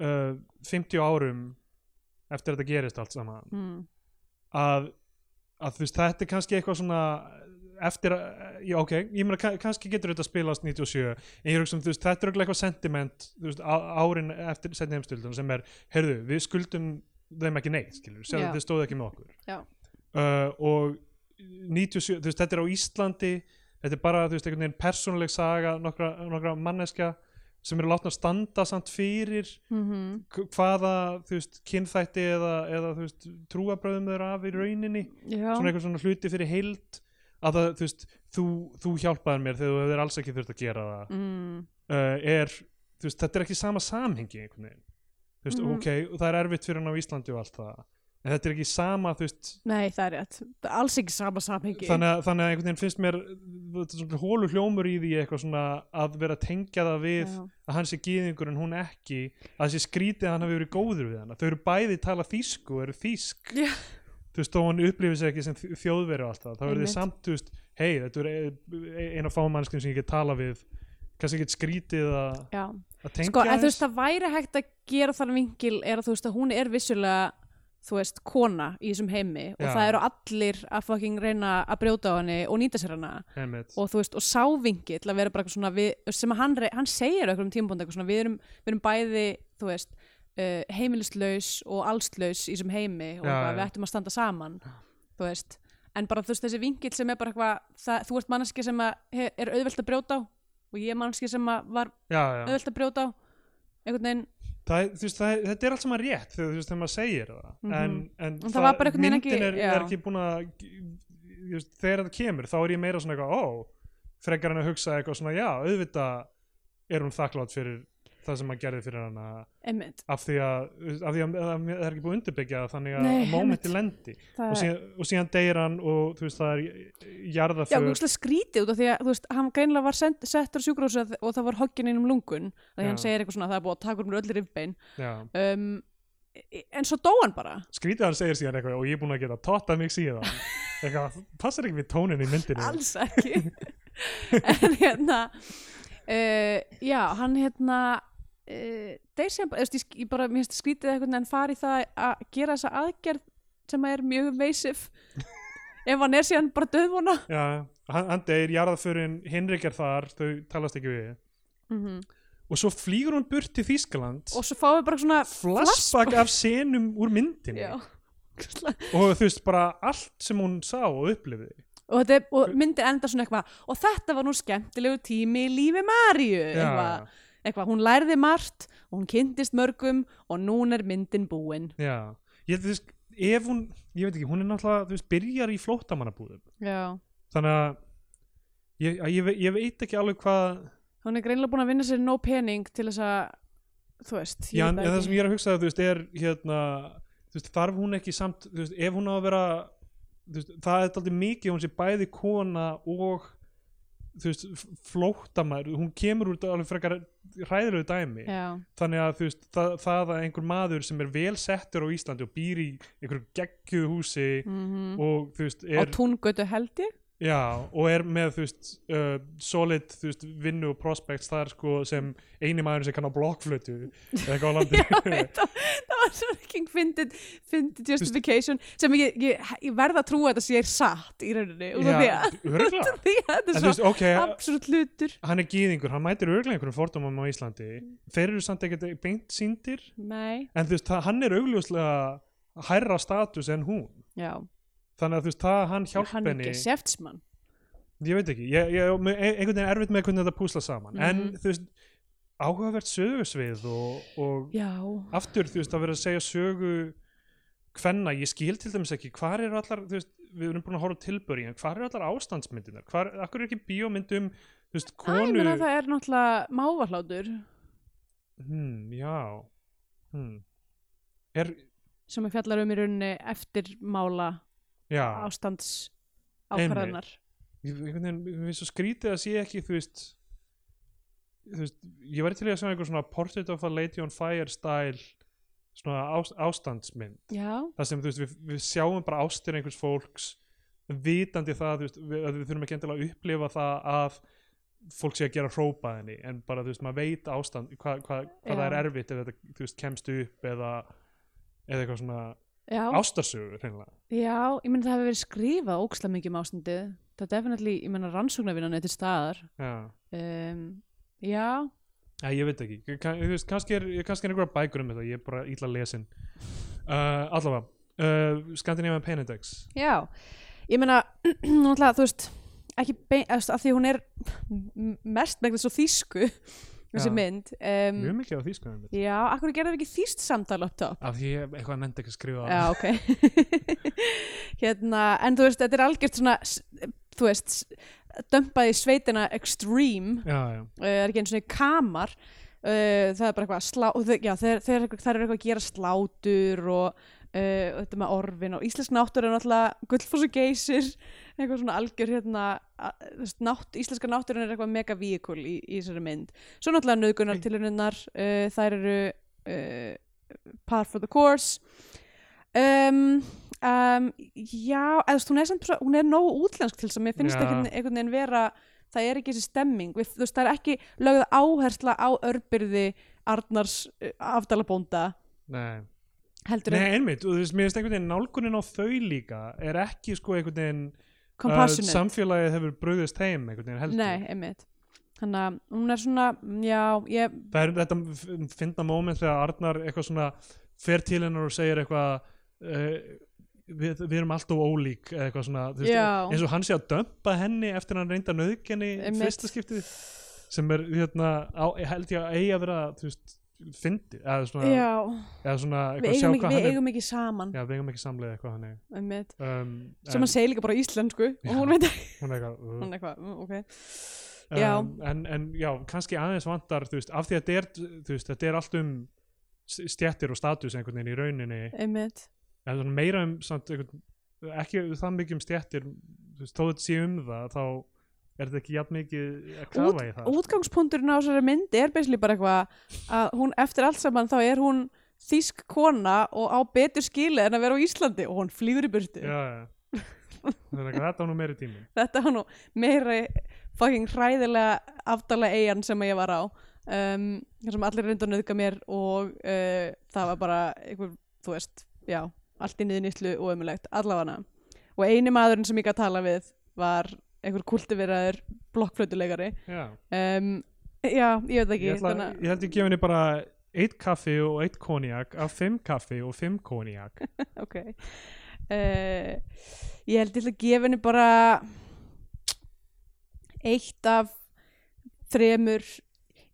B: uh, 50 árum eftir að þetta gerist allt saman
A: mm.
B: að, að þú veist, þetta er kannski eitthvað svona eftir að, já ok, ég meina ka- kannski getur þetta spilast 97, en ég hugsa um þú veist, þetta er örugglega eitthvað sentiment, þú veist, á- árin eftir setni heimstöldun sem er, heyrðu, við skuldum þeim ekki neitt, skilur, sem
A: Já.
B: þið stóðu ekki með okkur.
A: Já.
B: Uh, og 97, þú veist, þetta er á Íslandi, þetta er bara, þú veist, einhvern veginn persónuleg saga, nokkra, nokkra manneska sem eru látna að standa samt fyrir
A: Mm -hmm.
B: k- hvaða, þú veist, kynþætti eða, eða þú veist, trúabröðum þeirra af í rauninni svona
A: Já,
B: eitthvað svona hluti fyrir heild að það, þú veist, þú, þú hjálpaðir mér þegar þú hefur alls ekki þurft að gera það
A: mm.
B: uh, er, þú veist, þetta er ekki sama samhengi einhvern veginn, þú veist,
A: Mhm.
B: ok og það er erfitt fyrir hann á Íslandi og allt það en þetta er ekki sama, þú veist
A: Nei, það er rétt Það er Alls ekki sama samhengi
B: þannig að, þannig að einhvern veginn finnst mér þetta er svona hólu hljómur í því eitthvað svona að vera að tengja það við
A: Já.
B: að hann sé gýðingur en hún ekki að þessi skrítið að hann hafi verið góður við hann þau eru bæði tala þýsku og eru þýsk
A: Já.
B: þú veist, þó hann upplifir sig ekki sem þj- þjóðveri og allt það, þá eru þið
A: Einmitt.
B: samt þú veist, hei, þetta er eh, eina fámannskin sem ég get tala við kannski ekki skrítið að
A: Já,
B: að tengja
A: sko, en þú
B: aðeins.
A: veist, það væri hægt að gera þann vingil er að þú veist að hún er vissulega þú veist, kona í þessum heimi og
B: Já.
A: það eru allir að fucking reyna að brjóta á henni og nýta sér hana
B: Einmitt.
A: og þú veist, og sávingill að vera bara eitthvað svona við, sem að hann, re- hann segir okkur um tímabónd eitthvað svona, við erum, við erum bæði þú veist, uh, heimilislaus og allslaus í þessum heimi og
B: Já,
A: já,
B: já.
A: við ættum að standa saman þú veist, en bara þú veist þessi vingill sem er bara eitthvað, það, þú ert manneski sem að, he, er auðvelt að brjóta á og ég er manneski sem að var
B: já, já.
A: auðvelt að brjóta á einhvern veginn,
B: Það, er- þú veist, það, er- þetta er allt saman rétt þegar, þú veist, þegar maður segir það
A: Mhm.
B: en, en
A: það var bara einhvern veginn
B: myndin
A: ekki-
B: er,
A: já.
B: er ekki búin að þú veist, þegar þetta kemur þá er ég meira svona eitthvað, ó frekar hann að hugsa eitthvað svona, já, auðvitað er hún þakklátt fyrir það sem maður gerði fyrir hana
A: einmitt
B: af því að, þú veist, af því að, að það er ekki búin að undirbyggja það þannig að
A: Nei,
B: momenti lendi og
A: það er,
B: síðan, og síðan deyir hann og þú veist, það er
A: já,
B: jarðaför
A: mjög skrítið út af því að, þú veist, hann greinilega var send, settur á sjúkrúsi og það var hoggin inn um lungun því
B: Já.
A: hann segir eitthvað svona, það er búið að taka um öllir yfbein
B: já.
A: um, e- en svo dó hann bara
B: skrítið að hann segir síðan eitthvað og ég er búin að geta totta mig síðan eitthvað, passar ekki við tónin í myndinu
A: alls ekki en hérna uh, já, hann hérna uh, þeir sem bara, þú veist, ég, sk- ég bara mér finnst skrítið eitthvað en fari það að gera þessa aðgerð sem er mjög veisif ef hann er síðan bara döðvona
B: Já, hann, hann deyr, jarðaförin Henrik er þar, þau talast ekki við
A: mm
B: og svo flýgur hún burt til Þýskaland
A: og svo fáum við bara svona
B: flashback af senum úr myndinni
A: já
B: og þú veist bara allt sem hún sá og upplifði
A: og, þetta, er- og myndi enda svona eitthvað og þetta var nú skemmtilegu tími í lífi Maríu eitthvað, eitthvað, hún lærði margt og hún kynntist mörgum og núna er myndin búin
B: já, ég þú veist ef hún, ég veit ekki, hún er náttúrulega þú veist, byrjar í flóttamannabúðum
A: já.
B: þannig að ég, að ég, ve- ég veit ekki alveg hvað
A: hún er greinilega búin að vinna sér nóg pening til þess að þú veist
B: já, en
A: veit
B: það
A: ekki.
B: sem ég er að hugsa þú veist, er hérna þú veist, þarf hún ekki samt, þú veist, ef hún á að vera þú veist, það er alltaf mikið að hún sé bæði kona og þú veist, f- flóttamæður hún kemur úr þetta alveg frekar hræðilegu dæmi,
A: já,
B: þannig að þú veist það, það að einhver maður sem er vel settur á Íslandi og býr í einhverju geggju húsi
A: mm
B: og þú veist
A: á
B: er,
A: túngötu held ég
B: já, og er með þú veist, uh, solid þú veist, vinnu og prospects þar sko sem eini maður sem kann á blokkflötu eða eitthvað á landi
A: Já, veit það það var svona ekki fyndið fyndið justification sem ég, ég, ég verða að trúa að þetta sé satt í rauninni út af því að-
B: örgulega
A: því að þetta er
B: En þú
A: svo
B: veist, ok,
A: absolutt hlutur
B: hann er gýðingur, hann mætir örglega einhverjum fordómum á Íslandi þeir eru samt ekkert beint síndir
A: nei,
B: en þú veist, það, hann er augljóslega hærra status en hún
A: já
B: þannig að þú veist, það að hann hjálp
A: hann er
B: henni
A: geseftsmann
B: ég veit ekki, ég, ég, með- e- einhvern veginn er erfitt með hvernig þetta púsla saman en þú veist, áhugavert sögursvið og, og
A: já,
B: aftur, þú veist, að vera að segja sögu hvenna, ég skil til dæmis ekki hvar eru allar, þú veist, við erum búin að horfa á tilböri, en hvar eru allar ástandsmyndinar hvar, akkur er ekki bíómynd um, þú veist,
A: Æ, ég
B: konu
A: meina það er náttúrulega mávahlátur
B: Hmm, já. Hmm. Er,
A: sem við fjallar um í rauninni eftir mála
B: já,
A: ástands ákvarðanar
B: ég- einhvern veginn, mér finnst svo skrítið að sé ekki þú veist, þú veist ég væri til í að sjá einhver svona Portrait of a Lady on Fire style svona ást, ástandsmynd
A: já,
B: það sem þú veist, við, við sjáum bara ástir einhvers fólks vitandi það þú veist, við, að við þurfum ekki endilega að upplifa það að fólk sé að gera hrópa henni en bara þú veist, maður veit ástand hvað, hvað, hvað það er
A: Já.
B: erfitt ef þetta þú veist, kemst upp eða, eða eitthvað svona
A: já,
B: ástarsögur hreinlega
A: já ég meina það hefur verið skrifað ókslega mikið um ástandið það er definitely, ég meina rannsóknarvinnan er til staðar
B: já.
A: um, já,
B: Æ, ég veit ekki, Kann, þú veist, kannski er, kannski er einhverja bækur um þetta, ég er bara illa lesin uh, allavega uh, Scandinavian Pain Index
A: Já, ég meina náttúrulega, þú veist ekki bein, að því hún er m- mest megna svo þýsku þessi
B: Já.
A: mynd um,
B: mjög mikið af því sko, skoðum við
A: Já, akkur gerðum við ekki þýst samtal upp top
B: af því ég eitthvað nefndi ekki að skrifa
A: Já, ok Hérna, en þú veist, þetta er algjört svona s- þú veist, dömpaði sveitina extreme
B: já, já.
A: uh, er ekki eins og kamar uh, það er bara eitthvað að slá og þau, já, þeir, þeir, þeir eru eitthvað að gera slátur og uh, og þetta með orfin og íslensk náttúr er náttúrulega gullfoss og geysir eitthvað svona algjör hérna a- þú veist, nátt, íslenska náttúrin er eitthvað mega víkul í, í þessari mynd svo náttúrulega nöðgunar tilhörinnar uh, þær eru uh, par for the course um, um, já, eða þú veist, hún er samt svo- hún er nógu útlensk til þess að mér finnst
B: Já.
A: einhvern, einhvern veginn vera það er ekki þessi stemming við, þú veist, það er ekki lögð áhersla á örbyrði Arnars uh, afdalabónda
B: nei
A: heldur en
B: Nei, einmitt, og þú veist, mér finnst einhvern veginn nálgunin á þau líka er ekki sko einhvern veginn
A: compassionate
B: samfélagið hefur brugðist heim einhvern veginn heldur.
A: nei, einmitt þannig að hún er svona, mm, já ég,
B: Það er þetta f- fyndna moment þegar Arnar eitthvað svona fer til hennar og segir eitthvað uh, við, við erum alltaf ólík eða eitthvað svona, þú
A: Já.
B: eins og hann sé að dömpa henni eftir hann reynda nöðgenni
A: Einmitt.
B: fyrsta skiptið sem er hérna, á, held ég að eigi að vera þú veist, fyndi eða svona,
A: já,
B: eða svona
A: við
B: eitthvað sjá
A: eigum, ekki, við
B: hvað hann er
A: eigum ekki saman
B: Já, við eigum ekki samlega eitthvað hann er
A: einmitt,
B: um,
A: sem
B: en
A: hann segir líka bara á íslensku
B: Já.
A: og hún veit ekki,
B: hún er eitthvað uh.
A: hún er eitthvað mm, ok, Já.
B: um, en, en já, kannski aðeins vantar þú veist, af því að þetta er, þú veist, þetta er allt um s- stjettir og status einhvern veginn í rauninni
A: einmitt
B: en svona meira um samt, einhvern, ekki það mikið um stjettir þú veist, þó þetta sé um það þá er þetta ekki jafn mikið að
A: Út-
B: kafa í það
A: útgangspunkturinn á þessari myndi er basically bara eitthvað að hún eftir allt saman þá er hún þýsk kona og á betur skili en að vera á Íslandi og hún flýgur í burtu
B: já, já. Þannig að þetta var nú meiri tími
A: þetta var nú meira fucking hræðilega aftala eigan sem ég var á um, þar sem allir reyndu að nöðga mér og uh, það var bara einhver, þú veist, já allt í niðnýslu og ömulegt, allavega og eini maðurinn sem ég gæti að tala við var einhver kultiveraður blokkflötuleikari
B: já.
A: um, já, ég veit ekki
B: ég, ætla,
A: þannig að-
B: ég held ég gefa henni bara eitt kaffi og eitt konjak af fimm kaffi og fimm konjak
A: ok uh, ég held ég ætla að gefa henni bara eitt af þremur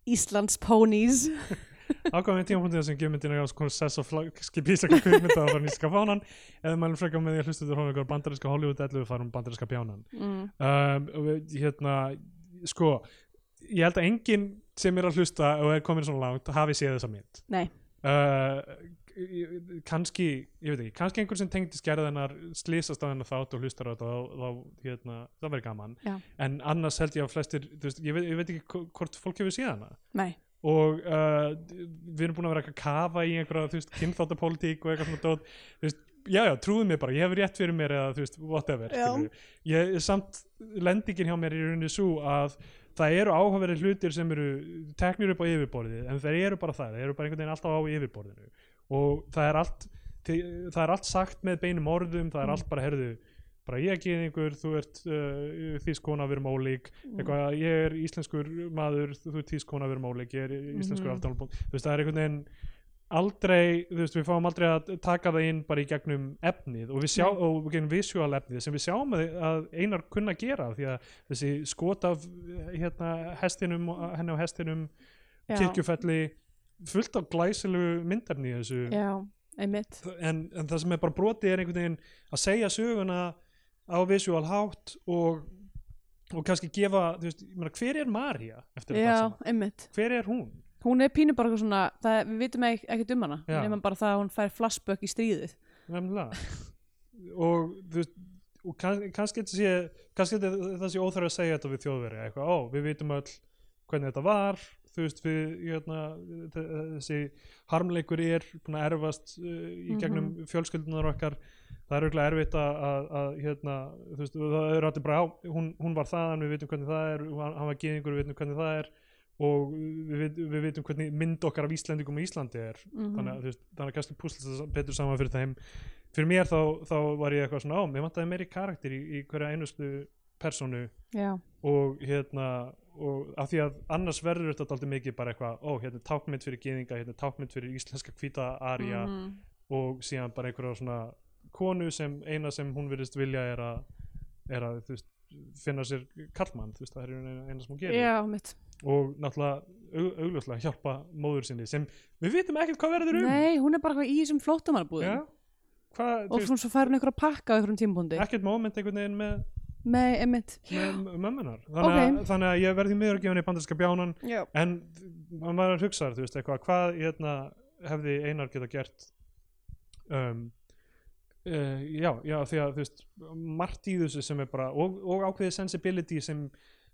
A: Íslands ponies
B: ákvæmum tímapunktið sem gefmyndin er á svona sess og flagski bísaka kvikmynda að fara nýska fánan eða mælum frekar með því að hlustu þér hófið bandarinska Hollywood 11 farum bandarinska bjánan
A: mm.
B: um, og við- hérna, sko ég held að enginn sem er að hlusta og er komin svona langt hafi séð þessa mynd
A: nei,
B: uh, kannski, ég veit ekki kannski einhver sem tengdi skerðanar slýsast á hennar þátt og hlustar á þetta þá, þá hérna, það verður gaman
A: Já.
B: en annars held ég að flestir, þú veist, ég veit, ég veit ekki hvo- hvort fólk hefur séð hana
A: nei,
B: og uh, við erum búin að vera eitthvað að kafa í einhverja, þú veist, kynþáttapólitík og eitthvað svona dót, þú veist, já, já, trúðu mér bara, ég hef rétt fyrir mér eða, þú veist, whatever,
A: Já.
B: skilurðu. ég, samt lendingin hjá mér er í rauninni svo að það eru áhugaverið hlutir sem eru teknir upp á yfirborðið, en þeir eru bara það, þeir eru bara einhvern veginn alltaf á yfirborðinu og það er allt, þi- það er allt sagt með beinum orðum, það er
A: Mm.
B: allt bara, herðu, bara ég er gyðingur, þú ert uh, þýskona, við erum ólík,
A: mm.
B: eitthvað, ég er íslenskur maður þú þú ert tískona við erum óleik, ég er íslenskur mm
A: Mhm.
B: þú veist, það er einhvern veginn aldrei, þú veist, við fáum aldrei að taka það inn bara í gegnum efnið og við sjá,
A: Nei.
B: og gegnum visual efnið sem við sjáum að, að einar kunna gera því að þessi skot af hérna, hestinum, henni á hestinum
A: Mm, Já.
B: kirkjufelli fullt af glæsilegu myndefni í þessu
A: já, einmitt
B: en, en það sem er bara brotið er einhvern veginn að segja söguna á visual hátt og, og kannski gefa, þú veist, ég meina, hver er Marja eftir þetta
A: já,
B: saman?
A: einmitt
B: Hver er hún?
A: hún er pínu bara eitthvað svona, það, við vitum ekki, ekkert um hana
B: Já.
A: nema bara það að hún fær flashback í stríðið
B: Nefnilega. og þú veist, og kann, kannski þetta sé kannski þetta það sé óþarf að segja þetta við þjóðveri eitthvað, ó, við vitum öll hvernig þetta var þú veist við hérna, þ- þessi harmleikur er búin að erfast uh, í gegnum mm fjölskyldunar okkar það er auðvitað erfitt að, að, að hérna, þú veist, það eru allir bara á, hún, hún var þaðan, við vitum hvernig það er hann hann var geðingur, við vitum hvernig það er og við, vit- við vitum hvernig mynd okkar af Íslendingum í Íslandi er
A: Mhm.
B: þannig, að, þú veist, þannig að kannski púslast það betur saman fyrir þeim fyrir mér þá, þá var ég eitthvað svona á, mér vantaði meiri karakter í, í hverja einustu personu
A: já,
B: og hérna og af því að annars verður þetta aldrei mikið bara eitthvað, ó, hérna er tákmynd fyrir geðinga hérna er tákmynd fyrir íslenska hvíta arja
A: Mhm.
B: og síðan bara einhverja svona konu sem eina sem hún virðist vilja er að, er að þú veist, finna sér kallmann, þú veist, það er eina, eina sem hún gerir
A: já, mitt
B: og náttúrulega au- augljóslega hjálpa móður sinni sem við vitum ekkert hvað verður um
A: nei, hún er bara eitthvað í þessum
B: Já,
A: flóttamannabúðum
B: hvað, þú
A: og
B: veist,
A: svona svo fær hún einhverja pakka á einhverjum tímpúndi
B: ekkert moment einhvern veginn með,
A: með, emitt
B: með mömmunar þannig, að
A: Ok.
B: þannig að ég verði miður að gefa henni bandarska bjánan
A: já,
B: en maður var að hugsa þú veist eitthvað, hvað hérna, hefði Einar geta gert um, uh, já, já, því að þú veist, margt í þessu sem er bara, og, og ákveðið sensibility sem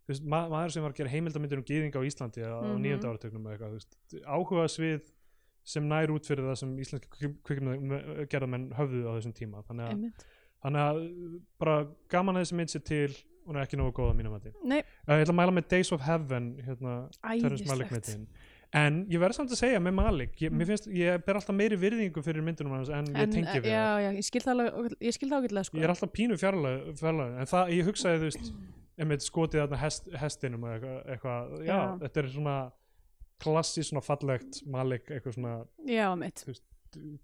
B: þú veist, ma maður sem var að gera heimildamindir um gýðinga á Íslandi á mm
A: Mhm.
B: -hmm. nýjönda áratögnum eða eitthvað, þú veist, áhuga svið sem nær út fyrir það sem íslenski kvikmyndagerðamenn höfðu á þessum tíma þannig að,
A: emitt
B: þannig að uh, bara gaman að þessi mynd sér til hún er ekki nógu góð að mínum að því
A: nei,
B: ég ætla að mæla með Days of Heaven hérna, Terrence Malick
A: æðislegt
B: myndin en ég verð samt að segja með Malick ég, mér finnst, ég ber alltaf meiri virðingu fyrir myndunum hans en, ég tengi við
A: já, já, ég skil það alveg- ég skil það ágætlega sko
B: það ég er alltaf pínu fjarlæg, fjarlæg en það, ég hugsaði þú veist einmitt skotið þarna hest, hestinum eða eitthvað, eitthvað já,
A: Já.
B: þetta er svona klassís svona fallegt Malick eitthvað svona
A: já, mitt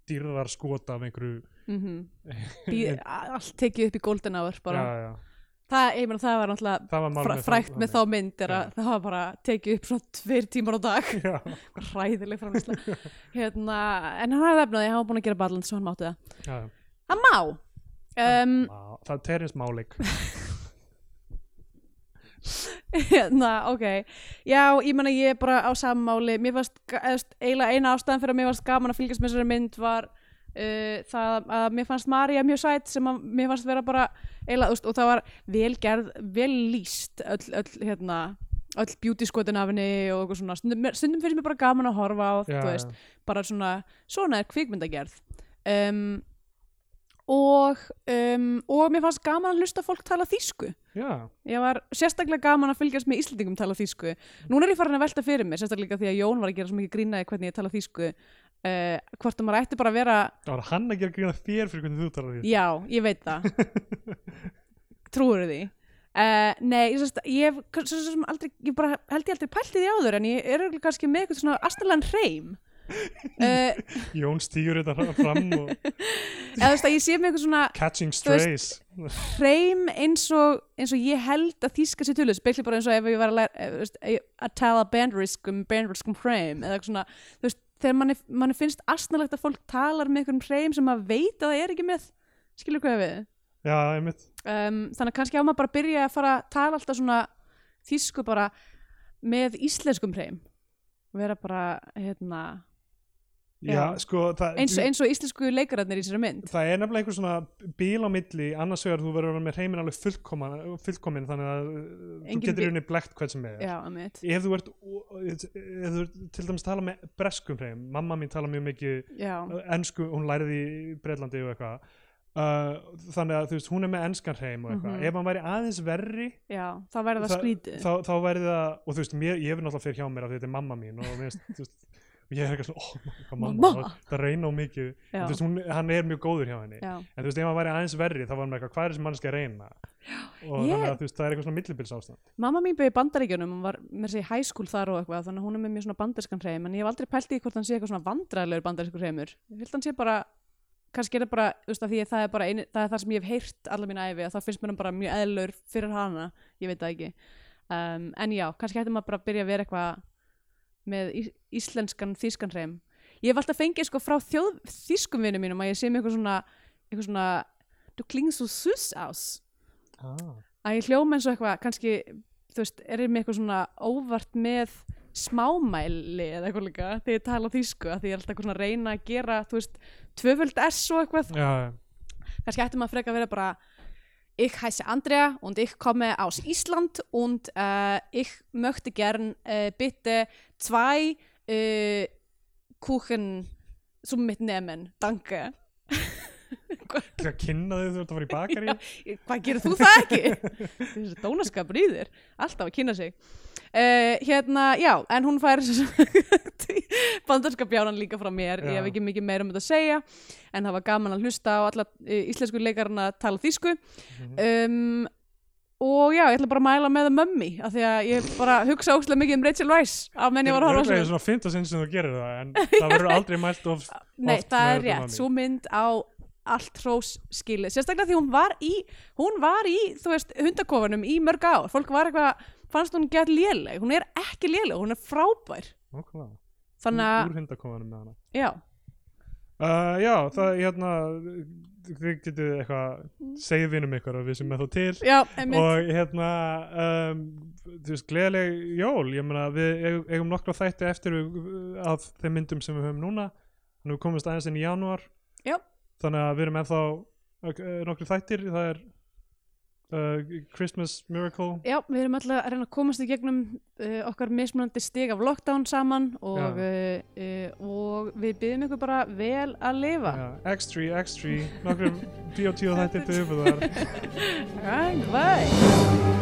B: dýrðar skot af einhverju
A: mm allt tekið upp í golden hour bara,
B: já, já,
A: það, ég meina það var náttúrulega
B: það var mál
A: fræ,
B: með
A: frækt með þá mynd er
B: Já.
A: að það var bara tekið upp svona tveir tímar á dag
B: já,
A: hræðileg framlýsla hérna, en hann hafði efnaði, hann var búin að gera balans og hann mátti það,
B: já,
A: hann má um,
B: Má- það er Terrence Malick
A: hérna, ok já, ég meina ég er bara á sammáli mér varst, eiginlega eina ástæðan fyrir að mér varst gaman að fylgjast með þessari mynd var uh, það að mér fannst Marja mjög sætt sem að mér fannst vera bara eiginlega, þú veist, og það var vel gerð vel líst öll, öll hérna öll beauty skotin af henni og eitthvað svona stundum, stundum finnst mér bara gaman að horfa á
B: já,
A: þú veist, bara svona, svona er kvikmyndagerð um, og um, og mér fannst gaman að hlusta á fólk tala þýsku
B: já,
A: Ég var sérstaklega gaman að fylgjast með Íslendingum tala þýsku. Núna er ég farin að velta fyrir mig, sérstaklega því að Jón var að gera svo mikið grínaði hvernig ég tala þýsku. Uh, hvort að maður ætti bara að vera,
B: það var hann að gera grína þér fyrir hvernig þú talar því
A: já, ég veit það. Trúur því. Uh, nei, ég, sérst, ég, hef kann- svo sem aldrei, ég bara, held ég aldrei pælt í því áður en ég er örugglega kannski með eitthvað svona astalan hreim. Uh,
B: Jón stýur þetta fram og
A: eða þú veist að ég sé með eitthvað svona
B: Catching
A: Þú veist-
B: Strays
A: hreim eins og, eins og ég held að þýska sér tölu, spekli bara eins og ef ég var að, læra, ef, þú veist, ef- að tala bandariskum, bandariskum hreim eða eitthvað svona, þú veist, þegar manni, manni finnst astnalegt að fólk talar með einhverjum hreim sem maður veit að það er ekki með, skilur hvað ég á við
B: Já, einmitt
A: um, þannig að kannski á maður bara að byrja að fara að tala alltaf svona þýsku bara með íslenskum hreim vera bara, hérna
B: Já,
A: Já.
B: sko, það,
A: eins, eins og íslensku leikararnir í sér mynd
B: það er nefnilega einhver svona bíl á milli annars vegar þú verður að vera með hreiminn alveg fullkomin, fullkomin þannig að uh, þú
A: Engin
B: getur
A: bi-
B: unni blekt hvern sem er
A: já, að mitt
B: ef þú ert o- ef þú ert til dæmis tala með breskum hreim mamma mín tala mjög mikið
A: já,
B: ennsku, hún læriði í Breitlandi og eitthvað uh, þannig að þú veist, hún er með enskan hreim og eitthvað
A: Mhm.
B: ef hann væri aðeins verri
A: já, þá verður það skrítið
B: þá, þá væri það, og þú veist, mér, ég hef náttúrulega fyrir hjá mér af því þetta er mamma mín og þú veist, þú veist ég er eitthvað svona, ó, oh, mamma,
A: Mamma.
B: mamma. það reyna á mikið, en,
A: Já.
B: þú veist, hún, hann er mjög góður hjá henni
A: já
B: en þú veist, ef hann væri aðeins verri, þá var hann eitthvað hvað er þessi mannski að reyna og
A: Ég-
B: þannig að þú veist, það er eitthvað svona millibils ástand
A: Mamma mín byrði í bandaríkjunum, hún var með sig í high school þar og eitthvað, þannig að hún er með mjög svona bandarískan hreim, en ég hef aldrei pælt í hvort hann sé eitthvað svona vandræðilegur bandarískur hreimur. Ég held hann sé bara, kannski er það bara, þú veist að því að það er bara, einu, það er það sem ég hef heyrt alla mína æfi, að það finnst mér hann bara mjög eðlur fyrir hana, ég veit það ekki. Um, en já, kannski hætti maður bara að byrja að vera eitthvað með í, íslenskan þýskan hreim. Ég hef alltaf fengið sko frá þjóð, þýskum vinum mínum að ég sé með eitthvað svona, eitthvað svona, du klingst svo sus ás
B: ah.
A: að ég hljóma eins og eitthvað kannski, þú veist, er ég með eitthvað svona óvart með smámæli eða eitthvað líka þegar ég tala þýsku að því ég er alltaf eitthvað svona að reyna að gera þú veist, tvöföld S og eitthvað
B: já,
A: kannski ætti maður freka að vera bara Ich heiße Andrea und ich komme aus Island und äh, ich möchte gern äh, bitte zwei äh, Kuchen zum Mitnehmen. Danke.
B: Til að kynna þig þú ert að fara í bakari
A: Hvað gerir þú það ekki? Þessi dónaskapur í þér. Alltaf að kynna sig. Uh, hérna, já, en hún fær bandarska bjánan líka frá mér ég
B: Já.
A: hef ekki mikið meira um þetta að segja en það var gaman að hlusta á alla uh, íslensku leikarana tala þýsku
B: Mhm.
A: um, og já, ég ætla bara að mæla með mömmi, af því að ég bara hugsa óslega mikið um Rachel Weiss á menn ég var að horfa á
B: Það er
A: þessu
B: svona fint að sinn sem þú gerir það en það verður aldrei mælt of
A: Nei,
B: oft
A: það
B: með
A: er
B: öllum
A: rétt,
B: að
A: svo mynd á allt hrós skilið, sérstaklega því hún var í hún var í, þú veist, hundakofanum í mörg ár, fólk var eitthvað fannst hún gett léleg, hún er ekki léleg hún er frábær,
B: Nákvæmlega.
A: þannig
B: Úr-
A: að
B: Úr hundakofanum með hana
A: já,
B: Uh, já, það, hérna, þið getið eitthvað, segið vinum ykkur og við sem með þó til
A: já, einmitt
B: og hérna um, þú veist, gleðileg jól ég meina, við eigum- eigum nokkra þætti eftir við- af þeim myndum sem við höfum núna þannig við komumst aðeins inn í janúar
A: Já.
B: þannig að við erum ennþá ok- nokkri þættir, það er uh, Christmas Miracle
A: já, við erum alltaf að reyna að komast í gegnum uh, okkar mismunandi stig af lockdown saman og, uh, uh, og við byggjum ykkur bara vel að lifa
B: Já, X3, X3, nokkrum B.O.T. þættir til höfuð þar
A: Right, bye